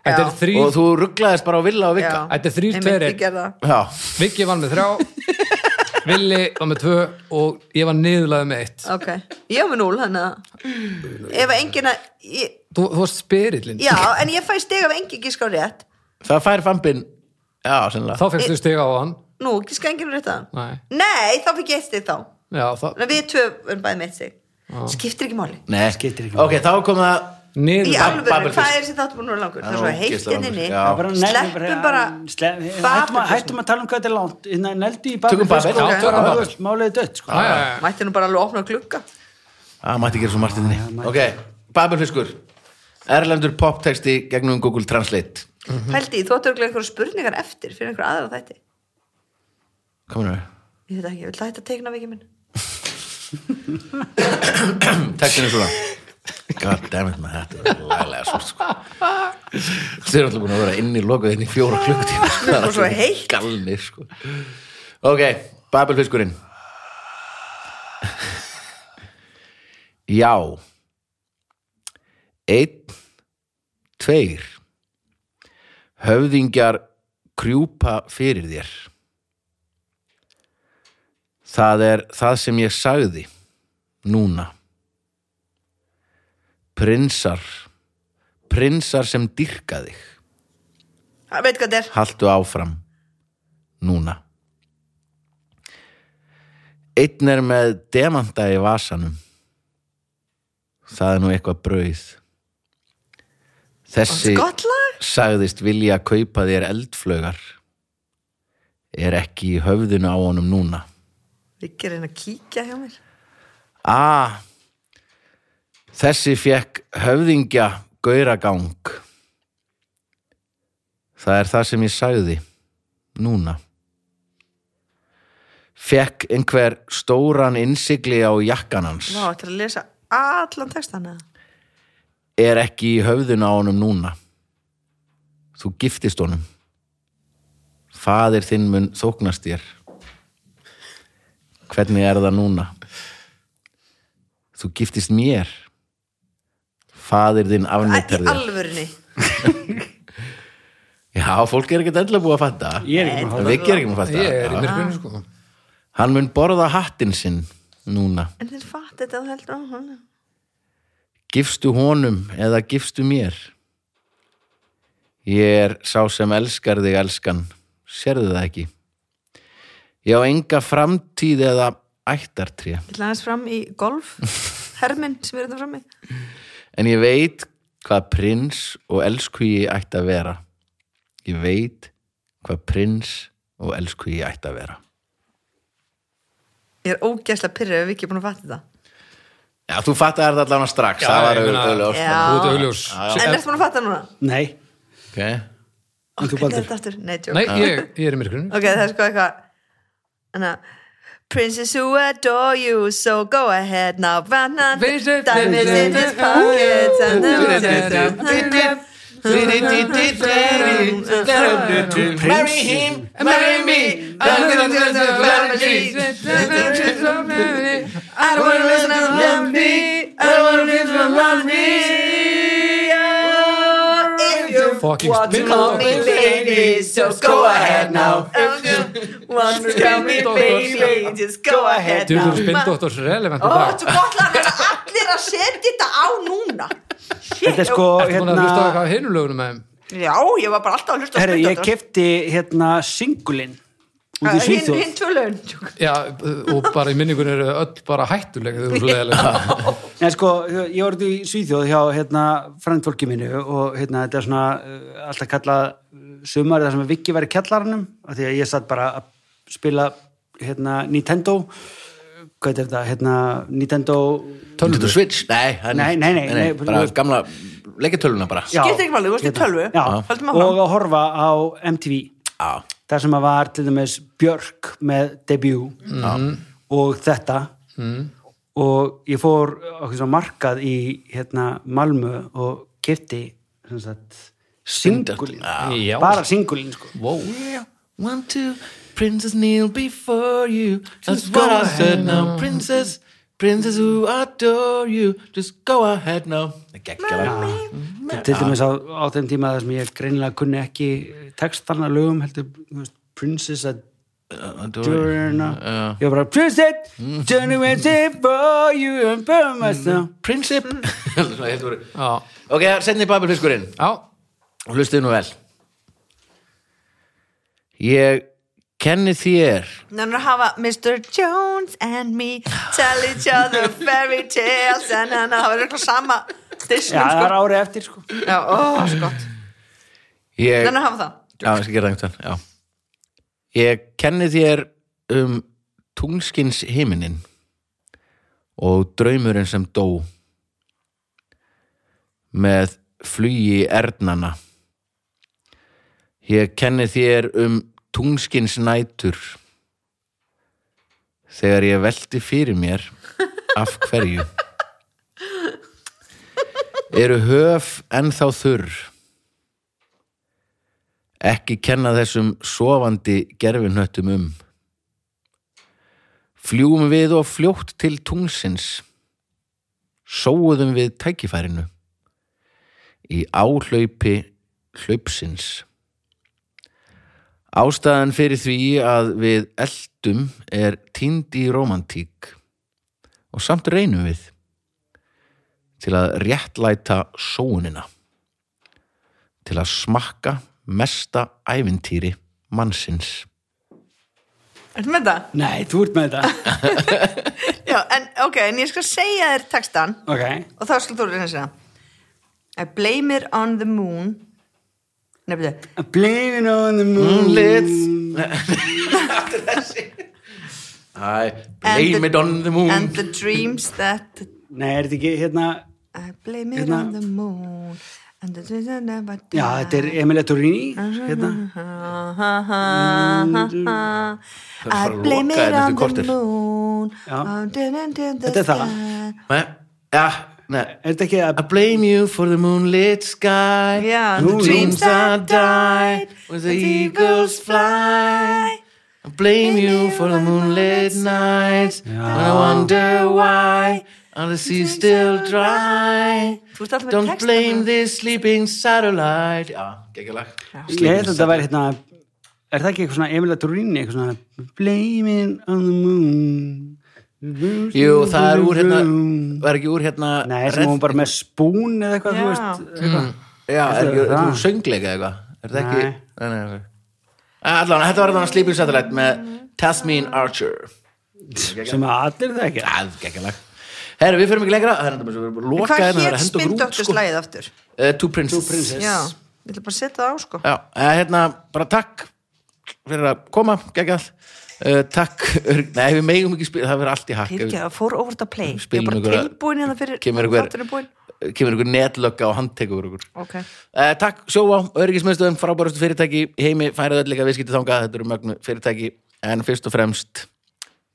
A: Þetta er
C: Já.
A: þrý,
B: og þú rugglaðist bara á villa og
C: Já.
B: vikka
A: Þetta er þrír
C: Einmitt,
A: tverir.
C: ég gerði það.
B: Já,
A: Viggi var með þrjá Villi var með tvö og ég var niðurlega með eitt
C: Ok, ég var með núl þannig að ef enginn að ég-
A: Þú, þú varst spyrillin,
C: já, en ég fæ steg af enginn gíska á rétt
B: það fær fambin Já, sennilega
A: þá fegst þú stiga á hann
C: nú, gíska enginn á rétt að hann
A: Nei,
C: nei, þá fikk ég eitt steg þá
A: já, það,
C: Þannig að við tvö erum bæði með eitt steg skiptir ekki máli
B: Nei,
D: Skiptir ekki
B: ok, þá kom það
C: í
A: niðurlega
C: alveg,
B: Babbeldisk.
C: hvað er þessi þáttum hún er langur það er svo
B: Já,
C: heitt
B: ógeðslega
C: inn inni
B: langur, já.
D: bara negl-
C: sleppum bara
D: slepp, hættum,
C: Babel- sko.
D: að- eh, hættum að tala um hvað þetta er langt Hérna, neldu í babel
B: Tökum Babel,
D: sko,
B: já,
D: og
A: tökum
D: bara,
A: Babel.
D: þú veist, málið er dött sko.
A: Já, já, já.
C: mætti nú bara alveg opna glugga
B: Það mætti gera svo margt í þinni Ok, Babelfiskur Erlendur poptexti gegnum Google Translate
C: pældi, þú áttu örgulega einhverja spurningar eftir fyrir einhverja aðra þætti
B: Hvað meður við?
C: ég veit ekki, ég vil hætta að teikna vikið minn
B: Textin er svona God damn it, maður, þetta er laglega svo sko. Þeir eru alltaf búin að vera inn í lokuð inn í fjóra klukkutíma sko.
C: Og svo heitt.
B: Galnir, sko Ok, Babelfiskurinn Já Einn Tveir Höfðingjar krjúpa fyrir þér Það er það sem ég sagði núna Prinsar Prinsar sem dyrka þig
C: Hann veit hvað þetta er,
B: Haltu áfram Núna Einn er með demanta í vasanum Það er nú eitthvað brauð Þessi
C: gott lag
B: sagðist vilja kaupa þér eldflögar er ekki í höfðinu á honum núna
C: vikið reyna að kíkja hjá mér
B: A Þessi fekk höfðingja gauragang Það er það sem ég sagði núna fekk einhver stóran innsigli á jakkan hans
C: Vá, þetta er að lesa allan textan eða?
B: er ekki í höfðun á honum núna þú giftist honum fadir þinn mun þóknast þér hvernig er það núna þú giftist mér fadir þinn afnýttar
C: Í
B: þér
C: alvörinni
B: já, fólk er ekkert endilega búið að fatta
D: Ég er ekki búin að
B: við gerum ekki búin að fatta
A: ég er í myrkurinn sko
B: hann mun borða hattinn sinn núna
C: En þeir fatt þetta og heldur áfram.
B: gifstu honum eða gifstu mér ég er sá sem elskar þig elskan sérðu það ekki ég á enga framtíð eða ættartré
C: Ég ætla aðeins fram í golf Herminn sem er þetta frammi
B: en ég veit hvað prins og elskugi ætti að vera ég veit hvað prins og elskugi ætti að vera
C: Ég er ógeðslega pyrrið ef við ekki búin að fatta þetta
B: Já, þú fattar þetta allavega strax,
A: Já,
B: það var
A: ég meina-
B: auðvitað
C: Já.
A: þú ert augljós
C: En ertu búin að fatta núna?
D: Nei,
B: okay.
D: en
C: Hvernig
D: þú
C: er
D: baldur
C: þetta aftur? Nei, tjók
A: nei, ég, ég er í myrkurinn
C: Ok, það er sko eitthvað Þannig að Princess who adore you So go ahead now Banana
A: Vincent,
C: Diamonds in his
A: Vincent,
C: pockets and the
A: Vincent,
C: uh, roses.
B: Marry him,
C: uh,
A: marry me
C: I don't wanna listen to love me I don't wanna listen to love me Oh, If you
A: Fucking
C: want to
A: spin
C: call
A: off.
C: me baby Just go ahead now If you Want to call me baby Just go ahead
A: Þú
C: now
A: eru spindóttors relevant
C: Ó,
A: í dag
C: þetta er gott lag, það er allir að setja þetta á núna
D: Þetta er sko,
A: Ertu búin að
D: hérna
A: hlusta á hvað hinu lögunum með þeim?
C: Já, ég var bara alltaf að hlusta á
D: Herri, ég
C: Spindóttur.
D: kefti hérna singulinn út í
C: Ah, Hinn-
D: Svíþjóð
C: Hinn tvö laun tjók.
A: Já, og bara í minningun eru öll bara hættulega þegar þú eru leðilega
D: Nei, sko, ég var út í Svíþjóð hjá hérna, frændfólki mínu og hérna, þetta er svona uh, alltaf kallað sumar þar sem að Viki var í kjallarunum af því að ég satt bara að spila hérna, Nintendo hvað er þetta, hérna, Nintendo
B: Nintendo Switch? Nei, það er-
D: Nei, nei, nei, nei,
B: bara
D: bara-
B: gamla leikjartöluna bara
D: Já,
C: Skiptir ekki máli, þú varst í
D: hérna,
C: tölvu. Eh? Höldum áfram.
D: Já, og að horfa á MTV
B: Já.
D: þar sem að var til dæmis Björk með debut mm.
B: Mhm.
D: og þetta mm. og ég fór okkur svo markað í hérna Malmö og kefti sem sagt singulinn,
A: Já.
D: bara singulinn sko
A: Wow,
B: One, two, princess kneel before you That's what I said now Princess, princess who adore you Just go ahead now Gekkjala
D: til dæmis á, á þeim tíma þar sem ég greinilega kunni ekki textarna lögum heldur þú veist, Princess að Durna ég var bara Princess Johnny went for you and by myself
B: Prinsip Svona heilt voru.
A: já,
B: Ok, setni babelfiskurinn
A: já
B: og hlustuðu nú vel Ég kenni þér
C: Nennar að hafa Mr. Jones and me Tell each other fairy tales En hann að hafa eitthvað sama
D: já
C: Disney
D: það
C: sko
D: er árið eftir sko
C: Já, ó, svo gott
B: Ég
C: Nennar að hafa það
B: Já, ég skal gera það einhvern veginn, já. Ég kenni þér um tungskins himinin og draumurinn sem dó með flugi ernana. Ég kenni þér um tungskins nætur þegar ég velti fyrir mér af hverju. Eru höf ennþá þurr ekki kenna þessum sofandi gerfinhöttum um. Fljúum við og fljótt til tungsins. Sóðum við tækifærinu. Í áhlaupi hlaupsins. Ástæðan fyrir því að við eldum er týnd í romantík og samt reynum við til að réttlæta sóunina til að smakka mesta ævintýri mannsins.
C: Ertu með það?
D: nei þú ert með þetta
C: Já, en ok, en ég skal segja þér textan
D: ok
C: Og þá skal þú reyna að segja I blame it on the moon Nefnileg
D: Blaming on the
B: Hmm,
D: moonlit
B: I blame it on the moon.
C: And the dreams that
D: Nei, er þetta ekki hérna
C: I blame it
D: Hérna.
C: on the moon
D: Já, þetta er Emilia Turini hérna.
B: Mm, Það er bara
C: I
B: að
C: blame
B: loka
C: it
B: þetta
C: on
B: eftir
C: the
B: korter.
C: moon Oh,
D: Já. Þetta
C: Þetta
D: er það.
B: Nei, já, nei
D: Er þetta ekki
B: I
D: að
B: blame you for the moonlit sky
C: Yeah,
D: the
C: dreams that died
B: When the eagles fly I blame you for the moonlit nights And I
C: Oh.
B: wonder why Are the seas still dry
C: Þú ert alltaf með
B: Don't
C: texta
B: blame
C: þarna.
B: this sleeping satellite Já, geggjulag
D: Ég held að þetta væri hérna Er það ekki eitthvað svona Emilia Turini eitthvað svona Blaming on the moon
B: Jú, það er úr hérna Var ekki úr hérna
D: Nei, sem hún bara með spún eða eitthvað, þú
C: Já.
D: veist eitthvað.
B: Já, er ekki er
D: Það-
B: úr söngleika eitthvað Er það ekki
D: Nei.
B: Nei, nei, nei Allan, þetta var þarna sleeping satellite með Tasmin Archer Mm.
D: sem að allir það ekki
B: Það er geggjalag Herru, við fyrir ekki lengra, það er þetta bara svo við erum bara að loka
C: Hvað
B: hérna, það er
C: hér
B: að henda okkur út,
C: spindöttu
B: sko.
C: slæðið aftur?
B: Eh, Two Princes.
C: Já, ég ætla bara að setja það á sko
B: Já, eh, hérna, bara takk fyrir að koma, geggjall. Uh, takk, Ör- nei, við megum ekki spila, það verður allt í hakk. ef
C: Fyrirgeða, fór over the play Ég er
B: Spilum
C: bara
B: einhverja-
C: tilbúin hérna fyrir
B: Kemur ykkur-
C: þátturinn er búinn.
B: við- Kemur ykkur netlögga og handtekur ykkur.
C: Ok
B: Uh, takk, sjóvá, öryggismiðstöðum, frábærastu fyrirtæki, í heimi, færið öll líka viðskipti þangað, þetta eru mögnu fyrirtæki, en fyrst og fremst,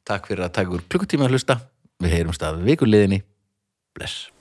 B: takk fyrir að taka ykkur klukkutíma að hlusta, við heyrum stað við vikuliðinni, bless.